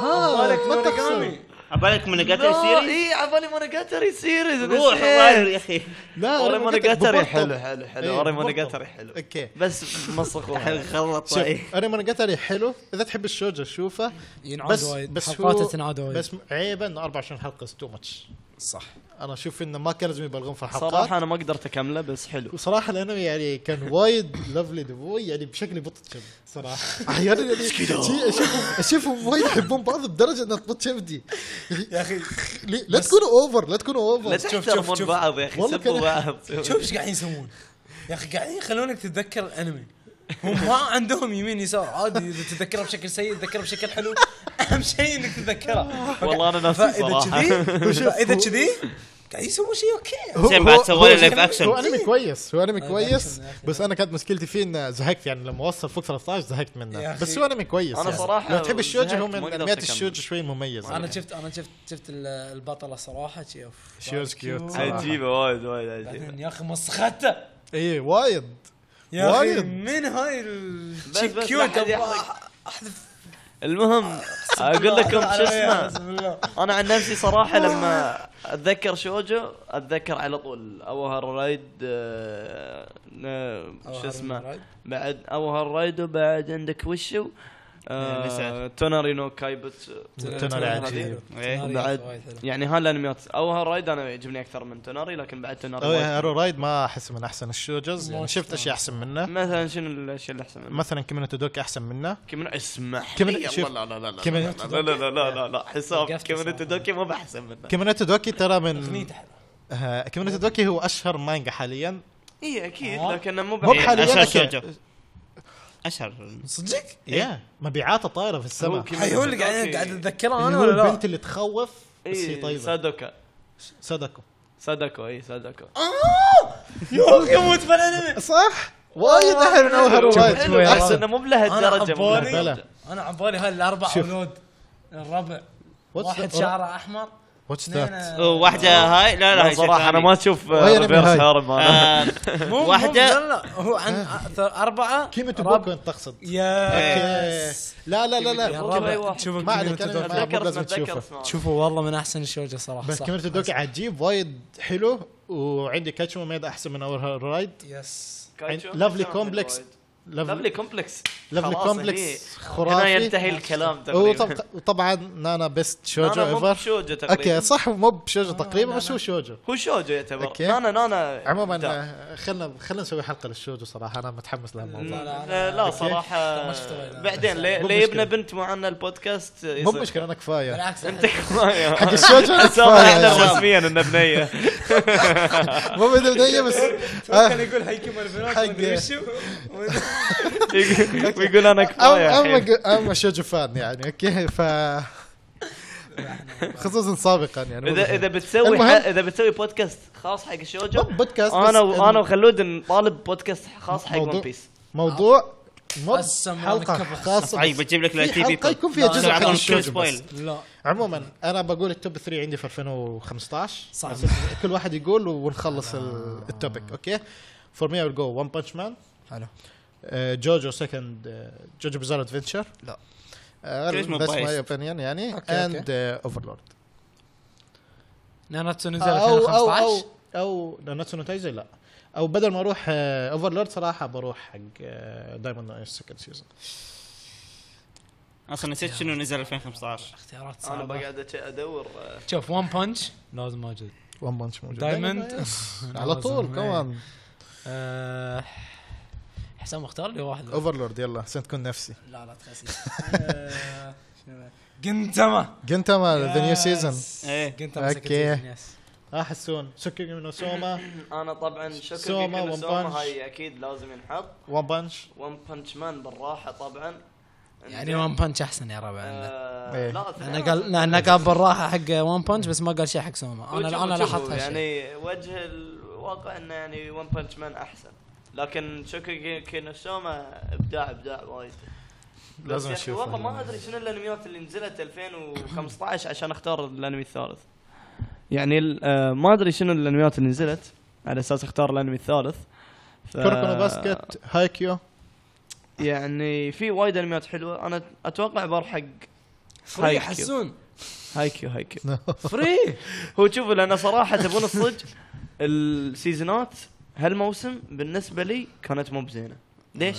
S1: آه،
S3: ها ما تقصر
S5: مونوجاتاري.
S6: عبالك من قتل
S1: لا إيه،
S6: سيري
S1: اي عبالي مونوجاتري سيريز
S6: روح
S1: إيه.
S6: الله يا اخي
S3: لا
S1: اوري مونوجاتري حلو حلو
S3: إيه،
S1: حلو اوري
S3: ببطل.
S1: مونوجاتري حلو
S3: اوكي
S1: بس مسخوها
S6: غلط
S3: شوف اوريمون جاتاري حلو اذا تحب الشوجو شوفه
S5: ينعاد
S3: بس
S5: وايد.
S3: بس
S5: حلقاته
S3: هو
S5: تنعاد وايد.
S3: بس عيبه انه 24 حلقه تو ماتش
S5: صح
S3: انا اشوف انه ما كان لازم يبالغون في الحلقات
S1: صراحه انا ما قدرت اكمله بس حلو
S3: وصراحه الانمي يعني كان وايد لفلي دبوي يعني بشكل بطل شب صراحه احيانا [laughs] يعني شي اشوفهم اشوفهم وايد يحبون بعض بدرجه انها تبط شبدي
S5: يا اخي
S3: ليه- لا تكونوا اوفر لا تكونوا
S1: لا
S3: اوفر
S5: شوف-
S1: تحترمون
S5: شوف.
S1: بعض يا اخي
S3: والله
S1: سبوا
S3: كان-
S1: بعض
S5: شوف ايش قاعدين يسوون يا اخي قاعدين يخلونك تتذكر الانمي هم ما عندهم يمين يسار عادي اذا تتذكره بشكل سيء تتذكره بشكل حلو اهم شيء انك تتذكره
S1: والله انا ناسي
S5: فاذا
S1: صراحه [laughs]
S5: كذي فاذا كذي قاعد يسوون شيء اوكي
S3: هو-
S6: زين
S3: هو-
S6: بعد سوى
S3: هو-
S6: له لايف
S3: هو
S6: اكشن
S3: انمي كويس هو انمي كويس
S5: أكشن يا أخي.
S3: بس انا كانت مشكلتي فيه انه زهقت يعني لما وصل فوق 13 زهقت
S5: يا
S3: منه
S5: أخي.
S3: بس هو انمي كويس
S1: أنا
S3: يعني.
S1: صراحة
S3: لو تحب الشوجو هو
S1: زهقت، ما
S3: من
S1: قدرت
S3: انميات
S1: أكمل.
S3: الشوجو شوي يعني. مميزه
S5: انا شفت انا شفت شفت ال- البطله صراحه شي اوف
S3: شيوز كيوت.
S1: عجيبه وايد وايد عجيبه
S5: بعدين يا اخي مسخته
S3: اي إيه، وايد
S5: يا اخي
S3: وايد.
S5: من هاي ال
S1: بس-
S5: شي
S1: بس
S5: كيوت
S1: لا حد
S5: أبغى
S1: يحرق.
S5: احذف
S1: المهم اقول لكم شو اسمه
S5: بسم الله
S1: انا عن نفسي صراحه لما اتذكر شوجو اتذكر على طول اوهر رايد آه، آه، شو اسمه بعد اوهر رايد وبعد عندك وشو آه،
S6: نسأل.
S1: توناري نو كايبوتسو
S3: تنر عجيب
S6: إيه.
S1: بعد- يعني هالانميات اوهر رايد انا يعجبني اكثر من توناري لكن بعد توناري
S3: أو
S1: وايد.
S3: هارو رايد يعني ما احس من احسن الشوجوز يعني
S5: ما
S3: شفت اشياء احسن منه
S1: مثلا شنو الاشياء اللي احسن منه؟
S3: مثلا كيمينو تودوكي احسن منه
S1: كيمن اسمح
S3: كيمن-
S1: لي،
S3: شوف.
S1: الله، لا لا لا
S3: كيمن-
S1: لا لا لا لا لا لا حساب
S5: وقفت
S1: كيمن
S5: صراحة.
S1: تودوكي ما بحسن منه
S3: كيمينو تودوكي ترى من
S5: اغنيته حلوه
S3: آه، كيمونو تودوكي هو اشهر مانجا حاليا
S1: اي اكيد
S3: آه.
S1: لكنه إيه، مو
S3: مو
S1: بعيد
S6: بحال-
S3: حاليا
S6: أساس
S3: أوكي.
S6: جوجو. اشهر
S2: صدقك؟
S3: يا مبيعاته طايره في السماء
S1: هو كيميتسو.
S2: حيقول لك يعني
S1: أوكي.
S2: قاعد قاعد اتذكرها
S3: اللي
S2: انا
S3: هو
S2: ولا لا؟
S3: البنت اللي تخوف بس هي
S1: إيه،
S3: طيبه
S1: سادوكا
S3: صدقوا
S1: سادوكو اي سادوكو
S2: يوم يموت في الانمي
S3: صح وايد احلى من اول
S1: حلو،
S3: هروبايت
S1: بس
S3: احسن
S1: انه مو بلهالدرجه
S7: أنا
S1: مو
S7: عبالي-
S1: بلهالدرجة.
S2: انا عبالي هالاربع
S3: شوف.
S2: اولاد الربع واحد شعره احمر
S3: واتش ذات
S2: اثنين
S6: واحدة هاي لا لا
S1: لا
S6: هاي شيء
S1: صراحه انا
S6: ثاني.
S1: ما اشوف
S3: وهي
S1: آه،
S3: نبي
S1: ريفيرس
S3: هاي.
S1: هارم انا
S6: آه،
S1: [laughs]
S2: مو مو-
S6: واحدة
S2: لا لا هو عن
S3: آه.
S2: أثر- اربعه
S3: كيميتو
S2: رب-
S3: بوكو انت تقصد أوكي.
S2: يس
S3: لا لا لا
S2: يا
S3: لا
S1: بوكو. أي
S2: ربع
S1: واحد.
S2: تشوفوا
S3: ما عليك،
S2: كيميتو
S3: أنا-
S2: دوكا.
S3: ما- مو
S1: اتذكر
S3: لازم
S1: اتذكر
S3: تشوفه.
S1: اسمه.
S2: شوفوا والله من احسن الشوجة صراحه
S3: بس
S2: صح.
S3: كيميتو دوكي عجيب وايد حلو وعندي كاتشو ميد احسن من اول هروبايت
S2: يس
S1: كايتشو.
S3: لافلي
S1: كان
S3: كومبلكس
S1: وايد. لافلي كومبلكس
S3: لافلي
S1: خلاص،
S3: كومبلكس
S1: هي. هنا
S3: خرافي
S1: ينتهي الكلام تقريبا
S3: وطب- وطبعا نانا بيست شوجو
S1: انا مو
S3: ايفر
S1: شوجو تقريبا
S3: اوكي صح مو
S1: آه،
S3: بشوجو تقريبا بس هو شوجو
S1: هو شوجو يعتبر
S3: أوكي.
S1: نانا نانا
S3: عموما
S1: لا
S3: آه، خلنا خلنا نسوي حلقه للشوجو صراحه انا متحمس لهالموضوع
S1: لا, لا صراحه
S2: ما شفت وايد.
S1: بعدين لي-
S3: مو
S1: لي يبنى
S3: مشكلة.
S1: بنت معنا البودكاست
S3: مو
S1: [laughs]
S3: [laughs]
S1: يصير-
S3: مشكله انا كفايه
S2: بالعكس
S1: انت كمان
S3: حق الشوجو
S1: [laughs]
S3: أنا
S1: صار احنا
S3: كفايه
S1: رسميا انه بنيه
S3: مو بدل بنيه
S1: [laughs]
S3: بس
S2: كان
S3: آه،
S2: يقول هيكي مرفنات
S3: حق-
S2: ومدري وشو
S1: يقول- ويقول انا كفايه
S3: اما
S1: الحين.
S3: أما- اما شوجو فان يعني اوكي
S1: [laughs]
S3: ف خصوصا سابقا يعني
S1: اذا اذا بتسوي ح-
S3: المهم-
S1: اذا بتسوي بودكاست خاص حق الشوجو
S3: بودكاست بس
S1: انا و-
S3: إن-
S1: انا وخلود نطالب بودكاست خاص حق
S3: موضوع-
S1: ون بيس
S3: موضوع مو
S2: آه. قسم يعني
S3: حلقه
S2: ركب
S3: خاصه
S6: صعيب بجيب لك
S3: في
S6: التي
S3: حلقه
S6: بي
S3: يكون فيها
S2: لا،
S3: جزء
S2: لا،
S3: حق
S2: عطونا
S3: الشوجو بس.
S6: سبويل
S2: لا
S3: عموما انا بقول التوب 3 عندي في 2015
S2: صعب.
S3: بس كل واحد يقول ونخلص ال- التوبيك اوكي فور مي جو ون بانش مان
S2: حلو
S3: جوجو سكند جوجو بزار ادفنشر
S2: لا.
S6: ليش مو
S3: بس
S6: biased؟
S3: ماي اوبينيون يعني
S2: أوكي، أوكي.
S3: اند اوفرلورد
S2: ناناتسو نزل
S3: او او او
S2: 2015
S3: او ناناتسو نو تايزي لا او بدل ما اروح اوفرلورد صراحه بروح حق آه، دايموند سكند سيزون
S6: اصلا نسيت شنو نزل 2015
S2: اختيارات
S1: انا
S2: صعبه
S1: بقعد أش- ادور آه،
S2: شوف ون بانش لازم موجود
S3: ون بانش موجود
S2: Diamond.
S3: Diamond، [laughs] على طول
S2: Diamond.
S3: كمان
S2: آه، حسام اختار لي واحد
S3: اوفرلورد يلا عشان تكون نفسي
S2: لا لا تخسي [laughs] آه، جنتما
S3: جنتاما ذا نيو سيزون
S6: ايه
S2: جنتما
S3: أوكي.
S2: اوكي
S3: اه حسون سكينج من سوما
S1: انا طبعا شكرا
S3: سوما،
S1: لك
S3: ون
S1: سوما
S3: بانش.
S1: هاي اكيد لازم ينحط
S3: ون بانش
S1: ون بانش مان بالراحه طبعا
S2: يعني ون بانش احسن يا ربع عندنا.
S1: آه،
S3: إيه.
S1: لا
S2: انا قال انا قال بالراحه حق ون بانش بس ما قال شيء حق سوما انا
S1: وشوفوا-
S2: انا
S1: شوفوا،
S2: لاحظت هالشيء
S1: يعني وجه الواقع انه يعني ون بانش مان احسن لكن شوكوغي كينوسوما ابداع ابداع وايد بس
S3: لازم
S1: يا أخي
S3: نشوفه.
S1: والله ما ادري شنو الانميات اللي نزلت 2015 عشان اختار الانمي الثالث يعني ال- آه، ما ادري شنو الانميات اللي نزلت على اساس اختار الانمي الثالث ف-
S3: كوركونو باسكت هايكيو
S1: يعني في وايد انميات حلوه انا اتوقع بروح حق
S2: فري
S1: هايكيو
S2: حسون
S1: هايكيو
S3: [laughs]
S1: هايكيو
S2: فري
S1: هو شوفوا لان صراحه تبون الصدق السيزونات هالموسم بالنسبه لي كانت مو بزينه ليش؟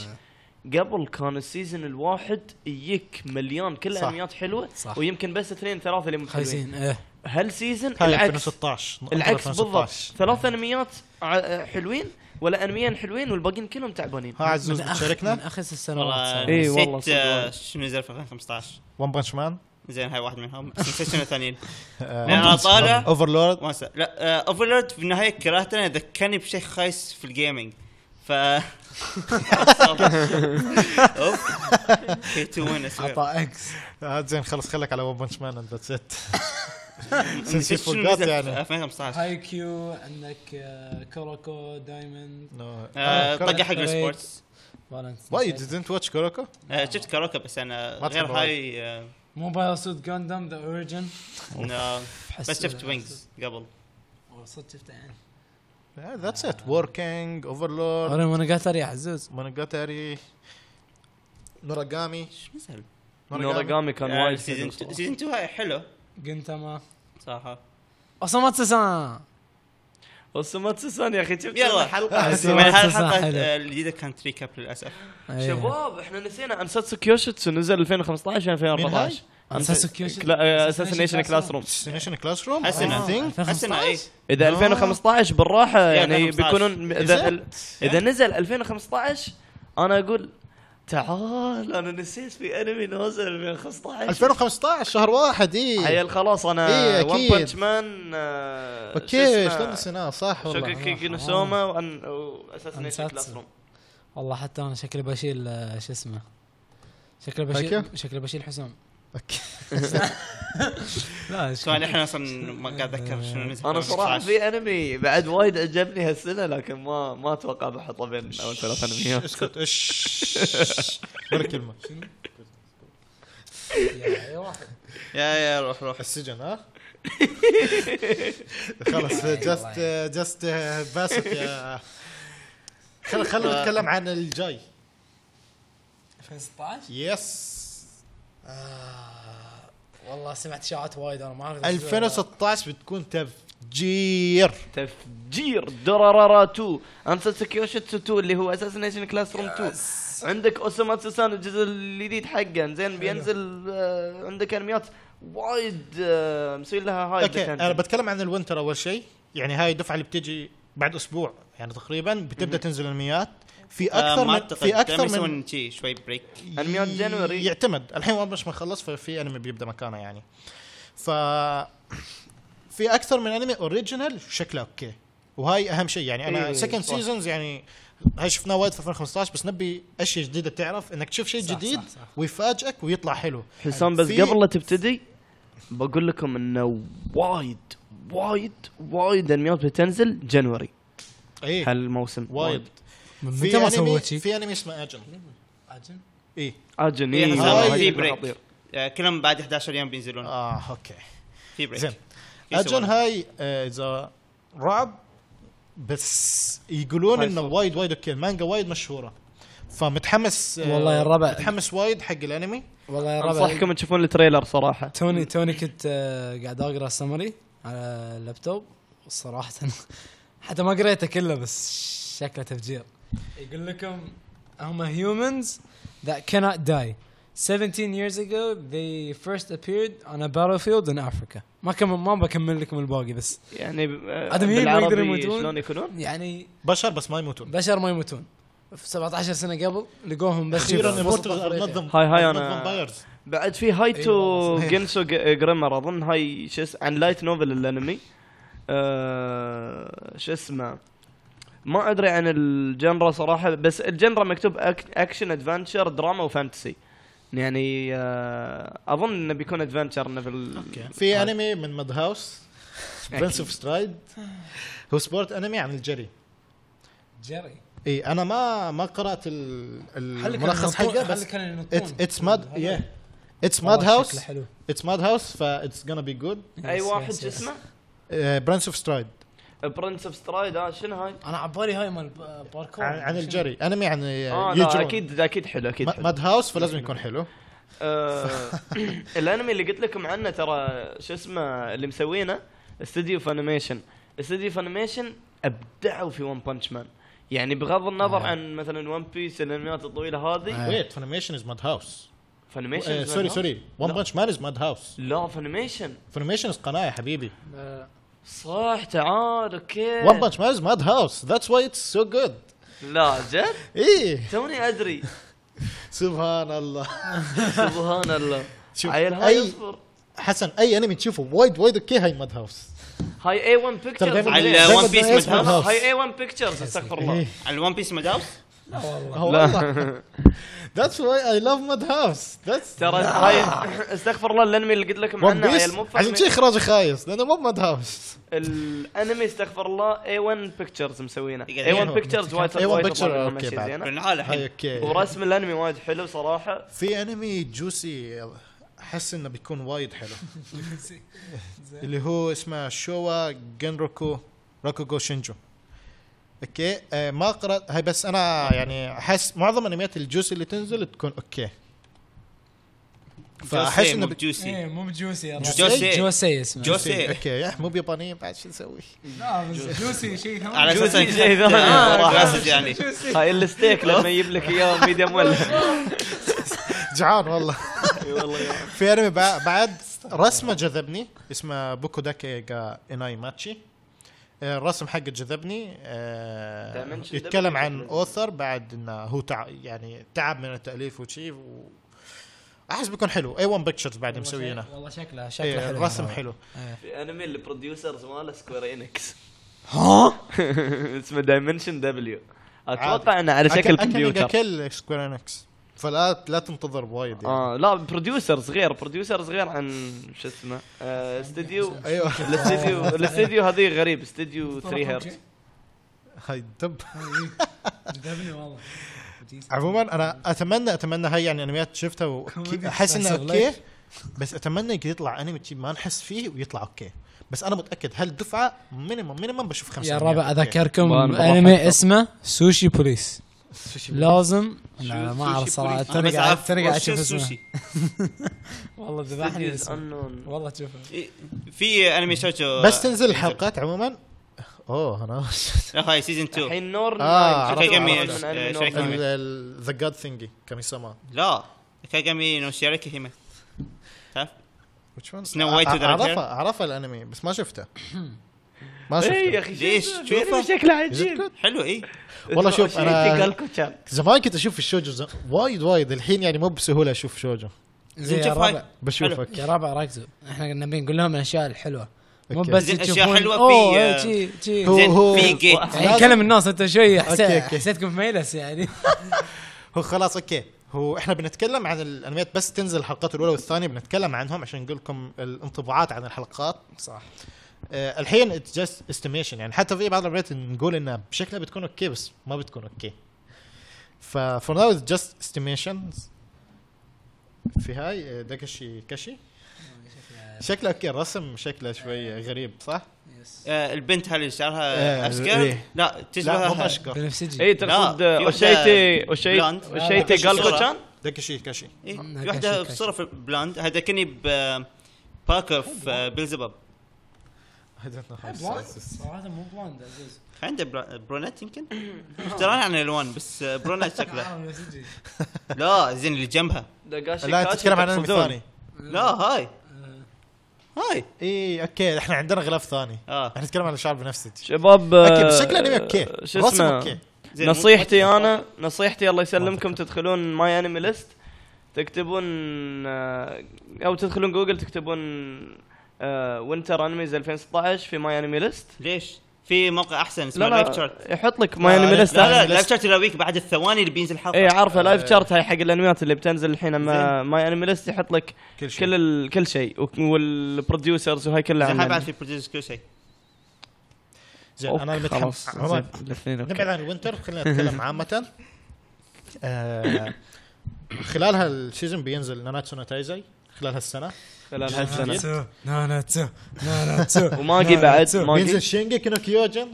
S1: قبل كان السيزون الواحد يجيك مليان كل
S3: صح.
S1: انميات حلوه
S2: صح.
S1: ويمكن بس اثنين ثلاثه اللي مو حلوين
S2: خايسين ايه
S1: هالسيزون
S3: هاي
S1: العكس
S3: 2016 نقطة
S1: العكس
S3: 2016.
S1: بالضبط ثلاث انميات ع- حلوين ولا انميين حلوين والباقيين كلهم تعبانين
S3: ها عزوز
S2: من أخ- من
S3: بتشاركنا
S2: اخس السنوات
S6: والله
S2: صار.
S1: إيه، والله
S6: نسيت
S1: صدق
S6: آه،
S1: والله.
S6: شنو نزل في 2015
S3: ون بانش مان
S6: زين هاي واحد منهم بس نسيت شنو الثانيين لأن أنا طالع-
S3: اوفرلورد
S6: ما أنسى. لا اوفرلورد في النهايه كرهته لأنه ذكرني بشيء خايس في الجيمنج ف [laughs] اوف هي تو وين
S2: عطى اكس
S3: آه، زين خلص خليك على ون بانش مان اند ذاتس ات
S1: [laughs]
S6: نسيت
S3: since you
S6: شنو
S3: forgot
S6: نزل
S3: يعني.
S6: في 2015
S2: هاي كيو عندك آه، كوروكو دايموند
S6: آه، طقه حق
S2: كورة.
S6: السبورتس
S2: بالانس
S3: واي ديدنت واتش كوروكو
S6: آه، شفت كاروكا بس انا
S3: ما
S6: غير
S3: تحب
S6: هاي آه،
S2: موبايل سوت جاندم ذا اوريجن
S6: آه، بس شفت وينجز قبل
S2: صدق شفته يعني
S3: ذاتس ات وركينج اوفرلورد
S2: انا وانا قاتل يا عزوز
S3: مونوجاتاري نوراغامي
S6: شو نزل؟
S1: نوراغامي كان
S6: آه،
S1: وايد
S6: سيزون
S1: حلو
S6: 2
S1: صراحة.
S6: سيزون 2 هاي حلو
S2: جنتما
S6: صراحه
S2: اوساماتسو سان
S1: وسوماتسو سان يا اخي شفت
S6: يلا آه،
S1: الحلقه
S6: من هالحلقه
S2: حلو.
S6: آه، الجديده كانت ريكاب للاسف
S2: إيه.
S1: شباب احنا نسينا انساتسو كيوشيتسو نزل 2015 2014
S2: أنساتسو كيوشيتسو؟
S1: إيه، اساسنيشن كلاس روم
S3: ديستنيشن كلاس روم
S6: حسنا. حسنا اي
S1: اذا 2015 بالراحه يعني
S6: 2015.
S1: بيكونون اذا اذا نزل 2015 انا اقول تعال انا نسيت في انمي نزل 2015
S3: 2015 شهر واحد اي
S1: عيل خلاص انا
S3: إيه،
S1: ون
S3: أكيد.
S1: بنش مان آه،
S3: اوكي
S1: شو
S3: شلون
S1: اسمه؟
S3: نسيناه صح والله آه،
S1: شوكوكي نو سوما وأن- واساسنيشن
S2: أنساتسو.
S1: كلاس روم
S2: والله حتى انا شكلي بشيل آه، شو اسمه شكلي
S3: هايكيو؟
S2: بشيل شكلي بشيل حسام
S3: أوكي.
S2: لا
S6: سؤال احنا اصلا ما قاعد اتذكر شنو نزل
S1: انا صراحه
S6: 2019.
S1: في انمي بعد وايد عجبني هالسنه لكن ما ما اتوقع بحطه بين اول ثلاث انميات
S3: اسكت ايش ولا كلمه
S6: يا يا آه، روح روح
S3: السجن ها خلاص جاست جاست باسط يا خل خلينا نتكلم عن الجاي
S2: 2016
S3: يس
S2: آه، والله سمعت اشاعات وايد انا ما اعرف
S3: 2016 بتكون تفجير
S1: تفجير درارارا 2 امسلسل كيوشيتسو 2 اللي هو اساسنيشن كلاس روم 2 عندك اوساماتسو سان الجزء الجديد حقه زين بينزل آه، عندك انميات وايد آه، مسوي لها
S2: طيب،
S1: هاي
S3: اوكي انا بتكلم عن الوينتر اول شيء يعني هاي الدفعه اللي بتجي بعد اسبوع يعني تقريبا بتبدا تنزل انميات في
S2: آه،
S3: اكثر من في اكثر من
S6: يسوون شي شوي بريك
S1: أنميات جانوري.
S3: يعتمد الحين وين مش مخلص ففي انمي بيبدا مكانه يعني ف [clears throat] في اكثر من انمي اوريجينال شكله اوكي وهاي اهم شيء يعني انا
S1: إيه،
S3: سكند
S1: صح.
S3: سيزونز يعني هاي شفناه وايد في 2015 بس نبي اشياء جديده تعرف انك تشوف شيء
S2: صح،
S3: جديد
S2: صح، صح.
S3: ويفاجئك ويطلع حلو
S1: حسام بس
S3: في-
S1: قبل لا تبتدي بقول لكم انه وايد وايد وايد انميات بتنزل جنوري
S2: إيه.
S3: ايه
S1: هالموسم
S3: وايد
S2: من
S3: في
S2: متى ما
S3: انمي
S2: سويت شيء؟
S3: في انمي اسمه اجن ايه
S1: اجن
S6: إيه،
S1: إيه،
S6: حسام،
S1: هاي
S6: في
S1: شكلها
S6: بريك.
S1: خطير.
S6: آه، كلهم بعد 11 يوم بينزلون
S3: اه اوكي
S6: في بريك
S3: زين
S6: في
S3: اجن
S6: سوالف.
S3: هاي آه، اذا رعب بس يقولون
S1: هاي
S3: انه
S1: صح.
S3: وايد وايد اوكي المانجا وايد مشهوره فمتحمس آه،
S2: والله يا الربع.
S3: متحمس وايد حق الانمي
S2: والله يا ربع
S1: انصحكم تشوفون التريلر صراحه
S2: توني توني كنت آه، قاعد اقرا السمري على اللابتوب صراحة [laughs] حتى ما قريته كله بس شكله تفجير يقول لكم هم humans that cannot die 17 years ago they first appeared on a battlefield in Africa ما كم ما بكمل لكم الباقي بس
S1: يعني ب- آه،
S2: آدميين ما يقدرون
S1: بالعربي
S2: يموتون.
S1: شلون يكونون؟
S2: يعني
S3: بشر بس ما يموتون
S2: بشر ما يموتون في 17 سنة قبل لقوهم بس
S3: اخيرا
S2: في وسط
S3: Immortals
S2: أفريقيا.
S3: نظم
S1: هاي- هاي
S3: نظم
S1: أنا-
S3: vampires.
S1: بعد في هاي تو
S2: إيه والله صحيح.
S1: جنسو جريمر اظن هاي شو اسمه عن لايت نوفل الانمي آه، شو اسمه ما ادري عن الجنرا صراحه بس الجنرا مكتوب أك- اكشن ادفنتشر دراما وفانتسي يعني آه، اظن انه بيكون ادفنتشر انه بال
S3: في انمي من ماد هاوس برنس اوف سترايد هو سبورت انمي عن الجري
S2: جري
S3: اي انا ما ما قرات ال-
S2: خلي كانوا
S3: الملخص
S2: ينطون-
S3: حقه
S2: خلي
S3: بس
S2: كانوا ينطون
S3: اتس ماد يا اتس ماد
S2: والله
S3: هاوس
S2: شكله حلو
S3: اتس ماد هاوس فاتس gonna بي جود
S1: اي
S2: يس-
S1: واحد
S2: يس-
S1: شو
S2: يس.
S1: اسمه
S3: برنس اوف سترايد
S1: برنس اوف سترايد اه شنو هاي؟
S2: انا عبالي هاي مال ب- باركور
S3: عن, عن الجري انمي عن آه
S1: اه لا اكيد اكيد حلو اكيد حلو
S3: ماد هاوس فلازم يكون حلو
S1: آه، [coughs] الانمي اللي قلت لكم عنه ترى شو اسمه اللي مسوينه استديو فانيميشن استديو فانيميشن ابدعوا في ون بانش مان يعني بغض
S3: آه.
S1: النظر عن مثلا ون بيس الانميات الطويله هذه
S3: ويت فانيميشن از ماد هاوس
S1: فانيميشن
S3: آه. سوري سوري ون
S1: لا.
S3: بانش مان از ماد هاوس
S1: لا فانيميشن
S3: فانيميشن از قناه يا حبيبي
S1: صح تعال اوكي
S3: ون بانش مان از ماد هاوس ذاتس واي اتس سو جود
S1: لا جد
S3: ايه
S1: توني
S3: [laughs]
S1: ادري
S3: سبحان [laughs] الله
S1: سبحان الله
S3: شوف
S1: عيل هاي
S3: اي
S1: اصبر
S3: حسن اي انمي تشوفه وايد وايد اوكي هاي ماد هاوس
S1: هاي اي 1
S3: ترى دايماً-
S1: بيكتشرز
S6: على
S3: دايماً
S6: One Piece
S3: اسمه
S6: Mad
S3: Mad House.
S1: هاي اي 1 بيكتشرز استغفر الله
S3: إيه.
S6: على الون بيس مداوس
S3: هو والله ذاتس واي اي لاف ماد هاوس ذاتس
S1: ترى هاي استغفر الله الانمي اللي قلت لكم
S3: ون
S1: عنه
S3: بيس
S1: عيل مو
S3: آه. عشان
S1: فاهمين
S3: شي اخراجه خايس لانه مو ماد هاوس
S1: الانمي استغفر الله اي 1 بيكتشرز مسوينه
S6: يقعد
S1: اي 1
S6: يحرق.
S1: بيكتشرز وايد
S3: A1
S1: وايد
S3: Picture،
S1: طبعاً
S3: أوكي
S1: ماشي
S3: بعد.
S1: زينة.
S6: بنعال
S3: هاي
S6: [laughs] الحين
S3: اوكي
S1: ورسم الانمي وايد حلو
S3: [laughs]
S1: صراحه
S3: في انمي جوسي احس انه بيكون وايد
S6: [laughs]
S3: حلو اللي هو اسمه شوا جنروكو راكوغو شينجو اوكي آه ما قرات هاي بس انا يعني احس معظم انميات الجوسي اللي تنزل تكون اوكي فاحس
S6: فاحس
S3: انه
S6: انه
S3: بي-
S2: ايه
S6: جوسي
S2: مو بجوسي
S6: جوسي.
S2: إيه، جوسي اسمه
S6: جوسي.
S3: اوكي يا، مو بيابانيين بعد شو نسوي؟ [laughs]
S2: لا بس جوسي شيء ثاني
S6: على اساس
S1: جوسي
S6: إنك
S1: شيء ثاني.
S6: آه، راسج يعني
S1: هاي الستيك لما يجيب لك اياه ميديم ويل
S3: [laughs] جعان والله إيه، في انمي بع- بعد رسمه جذبني اسمه بوكو داكي جا اناي ماتشي آه، الرسم حقه جذبني آه،
S4: Dimension
S3: يتكلم
S4: W
S3: عن
S4: Dimension.
S3: اوثر بعد انه هو تع... يعني تعب من التاليف وشي و... احس بيكون حلو اي 1 بيكتشرز بعد مسوينه
S2: والله شكله شكله
S3: إيه،
S2: حلو آه.
S3: الرسم حلو
S1: في انمي البروديوسرز ماله سكوير انكس
S2: ها
S1: [laughs] اسمه دايمنشن دبليو اتوقع انه على شكل
S3: أك- أكميجا
S1: كمبيوتر
S3: كل سكوير انكس فلا لا تنتظر وايد يعني.
S1: اه لا بروديوسرز غير بروديوسرز غير عن شو اسمه آه، استديو [laughs]
S3: ايوه
S1: الاستديو الاستديو هذه غريب استديو 3 هرتز
S3: هاي دب
S2: جذبني والله
S3: عموما انا اتمنى اتمنى هاي يعني انميات شفتها وكي- احس انه
S2: تحسب ليش؟
S3: اوكي بس اتمنى يك- يطلع انمي شي ما نحس فيه ويطلع اوكي بس انا متاكد هالدفعه مينيمم مينيمم بشوف خمسه
S2: يا
S3: أنميات
S2: الربع
S3: أوكي.
S2: اذكركم
S1: والله أنا بضحك.
S2: انمي اسمه سوشي بوليس
S3: سوشي
S2: لازم لا ما اعرف صراحه
S6: أنا
S2: ترى
S6: بس
S2: قاعد
S6: أعرف
S2: ترى قاعد
S6: وش
S2: اشوف اسمه
S6: السوشي.
S2: والله ذبحني
S1: استديوز
S2: اسمه.
S1: انون
S2: والله تشوفه
S6: إيه، في انمي شوشو
S3: بس تنزل الحلقات عموما اوه [laughs] انا
S6: لا هاي سيزون 2
S1: الحين نور
S3: آه،
S1: ناين. شفت واحد
S3: شركة
S6: ميز.
S1: من أنمي
S6: آه،
S1: نور
S6: شركة
S1: ناين.
S6: ميز.
S3: ذا جاد ثينجي كاميساما
S6: لا كاغامي نو شيركي هيما تعرف
S3: which one؟
S6: Snow White
S3: أع-
S6: with Red Hair.
S3: اعرفه اعرفه الانمي بس ما
S2: [coughs]
S3: شفته
S6: إيه
S3: ما
S1: اي إيه يا
S3: شفته
S1: اخي
S6: ليش؟
S1: شوفه،
S6: شوفه.
S1: بيعمل شكله
S3: Is it
S1: عجيب إيه،
S3: good؟
S6: حلو إيه؟ اي
S3: والله شوف،
S1: اسمه
S3: أنا-
S1: شينجي كالكوتشان.
S3: زمان كنت اشوف الشوجو ز- وايد وايد الحين يعني مو بسهوله اشوف شوجو
S2: زين يا
S6: نشوف
S2: ربع
S6: هاي.
S3: بشوفك
S2: يا ربع ركزوا احنا نبي نقول لهم الاشياء الحلوه مو
S3: أوكي.
S2: بس
S6: زين، أشياء
S2: تشوفون-
S6: حلوة في-
S2: أوه، إيه، شي- شي.
S3: هو-
S6: زين
S3: هو-
S6: في جيت
S2: يعني كلم الناس انت شوي حسيت
S3: أوكي، أوكي.
S2: حسيتكم في ميلس [laughs] يعني
S3: هو خلاص اوكي هو احنا بنتكلم عن الانميات بس تنزل الحلقات الاولى والثانيه بنتكلم عنهم عشان نقول لكم الانطباعات عن الحلقات
S2: صح
S3: آه الحين اتس جاست استيميشن يعني حتى في بعض الانميات نقول انها بشكلها بتكون اوكي بس ما بتكون اوكي ف فور ناو اتس جاست استيميشنز في هاي آه، داكشي كشي شكله اوكي الرسم شكله شوي غريب صح؟
S6: آه، البنت هل شعرها
S3: آه،
S6: اشقر؟
S3: إيه.
S6: لا
S3: لا مو
S6: تشبه
S3: اشقر
S2: بنفسجي
S1: اي
S6: إيه.
S1: إيه، تقصد
S6: لا، في
S1: اوشيتي
S6: واحدة بلاند.
S3: آه،
S1: اوشيتي اوشيتي
S6: لا، لا،
S1: جالكوتشان
S3: داكشي كشي
S6: إيه،
S2: مم،
S6: في واحده
S2: كاشي،
S6: بصوره في بلاند هذا كني ب آه، باكر في بلزباب
S2: صراحه مو بلاند عزيز
S6: عنده برا- برونات يمكن
S3: آه.
S6: اخترعنا عن الالوان بس آه، برونات شكله
S2: بنفسجي
S6: لا زين اللي جنبها
S1: داغاشي
S3: لا
S1: كاشي
S3: تتكلم عن انمي
S1: تقصدون.
S3: ثاني
S6: لا هاي هاي
S3: اي اوكي احنا عندنا غلاف ثاني
S6: اه
S3: احنا نتكلم عن الشعر بنفسي
S1: شباب
S3: اوكي بس
S1: آه،
S3: شكله انمي اوكي
S1: شو
S3: رسم
S1: اسمه؟
S3: اوكي
S6: زين، مو-
S1: نصيحتي انا نصيحتي الله يسلمكم تدخلون ماي انمي ليست تكتبون آه، او تدخلون جوجل تكتبون آه، وينتر انميز 2016 في ماي انمي ليست
S6: ليش؟ في موقع احسن اسمه
S1: لا يعني
S6: لايف شارت
S1: لا يحط لك ماي انمي
S3: لا،
S1: ليست
S6: لا لا
S3: لايف
S6: لايف شارت يراويك بعد الثواني اللي بينزل حلقه
S1: اي إيه، عارفه لايف شارت هاي حق الانميات اللي بتنزل الحين اما ماي انمي ليست يحط لك
S3: كل شيء
S1: كل ال... كل شيء وك- والبروديوسرز وهاي كلها
S6: زين، هاي
S1: عنها.
S6: بعد في بروديوس كل شيء
S3: زين انا
S1: أوكي، خلاص
S3: متحمس عموما
S1: زين، الاثنين
S3: نبعد
S1: اوكي
S3: عن الوينتر
S1: [laughs]
S3: خلينا نتكلم عامة آه، خلال هالسيزون بينزل ناناتسو نو تايزاي خلال هالسنة
S1: خلال هالسنه
S2: ناناتسو ناناتسو
S6: [laughs]
S1: وماجي بعد
S3: بينزل
S1: ماجي
S3: شينجي كينو كيوجن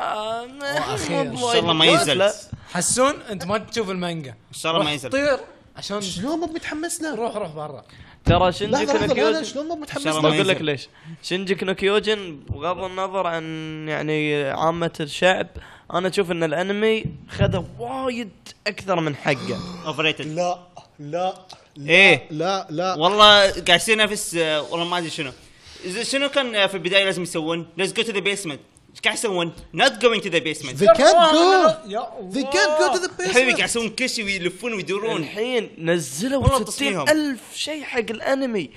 S1: آه، ما-
S2: أخيراً.
S1: ما
S6: ان شاء الله ما
S1: وايد
S6: ينزل
S1: لا.
S6: ان
S2: حسون انت ما تشوف المانجا
S6: شاء الله ما ينزل
S2: طير عشان
S3: شلون مو متحمس له؟
S2: روح روح برا
S1: ترى شنجي
S3: لحظة لحظة لا، لا،
S1: كنوكيوجن
S3: شلون مو متحمس
S6: إن شاء
S3: له؟
S6: الله. ما
S1: بقول لك
S6: ينزل.
S1: ليش شنجي كنوكيوجن بغض النظر عن يعني عامه الشعب انا اشوف ان الانمي خذ وايد اكثر من حقه
S6: اوفر ريتد
S3: لا لا
S1: إيه.
S6: ايه
S3: لا لا
S6: والله قاعد يصير نفس آه، والله ما ادري شنو إذا شنو كان آه، في البدايه لازم يسوون ليتس جو تو ذا بيسمنت ايش قاعد يسوون؟ نوت جوينج تو ذا بيسمنت
S3: they can't go they can't go to the
S6: حبيبي
S3: basement
S6: قاعد يسوون كل شيء ويلفون ويدورون
S1: الحين نزلوا
S6: والله
S1: 60
S6: تصميمهم.
S1: الف شيء حق الانمي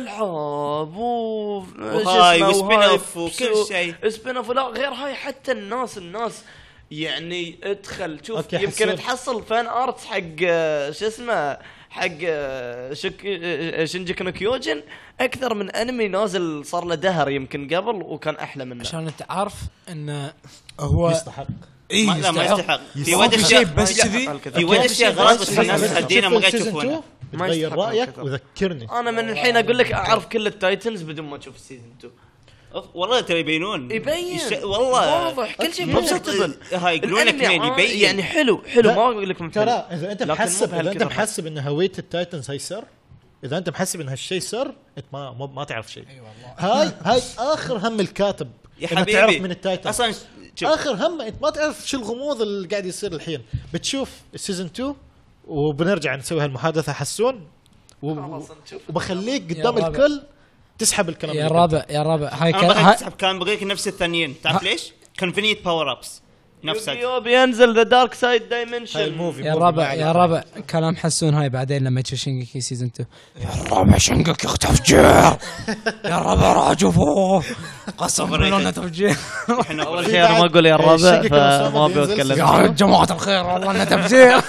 S1: والعاب و
S6: وهاي وسبين اوف وكل شيء.
S1: سبين اوف لا غير هاي حتى الناس الناس يعني ادخل شوف
S3: أوكي،
S1: يمكن
S3: حسون.
S1: تحصل فان ارتس حق آه، شو اسمه حق آه، شك آه، شينجي كونو كيوجن اكثر من انمي نازل صار له دهر يمكن قبل وكان احلى منه
S2: عشان انت عارف انه هو
S3: يستحق
S2: اي
S6: ما- لا ما يستحق في
S3: يستحق.
S6: وايد
S2: في شيء
S6: اشياء
S2: بس كذي
S1: الكذا.
S6: في وايد اشياء غلط بس
S3: بس-
S6: الناس
S3: بس-
S6: حدينا ما قاعد
S3: شوف السيزون
S6: يشوفونه
S3: two،
S1: ما
S3: بتغير
S1: يستحق
S3: رايك
S1: الكذا.
S3: وذكرني
S1: انا من الحين اقول لك اعرف كل التايتنز بدون ما اشوف السيزون 2
S6: أوف، والله ترى يبينون
S1: يبين
S6: يش- والله
S1: واضح كل شيء
S6: مو بشرط
S1: مبسطبل
S6: هاي يقولون لك
S1: الأنمي
S6: يعني
S1: عا-
S6: يبين
S1: يعني حلو حلو
S3: لا،
S1: ما اقول لك ممتاز
S3: ترى اذا انت
S1: لكن مو
S3: محسب اذا انت
S1: بهالكثرة.
S3: محسب ان هويه التايتنز هي سر اذا انت محسب ان هالشيء سر انت ما ما, ما تعرف شيء أيوة هاي هاي اخر هم الكاتب
S6: يا
S3: إنه
S6: حبيبي
S3: تعرف من التايتنز
S6: اصلا ش- شوف
S3: اخر هم انت ما تعرف شو الغموض اللي قاعد يصير الحين بتشوف السيزون 2 وبنرجع نسوي هالمحادثه حسون و-
S1: خلاص نشوف
S3: وبخليك
S2: يا
S3: قدام
S2: رابع.
S3: الكل تسحب الكلام
S2: يا
S3: اللي
S2: الرابع يا الرابع هاي
S3: إيه،
S6: انا
S2: كان
S6: بغيت
S2: هاي-
S6: تسحب كان بغيك نفس الثانيين تعرف ليش؟ كونفينيت باور ابس نفسك
S1: يوبي ينزل ذا دارك سايد
S3: قلت. هاي
S1: دايمنشن
S3: الموفي
S2: يا
S3: موفي
S2: الرابع
S3: ما
S2: يا
S3: عليه.
S2: الرابع كلام حسون هاي بعدين لما تشوف شينجيكي سيزون 2
S5: الرابع شنقك يختف جير يا الرابع راجفوه قسم بالله انه
S1: [laughs]
S5: تفجير
S1: اول
S6: الحين أقول لك.
S1: شيء انا ما اقول يا الرابع
S3: شيكي كان
S1: فما ابي
S3: ينزل
S1: اتكلم
S3: سيزون.
S5: يا جماعة الخير والله انه
S1: [laughs]
S5: تفجير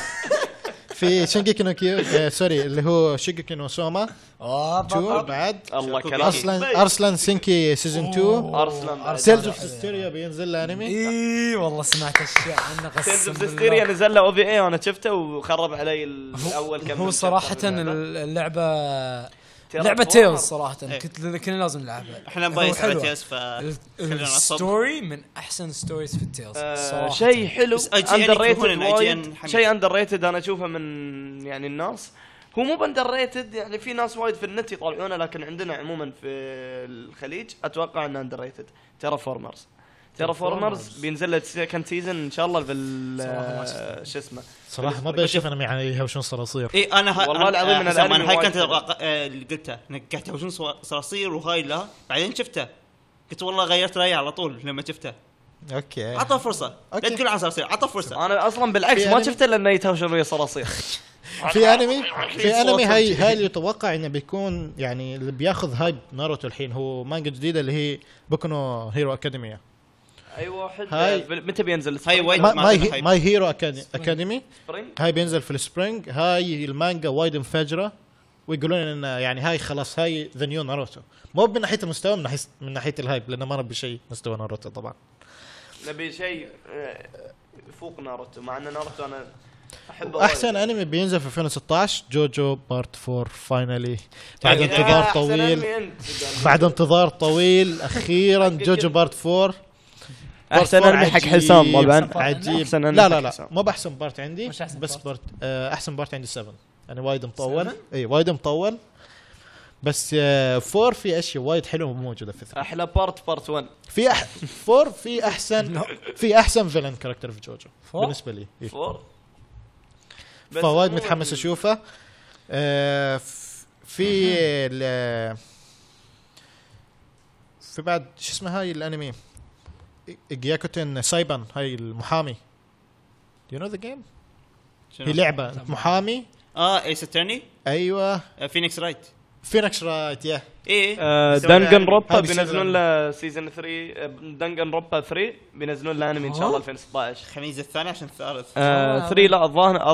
S3: في شنجيكي نو كيو آه، سوري اللي هو شيجيكي نو سوما 2 بعد
S1: الله
S6: شوفوا
S1: كلامك
S3: ارسلان ارسلان سينكي سيزون 2
S1: ارسلان بعد.
S2: [laughs]
S3: سيلز اوف هيستيريا بينزل له انمي
S2: اي والله سمعت اشياء عنه
S1: سيلز
S2: قسم
S1: اوف
S2: بالله
S1: هيستيريا يعني نزل له او في اي وانا شفته وخرب علي الاول كم
S2: هو
S1: من
S2: صراحة
S1: شابتر من اللعبة.
S2: اللعبة
S1: ترى
S2: لعبة
S1: فور.
S2: تيلز
S1: إيه.
S2: صراحة كنت كنا لازم نلعبها
S6: احنا
S2: هو
S6: بايس على
S2: حلوة.
S6: تيس ف
S2: ال-
S6: خلينا نعصب.
S2: الستوري من احسن ستوريز في التيلز
S1: آه،
S2: صراحة.
S1: شيء حلو
S6: بس IGN
S1: اندر
S6: يكرهون
S1: ريتد
S6: ال
S1: وايد
S6: IGN
S1: شيء اندر ريتد انا اشوفه من يعني الناس هو مو باندر ريتد يعني في ناس وايد في النت يطالعونه لكن عندنا عموما في الخليج اتوقع انه اندر ريتد ترى فورمرز ترى فورمرز بينزل له سكند سيزون ان شاء الله بال
S2: صراحة ما
S1: آه، شو اسمه
S3: صراحه ما بشوف انمي عن يهوشون صراصير
S6: اي انا ها-
S1: والله
S6: إيه، أنا-
S1: العظيم إن
S6: آه،
S1: الأنمي
S6: انا هاي
S1: وايد
S6: كنت
S1: حلو.
S6: أتوقع- آه، اللي قلته انا قاعد تهوشون صوا- صراصير وهاي لا بعدين شفته قلت والله غيرت رايي على طول لما شفته
S3: اوكي
S6: عطى فرصه لا
S3: إيه. أوكي.
S6: تقول عن صراصير عطى فرصه
S1: انا اصلا بالعكس
S3: في
S1: ما
S3: أنمي؟
S1: شفته لانه يتهاوشون ويا
S3: [laughs]
S1: صراصير
S3: في انمي في انمي هاي هاي اللي يتوقع انه بيكون يعني اللي بياخذ هايب ناروتو الحين هو مانجا جديده اللي هي بوكونو هيرو اكاديميا
S1: اي واحد
S3: هاي.
S1: آه، متى بينزل
S6: هاي وايد ما عندنا
S3: ماي
S6: hype.
S3: ماي هيرو اكاديمي
S1: سبرينج
S3: هاي بينزل في السبرينج هاي المانجا وايد مفجره ويقولون ان يعني هاي خلاص هاي ذا نيو ناروتو مو من ناحيه المستوى من ناحيه من ناحيه الهايب لانه ما نبي شيء مستوى ناروتو طبعا
S1: نبي شيء آه، يفوق ناروتو مع ان ناروتو انا احبه
S3: احسن
S1: وايد.
S3: انمي بينزل في 2016 جوجو بارت 4 فاينلي بعد
S1: يعني يا
S3: انتظار
S1: أحسن
S3: طويل
S1: أنمي أنت.
S3: بعد انتظار طويل اخيرا جوجو بارت 4
S1: احسن
S3: بارت
S1: انمي حق
S3: عجيب.
S1: حسام طبعا
S3: عجيب
S1: أحسن أنمي
S3: لا
S1: حق
S3: لا لا
S1: حسام.
S3: مو باحسن بارت عندي
S2: مش أحسن
S3: بس
S2: بارت.
S3: بارت آه، احسن بارت عندي 7 انا وايد مطول اي وايد مطول بس 4 في اشياء وايد حلوه مو موجوده في 3
S1: احلى بارت بارت 1
S3: في 4 في احسن في احسن فيلن كاركتر في جوجو
S2: Four؟
S3: بالنسبه لي
S6: إيه.
S3: إي.
S1: 4 بس
S3: فوايد
S1: مو
S3: متحمس
S1: ال-
S3: اشوفه آه، ف- في ال- في بعد شو اسمه هاي الانمي جياكوتن سايبان هاي المحامي Do you know the game؟
S6: شنو؟
S3: هي لعبة محامي
S6: اه ايس اترني
S3: ايوه
S6: فينيكس رايت
S3: فينكس رايت يا
S6: ايه
S1: آه،
S6: يسوون
S1: دنجن
S6: أنمي.
S1: روبا
S3: هاي بيصير
S1: بينزلون له سيزون 3 آه، دنجن روبا 3 بينزلون له انمي ان شاء الله 2016
S6: الخميس الثاني عشان الثالث
S1: آه، 3 لا الظاهر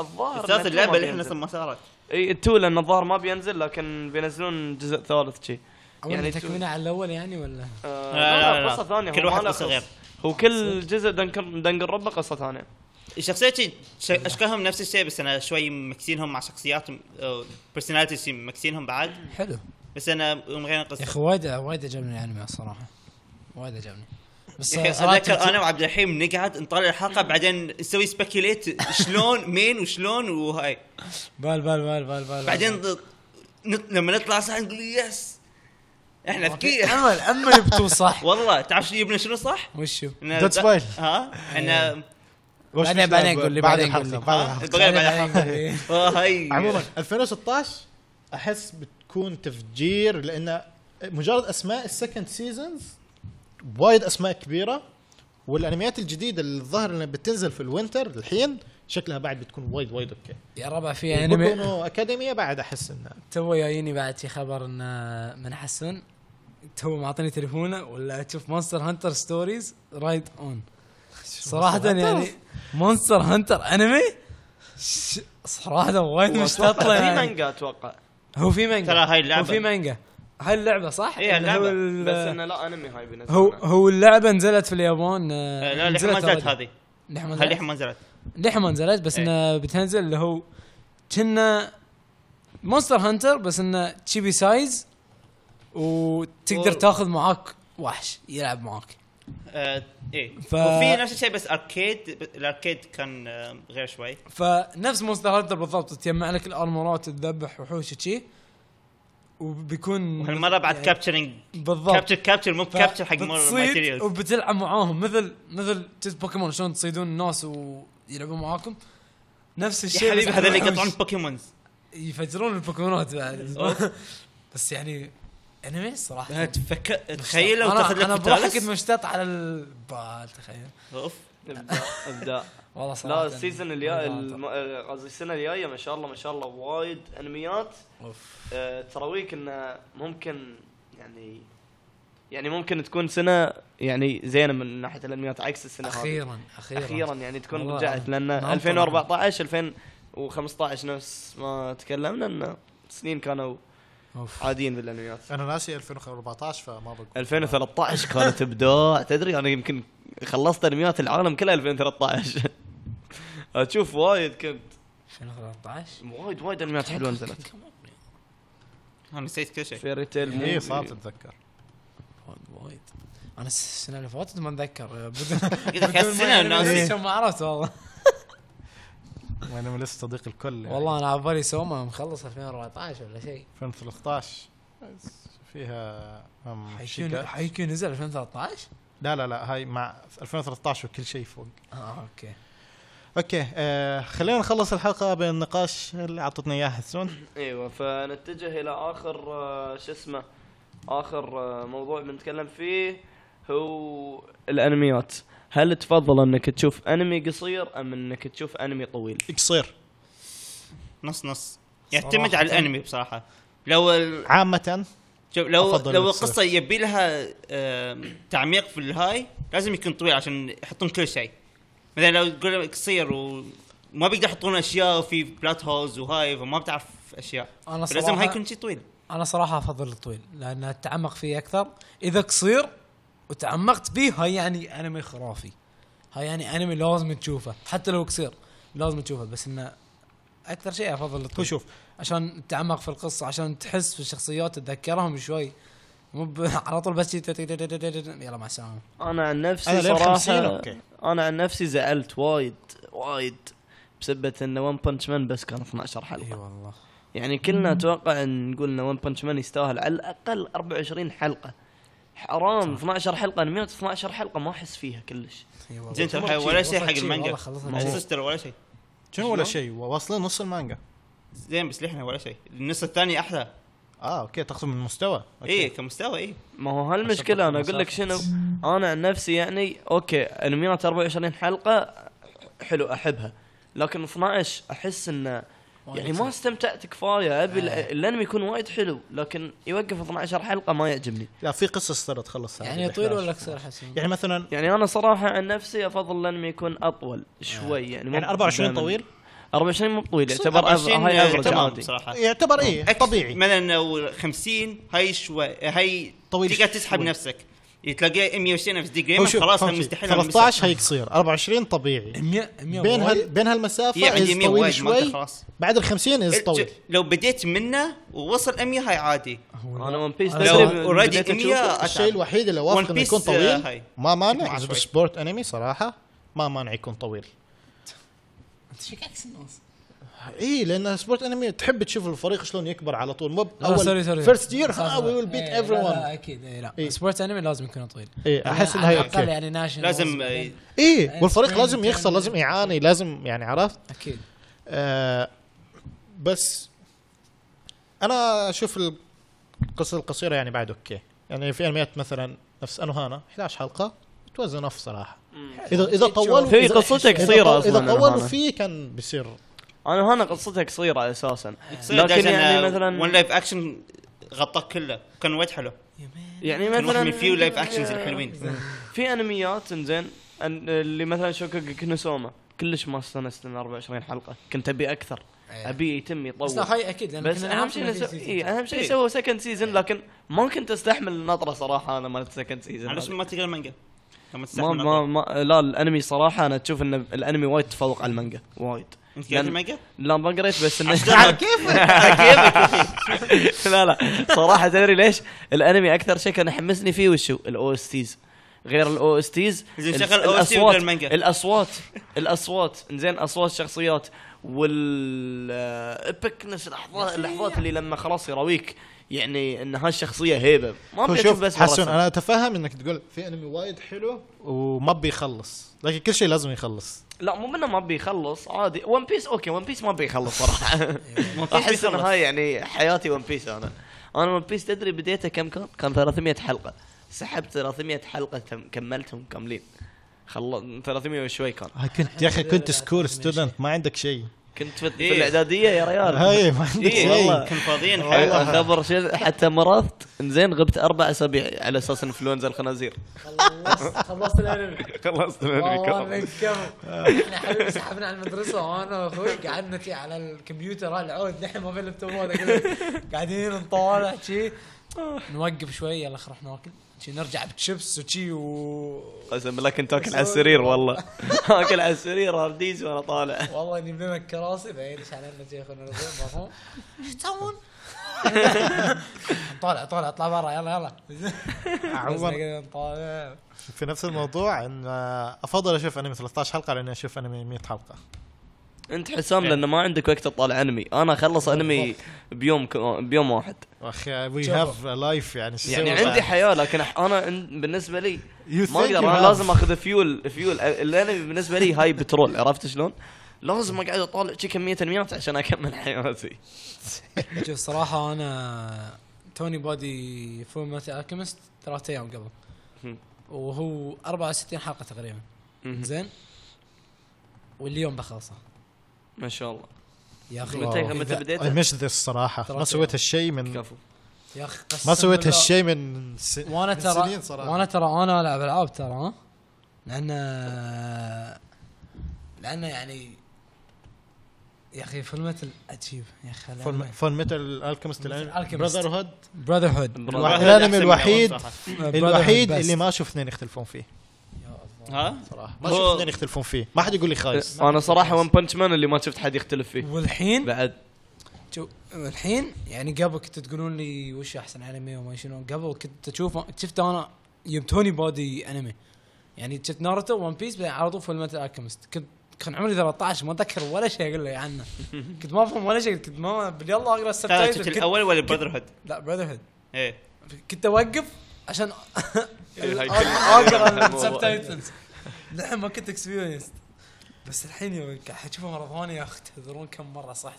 S1: الظاهر
S6: الثالث اللعبه اللي احنا لسه ما صارت
S1: اي 2 لان الظاهر ما بينزل لكن بينزلون جزء ثالث شي
S2: يعني
S1: يعني
S2: تكملة على الاول يعني ولا؟
S1: آه،
S6: لا،
S1: لا،
S6: لا، لا.
S1: قصه ثانيه
S6: كل
S1: هو ما
S6: واحد
S1: له
S6: قصة
S1: قصة.
S6: غير.
S1: هو كل جزء دنجن دنجن روبا قصه ثانيه
S6: الشخصيات شي- ش- اشكالهم نفس الشيء بس انا شوي مكسينهم مع شخصياتهم بيرسوناليتيز مكسينهم بعد
S2: حلو
S6: بس انا مغير
S2: يا
S6: القصه
S2: اخي وايد وايد عجبني الانمي الصراحة وايد عجبني بس
S6: يا أخي
S2: صراحة
S6: اتذكر انا وعبد الرحيم نقعد نطلع الحلقه بعدين نسوي سبيكيليت شلون [laughs] مين وشلون وهاي
S2: بال بال بال بال بال
S6: [laughs] بعدين ض- نط- لما نطلع صح نقول يس احنا ذكية
S2: امل امل بتو صح
S6: والله تعرف شو جبنا شنو صح؟
S2: وشو؟
S6: إن
S3: That's
S6: ذا-
S3: fine.
S6: ها احنا
S2: بعدين- بعدين قول لي،
S3: بعد
S2: بعدين قول لي.
S3: الحلقة
S2: آه.
S3: بعد الحلقة.
S6: بغير آه، بعد الحلقة. [laughs]
S2: إيه.
S6: آه، هاي
S3: عموما 2016 احس بتكون تفجير لان مجرد اسماء السكند سيزونز وايد اسماء كبيره والانميات الجديده اللي الظاهر انها بتنزل في الوينتر الحين شكلها بعد بتكون وايد وايد اوكي
S2: يا ربع في انمي
S3: يعني اكاديميه بعد احس انها
S2: تو جايني بعد في خبر ان آه، من حسن تو معطيني تليفونه ولا تشوف مونستر هانتر ستوريز رايد اون صراحة يعني مونستر هانتر انمي ش- صراحة وايد مشتاط له
S1: في
S2: يعني.
S1: مانجا اتوقع
S2: هو في مانجا
S6: ترى هاي
S2: هو
S6: اللعبة.
S2: في مانجا هاي اللعبة صح؟
S6: إيه،
S2: اللي هو
S6: اللعبة.
S2: ال-
S1: بس انه لا انمي هاي بينزلون
S2: هو [laughs] هو اللعبه نزلت في اليابان
S6: آه، لا لحم ما نزلت هذه هاي
S2: لحمه
S6: لحم ما نزلت
S2: لحمه نزلت بس
S6: إيه.
S2: انها بتنزل اللي هو كنا مونستر هانتر بس انه تشيبي سايز وتقدر
S6: و-
S2: تاخذ معاك وحش يلعب معاك
S6: آه، ايه
S2: ف-
S6: وفي نفس الشيء بس اركيد ب- الاركيد كان آه، غير شوي
S2: فنفس مونستر هانتر بالضبط تجمع لك الارمورات تذبح وحوش وشي وبيكون يعني
S6: وهالمره
S5: يعني
S6: بعد كابتشرنج
S2: بالضبط
S6: كابتشر كابتشر مو كابتشر حق
S2: بتصيد
S6: ماتيريالز
S2: وبتلعب معاهم مثل مثل جزء بوكيمون شلون تصيدون الناس ويلعبون معاكم نفس
S6: يا
S2: الشيء
S6: حبيبي
S2: بس
S6: هذول
S2: معهم
S6: يقطعون بوكيمونز
S2: يفجرون البوكيمونات بعد [laughs] بس يعني
S5: انمي صراحه
S6: تفكر تخيل لو
S5: أنا-
S6: تاخذ لك
S5: انا بروح
S6: فيتالس
S5: كنت مشتاق على البال تخيل
S6: اوف
S1: ابداع ابداع
S5: والله صراحه
S1: لا السيزون الجاي الم- آه، قصدي السنه الجايه ما شاء الله ما شاء الله وايد انميات
S5: اوف
S1: آه، تراويك انه ممكن يعني يعني ممكن تكون سنه يعني زينه من ناحيه الانميات عكس السنه هذه.
S5: اخيرا اخيرا
S1: اخيرا يعني تكون
S5: والله
S1: رجعت لان
S5: نعم
S1: 2014 2015 نفس ما تكلمنا انه سنين كانوا
S5: اوف
S1: عاديين بالانميات
S3: انا ناسي 2014 فما بقول
S1: 2013 كانت ابداع تدري انا يمكن خلصت انميات العالم كلها 2013 اشوف وايد كنت
S5: 2013
S1: وايد وايد انميات حلوه نزلت
S6: انا نسيت
S5: [laughs]
S6: كل شيء
S1: فيري تيل
S2: إيه،
S3: اي صارت اتذكر
S5: وايد- وايد انا السنه اللي فاتت ما
S6: [laughs]
S5: اتذكر
S6: قلت لك هالسنه
S5: [laughs]
S2: إيه.
S6: ناسي
S5: ما عرفت والله
S3: وانا من لسه صديق الكل يعني.
S5: والله انا على بالي سوما مخلص 2014 ولا شيء
S3: 2013 فيها هم
S5: حيكون
S3: شيكات.
S5: حيكون نزل 2013
S3: لا لا لا هاي مع 2013 وكل شيء فوق
S5: اه اوكي
S3: اوكي آه خلينا نخلص الحلقه بالنقاش اللي اعطتنا اياه حسون
S1: ايوه فنتجه الى اخر آه، شو اسمه اخر آه، موضوع بنتكلم فيه هو الانميات هل تفضل انك تشوف انمي قصير ام انك تشوف انمي طويل
S3: قصير
S6: نص نص يعتمد
S5: صراحة.
S6: على الانمي بصراحه لو ال-
S3: عامه
S6: شوف لو
S3: أفضل
S6: لو
S3: القصة.
S6: القصه يبي لها آم، تعميق في الهاي لازم يكون طويل عشان يحطون كل شيء مثلا لو تقول لك قصير وما بيقدر يحطون اشياء في بلات هولز وهاي فما بتعرف اشياء
S5: انا
S6: لازم هاي
S5: صراحه
S6: يكون شيء طويل
S5: انا صراحه افضل الطويل لان اتعمق فيه اكثر اذا قصير وتعمقت فيه هاي يعني انمي خرافي هاي يعني انمي لازم تشوفه حتى لو قصير لازم تشوفه بس انه اكثر شيء افضل الطويل
S3: وشوف
S5: عشان تتعمق في القصه عشان تحس في الشخصيات تتذكرهم شوي مو ب- [laughs] على طول بس شي تت- تت- تت- تت- يلا مع السلامه
S1: انا عن نفسي
S3: أنا لين 50
S1: صراحه
S3: أوكي.
S1: انا عن نفسي زعلت وايد وايد بسبة ان ون بنش مان بس كان 12 حلقه
S2: أيوه.
S5: اي والله
S1: يعني كلنا اتوقع ان نقول ان ون بنش مان يستاهل على الاقل 24 حلقه حرام 12 حلقه انميات 12 حلقه ما احس فيها كلش
S5: اي والله
S6: زين ترى
S5: وصلت
S6: ولا شيء حق
S5: وصلت
S6: المانجا
S5: والله خلصنا
S6: مع
S5: شيء.
S6: السيستر ولا شيء
S3: شنو ولا شيء واصلين نص المانجا
S6: زين بس لحنا ولا شيء النص الثاني احلى
S3: اه اوكي تقصد من المستوى أوكي.
S6: اي كمستوى إيه. اي
S1: ما هو هالمشكله انا اقول لك شنو انا عن نفسي يعني اوكي انميات 24 حلقه حلو احبها لكن 12 احس انه يعني ما استمتعت كفايه ابي الأ- الانمي يكون وايد حلو لكن يوقف 12 حلقه ما يعجبني
S3: لا في قصص ترى تخلصها
S5: يعني طويل ولا قصير حسين؟
S3: يعني مثلا
S1: يعني انا صراحه عن نفسي افضل الانمي يكون اطول شوي يعني مو
S3: يعني 24
S1: دايماً-
S3: طويل آه،
S1: 24 مو طويل يعتبر أف-
S6: 24
S1: هاي افرج
S6: تمام
S1: عادي
S6: بصراحه
S3: يعتبر ايه طبيعي
S6: مثلا لو 50 هاي شوي هاي
S3: طويل
S6: تقدر تسحب
S3: شوي.
S6: نفسك تلاقيه 120 نفس دي
S3: هو
S6: جريم
S3: شوف،
S6: خلاص
S3: فهم
S6: هم
S3: شيء.
S6: مستحيل هم
S3: 13 هي قصير 24 طبيعي
S5: 100 100
S3: بين هال بين هالمسافه
S6: هي عندي
S3: is
S6: 100
S3: طويل
S6: وايد ما أقدر
S3: شوي
S6: خلاص.
S3: بعد ال 50 از طويل
S6: إيه، لو بديت منه ووصل 100 هاي عادي
S1: انا ون بيس
S5: أنا
S1: تدري
S6: لو
S1: من
S6: already
S1: بديت
S6: إني
S1: أشوفه؟
S6: أتعب.
S3: الشيء الوحيد اللي واثق
S6: One
S3: انه يكون
S6: Piece، آه،
S3: طويل
S6: هاي.
S3: ما مانع
S6: مع شوي.
S3: سبورت انمي صراحه ما مانع يكون طويل اي لان سبورت انمي تحب تشوف الفريق شلون يكبر على طول مو
S5: لا، سوري، سوري.
S3: اول فيرست يير
S5: صح، صح.
S3: وي ويل بيت
S5: إيه،
S3: ايفري
S5: لا، لا
S3: ون
S5: اكيد إيه،
S3: إيه.
S5: لا سبورت انمي لازم يكون طويل
S3: اي احس انها
S5: اقل
S3: اوكي
S5: يعني ناشن
S6: لازم
S3: اي والفريق
S5: إيه،
S3: لازم
S5: إيه،
S3: يخسر
S5: إيه.
S3: لازم يعاني لازم يعني عرفت
S5: اكيد
S3: آه بس انا اشوف القصص القصيره يعني بعد اوكي يعني في انميات مثلا نفس انوهانا 11 حلقه توزن اوف صراحه اذا اذا طولوا
S1: في
S3: إذا-
S1: قصته
S3: إذا
S1: قصيرة
S3: طو-
S1: أصلاً
S3: اذا طولوا
S1: أنوهانا.
S3: فيه كان بيصير
S1: انا هنا قصتها قصيره اساسا لكن
S6: لكن آه،
S1: يعني مثلا
S6: ون لايف اكشن غطاه كله كان وايد حلو
S1: يعني
S6: كان واحد
S1: مثلا
S6: من فيو لايف اكشنز الحلوين
S1: في انميات انزين أن- اللي مثلا شوكوكو كنوسوما كلش ما استانست من 24 حلقه كنت ابي اكثر
S6: إيه.
S1: ابي يتم
S5: بس
S1: يطول
S5: لا هاي اكيد لان
S1: بس
S5: كنا
S1: اهم
S5: نعرف
S1: شيء
S5: إنه في
S1: نسو...
S5: سيزون.
S1: إيه اهم شيء
S6: إيه.
S1: سووا سكند سيزون لكن ما كنت استحمل النطره صراحه انا مالت سكند سيزون
S6: معلش ما تقرا المانجا لما تستحمل
S1: ما ما,
S6: الأطفال.
S1: ما لا الانمي صراحه انا تشوف ان الانمي وايد تفوق على المانجا وايد
S6: انت قريت
S1: لأن- [laughs]
S6: المانجا؟
S1: لا ما قريت بس انه [laughs]
S6: على كيفك.
S1: لا لا صراحه تدري ليش الانمي اكثر شيء كان يحمسني فيه وشو الاو اس تيز غير الاو اس تيز
S6: زين شغل OST ولا المانجا؟
S1: الاصوات الاصوات زين اصوات الشخصيات آه، والابكنس الاحظات اللحظات اللي لما خلاص يراويك يعني ان هالشخصيه هيبه ما
S3: هو
S1: ابي اشوف
S3: شوف
S1: بس
S3: حسن
S1: مرة
S3: انا اتفهم انك تقول في انمي وايد حلو وما بيخلص لكن كل شيء لازم يخلص
S1: لا مو منه ما بيخلص عادي [laughs] ون بيس اوكي ون بيس ما بيخلص صراحه
S6: One Piece
S1: احس ان
S6: بيخلص.
S1: هاي يعني حياتي ون بيس انا انا ون بيس تدري بديته كم كان؟ كان 300 حلقه سحبت 300 حلقه تم كملتهم كاملين خلص 300 وشوي كان
S3: آه، كنت يا اخي كنت سكول ستودنت ما عندك شيء
S1: كنت في, في
S6: إيه.
S1: الاعداديه يا ريال
S3: هاي ما عندك
S1: إيه، والله.
S3: [laughs] شيء
S6: كن فاضيين حق
S1: حلو، خبر شيء حتى مرضت زين غبت اربع اسابيع على اساس انفلونزا الخنازير
S2: خلصت خلصت الانمي
S1: [laughs] خلصت
S2: والله إنك كفو. احنا حبيبي سحبنا على المدرسه وانا واخوي قعدنا شي على الكمبيوتر على العود نحن ما في اللابتوبات كذا قاعدين نطالع شي نوقف شوي يلا خل نروح ناكل شي نرجع بشيبس وشي و
S1: قسم بالله كنت اكل على السرير والله [laughs] اكل على السرير هارديز وانا طالع
S2: والله نجيب لنا الكراسي بعدين ايش علينا شي خلينا نرجع مفهوم ايش تسوون؟ طالع طالع اطلع برا يلا يلا بس
S3: عمر
S2: كذا نطالع
S3: في نفس الموضوع ان آه، افضل اشوف انمي 13 حلقه لاني اشوف انمي 100 حلقه
S1: انت حسام لانه ما عندك وقت تطالع انمي انا اخلص انمي بيوم ك- بيوم واحد
S3: اخي وي هاف لايف يعني شو
S1: يعني
S3: نسوي؟
S1: عندي حياه لكن أح- انا عن- بالنسبه لي
S3: You
S1: ما
S3: think
S1: اقدر
S3: you
S1: انا
S3: have.
S1: لازم اخذ فيول فيول الانمي بالنسبه لي هاي بترول عرفت شلون؟ لازم اقعد اطالع شي كميه انميات عشان اكمل حياتي
S2: شوف صراحة أنا توني بادي فول ماتي الكيمست ثلاثة أيام قبل
S1: مم.
S2: وهو 64 حلقة تقريبا زين واليوم بخلصه
S1: ما شاء الله
S2: يا أخي
S1: متى متى
S2: إذا-
S3: اي
S1: بديت؟
S3: مش ذا الصراحه ما
S2: ترى
S3: سويت هالشيء من
S1: كفو
S2: يا أخي قسم
S3: ما سويت
S2: بالله.
S3: هالشيء من س...
S2: وأنا
S3: من
S2: ترى
S3: سنين صراحة.
S2: وأنا ترى أنا ألعب ألعاب ترى ها لأن لأن يعني يا أخي فول ماتل أجيب يا أخي
S3: فون ميتال الكيمست
S2: Alchemist.
S3: براذر هود
S2: براذر هود
S1: برافو.
S3: الانمي الوحيد الوحيد اللي
S2: ما
S3: ما اشوف اثنين يختلفون فيه
S6: ها
S3: صراحه ما يعني
S6: هو-
S3: اشوف اثنين يختلفون فيه ما حد يقول لي خايس
S1: انا صراحه ون بنش مان اللي ما شفت حد يختلف فيه
S2: والحين
S1: بعد
S2: شوف الحين يعني قبل كنت تقولون لي وش احسن انمي وما شنو قبل كنت اشوف شفت انا يوم توني بادي انمي يعني شفت ناروتو وان بيس بعدين على طول فول ميتال الكيمست كنت كان عمري 13 ما اتذكر ولا شيء اقول له عنه كنت ما افهم ولا شيء كنت ما بالله اقرا
S6: ترى شفت
S2: السبتايتل كنت-
S6: الاول ولا براذر هود؟
S2: لا براذر هيد
S6: ايه
S1: [laughs]
S2: كنت اوقف عشان [laughs]
S6: إيه،
S1: هاي
S2: اقرا
S1: كلمة.
S2: اقرا السبتايتلز للحين ما كنت اكسبيرينس بس الحين يوم قاعد اشوفه مره ثانيه يا اخي تدرون كم مره صحت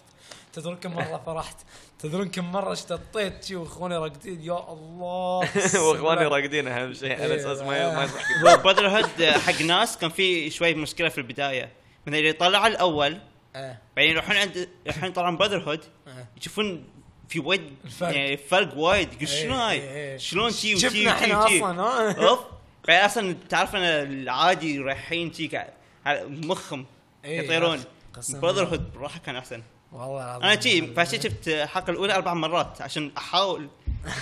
S2: تدرون كم مره
S6: [laughs]
S2: فرحت تدرون كم مره اشتطيت شي واخواني راقدين يا الله
S6: [laughs]
S1: واخواني راقدين اهم شيء على اساس ما ما يضحك
S6: براذر هود حق ناس كان في شوي مشكله في البدايه من اللي طلع الاول
S2: إيه.
S6: بعدين يروحون عند يروحون طبعا براذر هود
S2: إيه.
S6: يشوفون في وايد
S2: الفرق.
S6: يعني فرق وايد يقول شنو
S2: إيه،
S6: هاي
S2: إيه.
S6: شلون شي وشي
S2: شفنا آه.
S6: وشي
S2: احنا
S6: وشي آه،
S2: اصلا ها
S6: اوف بعدين اصلا تعرف انا العادي رايحين شي قاعد- على مخهم
S2: إيه،
S6: يطيرون
S2: قسماً
S6: براذر هود بروحه كان احسن
S2: والله العظيم
S6: انا شي فعشان شفت الحلقه الاولى اربع مرات عشان احاول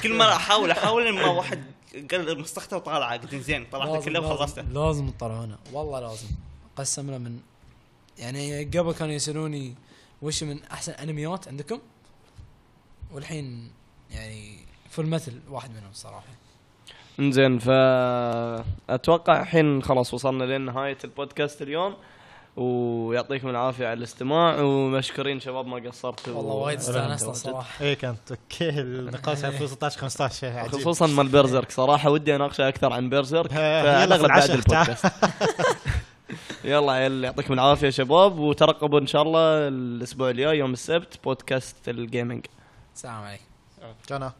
S6: كل مره احاول احاول لما واحد قال مسخته وطالعه قلت زين طلعته
S2: لازم-
S6: كله
S2: لازم-
S6: وخلصته
S2: لازم تطلعونه والله لازم قسم له من يعني قبل كانوا يسالوني وش من احسن انميات عندكم والحين يعني فول مثل واحد منهم صراحه
S1: انزين فاتوقع الحين خلاص وصلنا لنهايه البودكاست اليوم ويعطيكم العافيه على الاستماع ومشكورين شباب ما قصرتوا
S2: والله وايد استانسنا صراحه
S3: ايه كانت اوكي
S2: أه.
S3: النقاش عن 16 15 شيء عجيب.
S1: خصوصا مال بيرزرك صراحه ودي اناقشه اكثر عن بيرزرك
S3: ها،
S1: فعلى
S3: [laughs] يلا في
S1: الاغلب بعد
S3: العشاء.
S1: البودكاست [laughs] يلا عيل يعطيكم العافيه يا شباب وترقبوا ان شاء الله الاسبوع الجاي يوم السبت بودكاست الجيمنج
S2: السلام عليكم
S3: كان